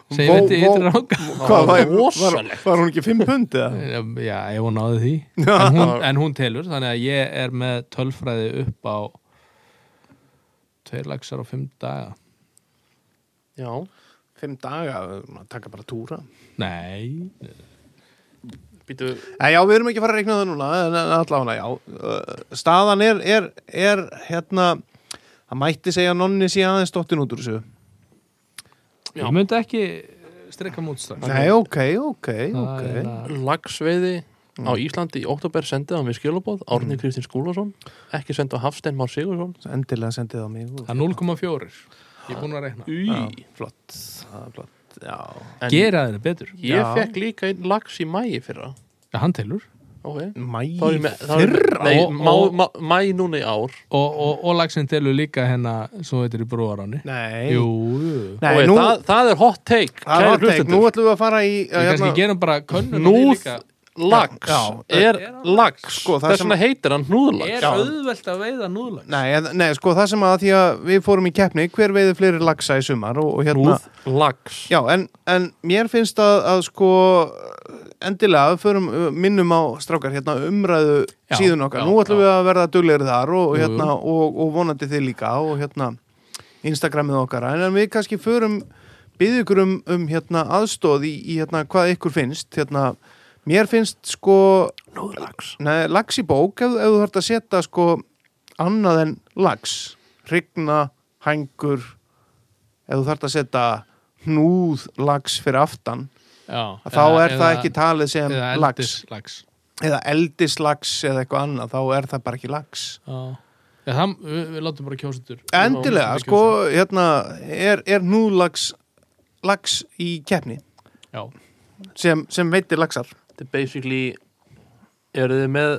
F: sem ég veit
A: Vó,
F: í
A: vó.
F: ytri ranga
A: Hvað var, var,
B: rosalegt.
A: var hún ekki 5 pund eða?
F: já, ef hún náði því en hún, en hún telur, þannig að ég er með tölfræði upp á tveir laxar og fimm daga
B: Já,
A: 5 daga, maður taka bara túra
F: nei,
B: býtu
A: Nei, Eh, já, við erum ekki að fara að reikna það núna en en allavega, já Uh, staðan er, er, er hérna það mætti segja að nonni sé aðeins dottin út úr þessu
B: Já.
F: ég myndi ekki streka mútstraks
A: Nei, ok, ok, ok
B: Lagsveiði á
A: Mm.
B: Íslandi í oktober sendið hann við skilabóð Árni Kristján Skúlason Ekki senda á Hafstein Már Sigursson
A: endilega sendið á mig og-
F: það er 0,4 ég er búin að reikna
B: Í,
A: Já, flott, það er flott Já,
B: en
F: gera þeirra betur,
B: Ég
A: Já.
B: fekk líka einn lags í mæi fyrra
F: já, hann telur
B: Ok
A: mæ
B: Þá er ég með- þá er ég með- Nei,
F: Og-
B: má,
F: og-
B: má, mæ núna í ár
F: og, og, og laxin telur líka hérna hennar svo þetta er í brúaráni
A: Nei,
F: jú, jú.
A: Nei
B: Ói,
A: nú,
B: það, það er hot take
A: það er
B: kæru
A: hot take,
B: hlustendur.
A: nú ætlum við að fara í uh, hérna-
F: við kannski gerum bara könnun á því
B: Núð
F: líka
B: lags
A: Já,
B: er
F: er hann
B: lags
A: Sko, það
B: þess
A: sem-
B: vegna heitir hann núðlags
F: er auðvelt að veiða núðlags
A: Nei, en- nei, sko, það sem að því að við fórum í keppni, hver veiði fleiri lagsa í sumar og, og hérna,
B: núðlags
A: já, en, en mér finnst að, að sko, endilega, förum, uh, minnum á strákar, hérna, umræðu
F: Já,
A: síðun okkar,
F: já,
A: nú ætlum
F: já.
A: við að verða duglegri þar og, og
F: Jú,
A: hérna, og, og vonandi þið líka og hérna, Instagramið okkar, en, en við kannski förum, byggðu ykkur um, um hérna, aðstóð í, í hérna, hvað ykkur finnst, hérna, mér finnst, sko,
B: núðlags
A: Nei, lax í bók ef, ef þú þarft að setja sko annað en lax hrygna, hængur ef þú þarft að setja hnúð lax fyrir aftan
F: þá
A: þá er það ekki talið sem
F: eða
A: lax
F: eldis lax
A: eða eldislax eða eitthvað annað þá er það bara ekki lax
F: Já, Já, það, við, við látum bara kjósendur
A: endilega sko hérna er, er hnúðlax lax í keppni
F: Já,
A: sem, sem veitir laxar
B: þetta er basically eru þið með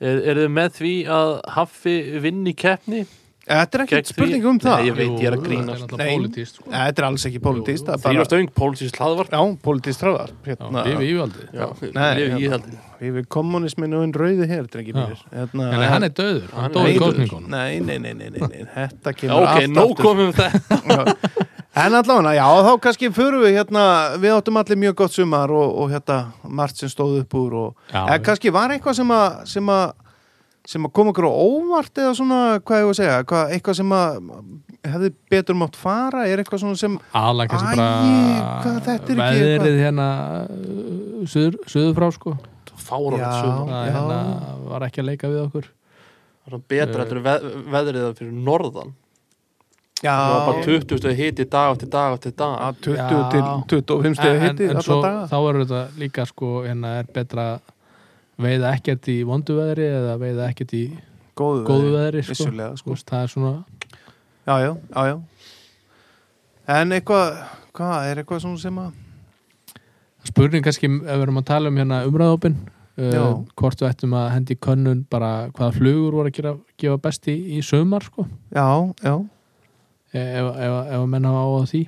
B: er, eru þið með því að Haffi vinn í keppni
A: þetta er
B: Gegn
A: ekki
B: því-
A: spurning um
B: Nei,
A: það
B: ég veit, ég er að
F: það er
B: grínast
F: náttúrulega
A: Nei.
F: pólitíst sko.
A: þetta er alls ekki
F: Jú,
A: politist
F: jú.
B: þýra stöng pólitísk hlaðvart
A: já, politist ráðar
F: Já, við við aldrei
B: Já,
A: Nei,
B: ég- ég
A: hérna.
B: held-
A: Við við kommunisminu og einn rauði hér, drengir
F: Já.
A: mér. Hérna,
F: En hann er döður,
B: Hann
F: hann
B: er
F: dóði
A: Nei,
F: í
B: dauður.
F: kostningunum
A: Nei, nei, nei, nei, nei, nei. þetta
B: Já,
A: kemur
B: ok,
A: allt
B: nóg um
A: aftur.
B: komum við þetta
A: Já. En allavega, já, þá kannski förum við hérna, við áttum allir mjög gott sumar og, og hérna, margt sem stóð upp úr og
F: Já,
A: en kannski var eitthvað sem að sem að sem að kom okkur á óvart eða svona, hvað ég að segja, hvað, eitthvað sem að hefði betur mátt fara, er eitthvað svona sem Æi,
F: aðlega kannski bara
A: hvað, þetta er ekki
F: veðrið
A: eitthvað.
F: hérna uh, suður, suður frá sko
B: fáránlegt
A: Já.
B: sumar.
F: það
A: Já.
F: hérna, var ekki að leika við okkur
B: Það er svona betra
F: Eh.
B: eftir veð, veðrið það fyrir norðan
A: Já,
B: það var bara 20 stegi hiti dag eftir dag eftir dag
A: að 20 til
F: Já.
A: 25 stegi
F: En-
A: hitti
F: en, en
A: alla
F: svo,
A: daga
F: þá er þetta líka sko hérna er betra að veiða ekkert í vondu veðri eða veiða ekkert í
A: góðu,
F: góðu veðri sko.
A: vissulega,
F: Þú
A: sko.
F: veist, það er svona
A: Já, já, já, já. En eitthvað, hvað er eitthvað svona sem að...
F: spurning kannski ef við erum að tala um hérna umræðopin uh,
A: Já.
F: hvort við ættum að hendi í könnun bara hvaða flugur voru að gera, gefa besti í, í sömar sko
A: Já, já.
F: ef, ef, ef að menn hafa á að því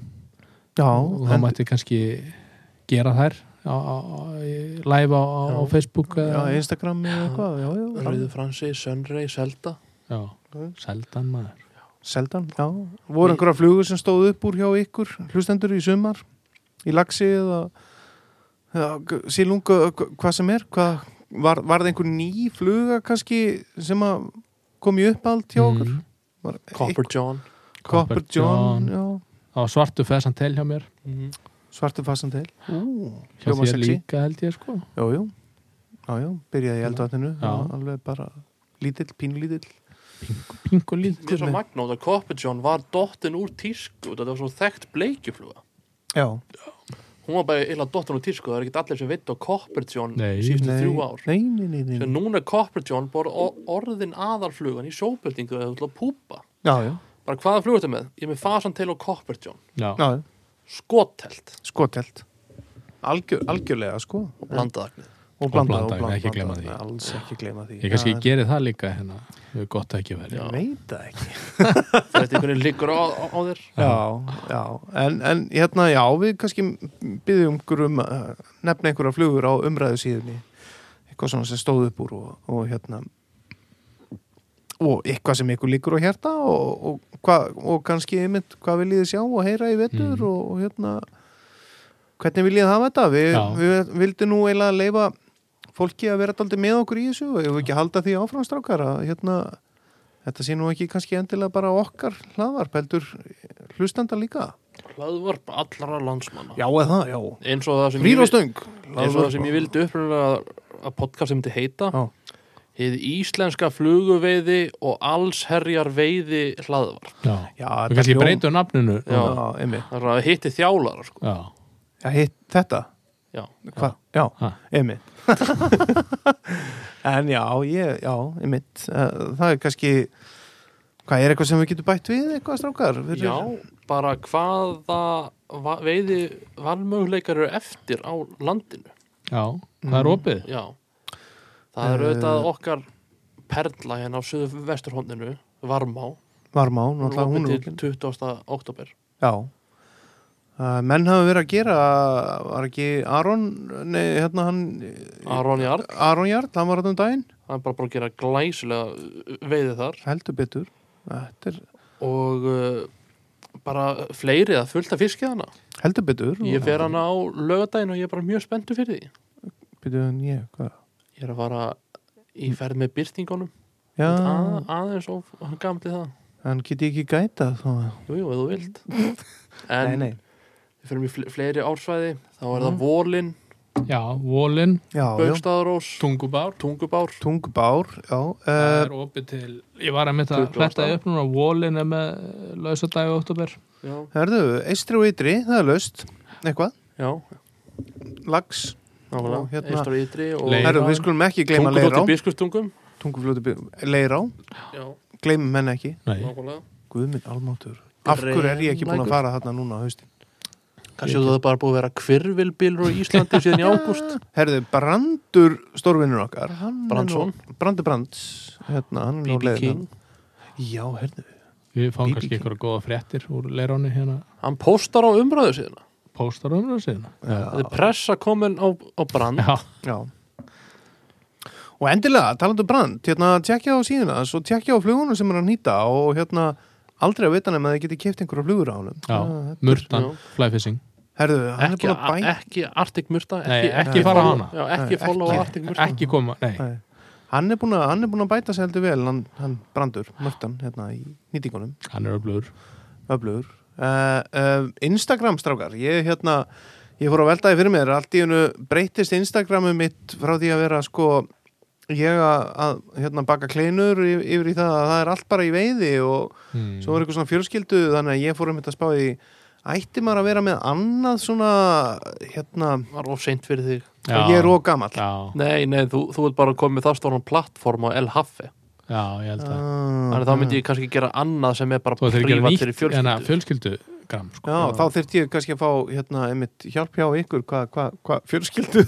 A: Já,
F: og það
A: en,
F: mætti kannski gera þær á, á, á, í- live á, á- á
B: Já.
F: Facebook
A: já,
F: eða-
A: Instagram eða eitthvað, já, já, já.
B: Rauðu Fransi, Sunray, Selda
F: já, seldan maður
A: Seldan, já. Voru einhverja flugur sem stóð upp úr hjá ykkur, hlustendur í sumar, í lagsi eða, eða g- sílungu, g- hvað sem er, hvað, var, var það einhver ný fluga kannski sem að kom í uppald hjá okkur?
F: Mm.
A: Var
B: Copper
A: einhver-
B: John
A: Copper John,
F: John.
A: já.
F: á svartu fessan tel hjá mér
B: mm
A: Svartu fassan til. Ú,
F: hjá
A: hljóma
F: þér
A: sexy.
F: líka held ég sko
A: Jú, jú. Já, já, byrjaði í eldvatninu,
F: Já.
A: alveg bara lítill, pínlítill.
F: pingu lít
B: Mér er svo magnóð að Copper John var dottin úr tísku þetta var svo þekkt bleikjufluga
A: Já.
B: Hún var bara eila dottin úr tísku það er ekki allir sem veit á Copper John
F: Nei.
B: síðustu
A: Nei,
B: þrjú ár
A: Nei, nei, nei, nei.
B: Þegar núna er Copper John bara o- orðin aðalflugan í sjóbyrtingu eða til að púpa
A: Já, já,
B: bara hvaða flugur þetta með? Ég er með Fasan Tail og Copper John
F: já,
A: já, já.
B: skotelt
A: skotelt Algjör, algjörlega sko
B: og blandaðagnið
A: og
F: blandað,
A: blandað, og blandað,
F: ekki gleyma því.
A: alls ekki gleyma því
F: ég kannski
A: Það er-
F: geri það líka hérna við gott ekki verið
A: ég veit það ekki
B: Það er eftir hvernig liggur á, á, á þér
A: já, já, en, en hérna já, við kannski byggjum um að nefna einhverja flugur á umræðu síðunni eitthvað svona sem stóð upp úr og, og hérna og eitthvað sem ykkur líkur á hjarta og, og, hva, og kannski einmitt hvað viljið þið sjá og heyra í vetur og, og hérna hvernig viljið þið hafa þetta við,
F: Já.
A: við vildum nú eiginlega leifa fólki að vera daldið með okkur í þessu og ef við ekki halda því áframstrákar að hérna þetta sé nú ekki kannski endilega bara okkar hlaðvarp heldur hlustanda líka
B: hlaðvarp allra landsmanna
A: Já eða það, já
B: eins og það sem
A: Rýr
B: ég
A: og stöng
B: eins og það sem ég vildi upprunalega að podcast sem þetta heita
A: Já.
B: Hið íslenska fluguveiði og allsherjar veiði hlaðvar
F: já.
A: Já,
F: við kannski breytum nafninu
A: Já,
F: núna.
A: einmitt
B: Það er að hitti þjálar sko.
F: já.
A: Já, hitt þetta
B: Já.
A: Hva? Já,
F: Ha.
A: einmitt En já, ég, já, einmitt Eh, Það er kannski Hvað er eitthvað sem við getum bætt við eitthvað strákar? Fyrir-
B: Já, bara hvaða va- veiði valmöguleikar eru eftir á landinu
F: já, það
A: Mm.
F: er opið
B: Já Það er
A: Eh.
B: auðvitað okkar perla hérna á söðu vesturhóndinu Varmá,
A: Varmá,
B: hún er
A: náttúrulega hún er
B: opið til 20. oktober
A: Já Uh, menn hafa verið að gera var ekki Aron nei, hérna hann
B: Aron Jarl,
A: Aron Jarl, hann var þetta um daginn
B: hann er bara bara að gera glæsilega veiði þar
A: heldur betur Þetta er
B: og uh, bara fleiri að fullta fiskið hana
A: heldur betur
B: ég fer hana á lögadaginn og ég er bara mjög spenntu fyrir því
A: Býtu en ég, hvað?
B: ég er að fara í ferð með byrtingunum
A: Já,
B: að, aðeins og hann gamli það
A: hann geti ekki gæta þá
B: jú, jú, ef þú vilt en
A: Nei, nei
B: við fyrir mér fleiri ársvæði þá er það Volin,
F: já, Volin,
A: Já, já,
B: Baugstaðarós
F: Tungubár
B: Tungubár
A: tungbár, já
F: það
A: uh,
F: er opið til ég var að mynda að
B: 28.
F: fletta upp núna Volin er með lausadagi og oktober
B: já,
A: Herðu, eistri og ytri, það er löst Eitthvað,
B: já,
A: lags
B: nálega
A: Og hérna-
B: Eistur Ytri og
F: Leirá.
A: Herðu, við skulum ekki gleyma
B: Tungudóttir
A: leirá
B: Biskustungum
A: Tunguflóti leirá,
B: já,
A: gleymum menn ekki
F: nei,
B: nálega
A: Guðminn almátur Af hverju er ég ekki búin að fara þarna núna á haustin?
B: kannski þú það bara búið að vera kvirvilbílur á Íslandi síðan í ágúst
A: Herðu, Brandur, stórvinnur okkar hann er
B: Brandsson.
A: nú- Brandur Brands, hérna, hann er nú
B: BB
A: leiðin
B: King
A: Já, herðu,
F: við fáum
A: BB
F: kannski
A: King.
F: ykkur góða fréttir úr leiráni hérna
B: hann póstar á umræðu síðan
F: póstar umröðu síðan
A: Mm.
B: þetta er pressa komin á, á brand
F: já,
A: Já Og endilega, talandu brand, hérna tjekkja á síðuna svo tjekkja á flugunum sem er að nýta og hérna aldrei að vita nema að þið geti keft einhverja flugur á honum
F: já,
A: Það-
F: murtan,
B: já.
F: flyfishing
A: Herðu, hann
B: ekki,
A: er búin að bæta
B: ekki Arctic Murta
F: Nei,
B: ekki,
F: ekki fara á
B: follow-
F: hana.
B: já, ekki
A: Nei,
B: follow
A: ekki-
B: Arctic Murta
F: ekki koma, nei,
A: Nei. hann er búin að, hann er búin að bæta sér heldur vel hann, hann brandur, mörtan, hérna í nýtingunum,
F: hann er öflugur
A: öflugur uh, uh, Instagram strákar, ég hérna ég fór að veltaði fyrir mér, allt í hennu breytist Instagramu mitt frá því að vera sko, ég að, að hérna baka kleinur yfir, yfir í það að það er allt bara í veiði og
F: hmm.
A: svo var eitthvað svona fjölskyldu þannig að ég fór um þetta spáði ætti maður að vera með annað svona hérna,
B: var of seint fyrir þig
A: og ég er og gamall
F: já,
B: nei, nei, þú, þú ert bara að koma með það stóran plattform á El Haffi
F: já,
A: Ah.
F: ég held að
A: þannig
B: þannig að þá myndi
A: Mm.
B: ég kannski gera annað sem er bara
F: þú ættir ekki að
B: prívat
F: gera
B: fyrir
F: nýtt hérna,
B: fjölskyldu
F: fjölskyldugram sko.
A: Já, þá þyrfti ég kannski að fá hérna, einmitt, hjálp hjá ykkur hvað hva, hva, fjölskyldu,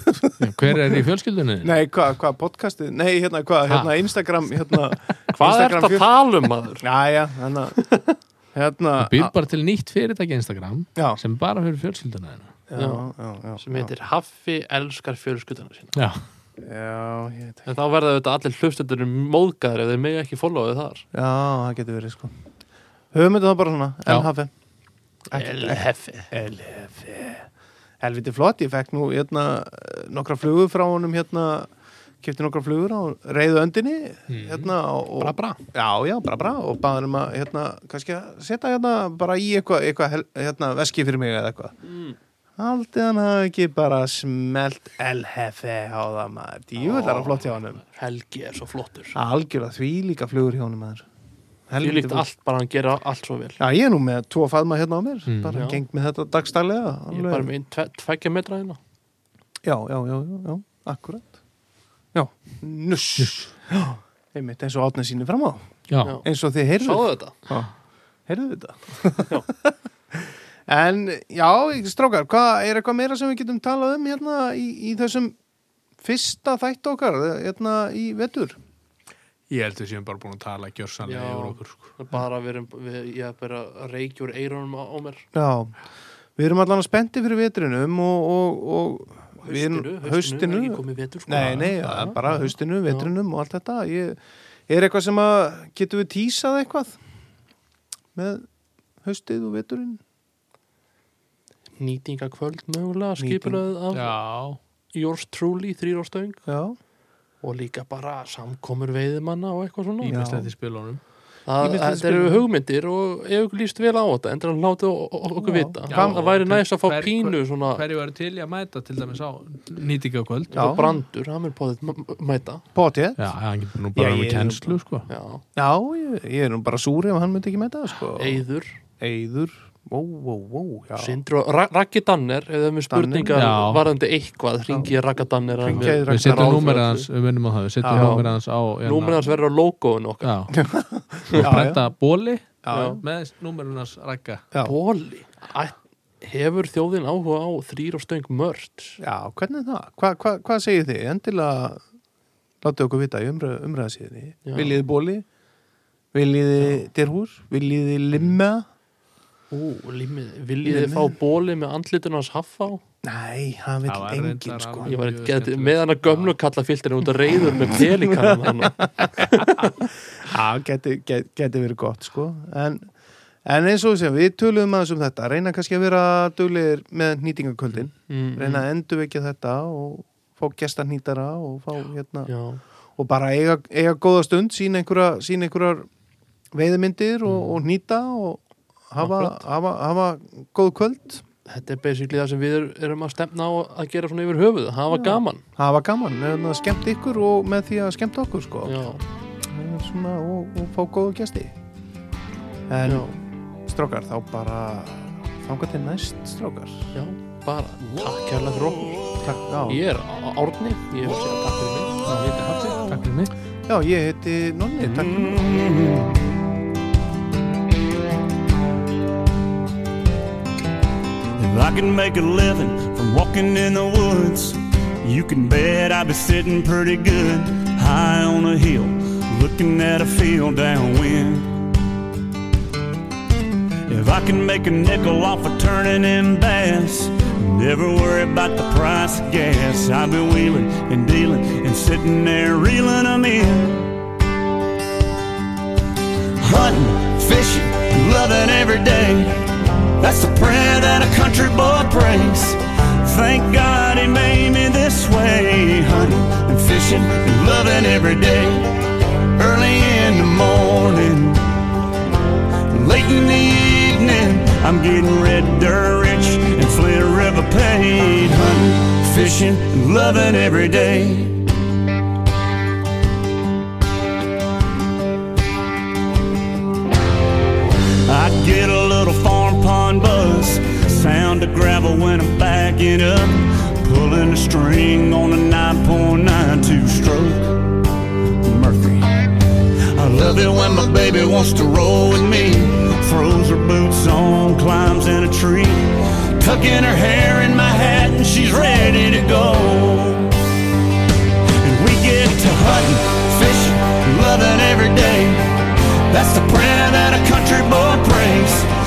F: hver er í fjölskyldunni?
A: nei hvað hva, podcastið, nei hérna hvað, hérna Instagram hérna,
B: hvað ert
A: Instagram
B: að tala um maður?
A: Jæja, þannig að hérna
F: Það býr bara til nýtt fyrirtæki Instagram
A: Já,
F: sem bara fyrir fjölskylduna hérna.
A: já, já, já
B: sem heitir Haffi elskar fjölskyldana sína
F: Já,
A: Já, ég veit ekki.
B: en þá verða þetta allir hlustendur móðgæðir ef þeir megi ekki followið þar
A: já, það getur verið sko Höfum þetta bara svona,
F: Já.
A: LHF
B: El Haffi
A: LHF Helviti flott, ég fekk nú hérna nokkra flugur frá honum hérna kipti nokkra flugur á reyðu öndinni
B: Mhm.
A: hérna og,
F: bara bra
A: Já, já, bara bra og baður um að hérna, kannski að setja hérna bara í eitthvað eitthva, hérna, veski fyrir mig eða eitthvað
B: Mm.
A: Haldið hann hafi ekki bara smelt LHF á það maður Djúvillar að flott hjá honum
B: Helgi er svo flottur
A: Algjörlega því líka flugur hjá honum maður
B: Því líkt
A: flott.
B: allt bara hann gera allt svo vel
A: Já, ég er nú með tvo faðma hérna á mér
F: Mm.
A: bara
B: Mhm. Já.
A: geng með þetta dagstælega
B: Ég er bara með einn tve- tveggja metra hérna
A: Já, já, já, já, já, akkurat Já, nuss, Já, einmitt eins og átna sínu fram á
F: Já,
B: Já.
A: eins og þið heyrðu
B: Sáðu þetta?
A: Já, heyrðu þetta En já, strákar, hvað er eitthvað meira sem við getum talað um hérna í, í þessum fyrsta þætt okkar hérna í vetur?
F: ég held við séum bara búin að tala
B: Já.
F: gjörsanlega yfir okkur sko.
B: Það er Bara við erum, við, ég er bara að reykja úr eirónum á, á mér
A: Já, við erum allan að spendi fyrir vetrinum og, og, og við erum-
B: Haustinu, haustinu, er
A: haustinu
B: ekki komið vetur sko
A: Nei, nei, já, bara haustinu, vetrinum og allt þetta ég, Er eitthvað sem að getum við tísað eitthvað með haustið og veturinn?
B: Nýtingakvöld mögulega,
A: Nýting.
B: skipulöð af
F: Já,
B: Yours Truly, þrýrórstöng
A: Já,
B: og líka bara samkomur veiðimanna og eitthvað svona
F: ímestlega til spilunum
B: Það,
A: Ýmislegt
B: það eru
A: spilum.
B: hugmyndir og ef ykkur líst vel á þetta endur hann látið o- o- okkur
A: Já.
B: vita
F: Já,
B: það væri
F: hver-
B: næst að fá
F: hver-
B: pínu svona
F: Hverju var til í að mæta til dæmis á nýtingakvöld
A: Já.
B: og brandur, hann er póðið mæta
A: potið
F: Já, hann getur nú
A: Já,
F: bara
A: ég
F: með
A: er nú
F: kennslu sko.
B: Já,
A: Já, ég, ég er nú bara súri ef hann myndi ekki með það sko.
B: Eyður,
A: Eyður Ó, ó, ó, já
B: Sindri og Ra- Raggi Danner ef þeim er spurningar
F: Já.
B: varðandi eitthvað hringi ég Ragga Danner hann
A: Hringið í
B: er-
A: Ragga
B: Danner.
F: Við setjum númerið hans, við vinnum á það Við setjum
A: Já.
F: númerið hans á hérna-
B: Númerið hans verður á logoinu okkar
F: Já, og
A: já.
F: brenda bóli
A: Já,
B: Já.
A: já.
F: með númerið hans ragga
A: Já.
B: Bóli, Æ- hefur þjóðin áhuga á þrýrórstöng mörd?
A: já, hvernig er það? Hva, hva, hvað segir þið? Endilega látið okkur vita í umræð, umræðasíðinni
B: Já.
A: Viljið þið bóli? Viljið þið derhúr? Viljið þið limma?
B: Ú, limmið, viljið þið fá bóli með andlitun hans haffa á?
A: Nei, hann
F: Það
A: vil
F: var
A: enginn
F: reyndar
A: sko
F: alveg-
B: Ég var
F: Mjög
B: eitthvað
F: skemmtilegt.
B: með hann að gömlu kalla filtrin út að reyður með pelikanum hann
A: Já, geti, geti, geti verið gott sko en, en eins og sem við töluðum aðeins um þetta reyna kannski að vera duglegir með nýtingaköldin
B: Mm-hmm.
A: reyna að endurvekja þetta og fá gesta hnýtara og fá hérna
B: Já,
A: og bara eiga, eiga góða stund sína einhverja, sína einhverjar veiðmyndir og,
B: Mm.
A: og nýta og hafa, hafa, hafa góð kvöld
B: þetta er basically það sem við er- erum að stefna á að gera svona yfir höfuð, hafa gaman
A: hafa gaman, nefnir að skemmt ykkur og með því að skemmt okkur sko
B: Já,
A: Svona, og, og fá góða gesti en
B: Já.
A: strákar þá bara þanga til næst strákar
B: já, bara takk kærlega fyrir okkur
A: Takk, já.
B: Ég er Á- Árni, ég vil segja takk fyrir mig
F: Já, ég heiti Hafsi, takk fyrir mig
A: já, ég heiti Nonni, takk fyrir mig.
G: If I can make a living from walking in the woods, you can bet I'd be sitting pretty good high on a hill, looking at a field downwind. If I can make a nickel off of turning in bass, never worry about the price of gas. I've been wheeling and dealing and sitting there reeling 'em in hunting, fishing, and loving every day. That's the prayer that a country boy prays. Thank God he made me this way. Hunting and fishing and loving every day. Early in the morning, late in the evening, I'm getting red dirt rich and Flint River paid. Hunting, fishing, and loving every day. I get a little farm pond buzz, sound of gravel when I'm backing up, pulling a string on a 9.92 stroke Murphy. I love it when my baby wants to roll with me, throws her boots on, climbs in a tree, tucking her hair in my hat and she's ready to go. And we get to hunting, fishing, loving every day. That's the prayer that a country boy prays.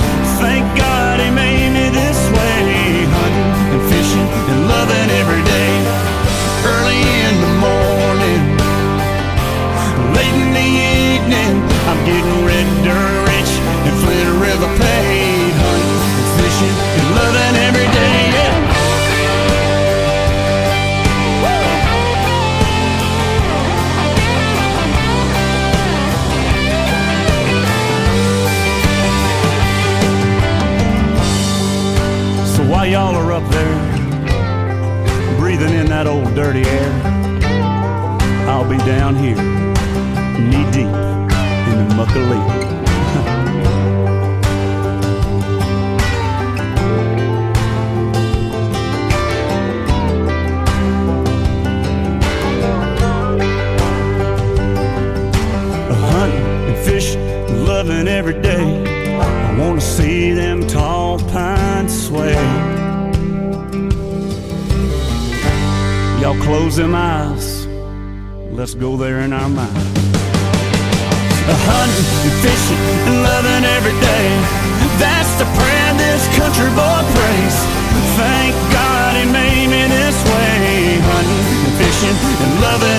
G: I'll be down here, knee deep in the muck of leaves. a hunting and fishing and loving every day. I want to see them tall pines sway. Y'all close them eyes. Let's go there in our mind. A hunting and fishing and loving every day. That's the prayer this country boy prays. Thank God he made me this way. Hunting and fishing and loving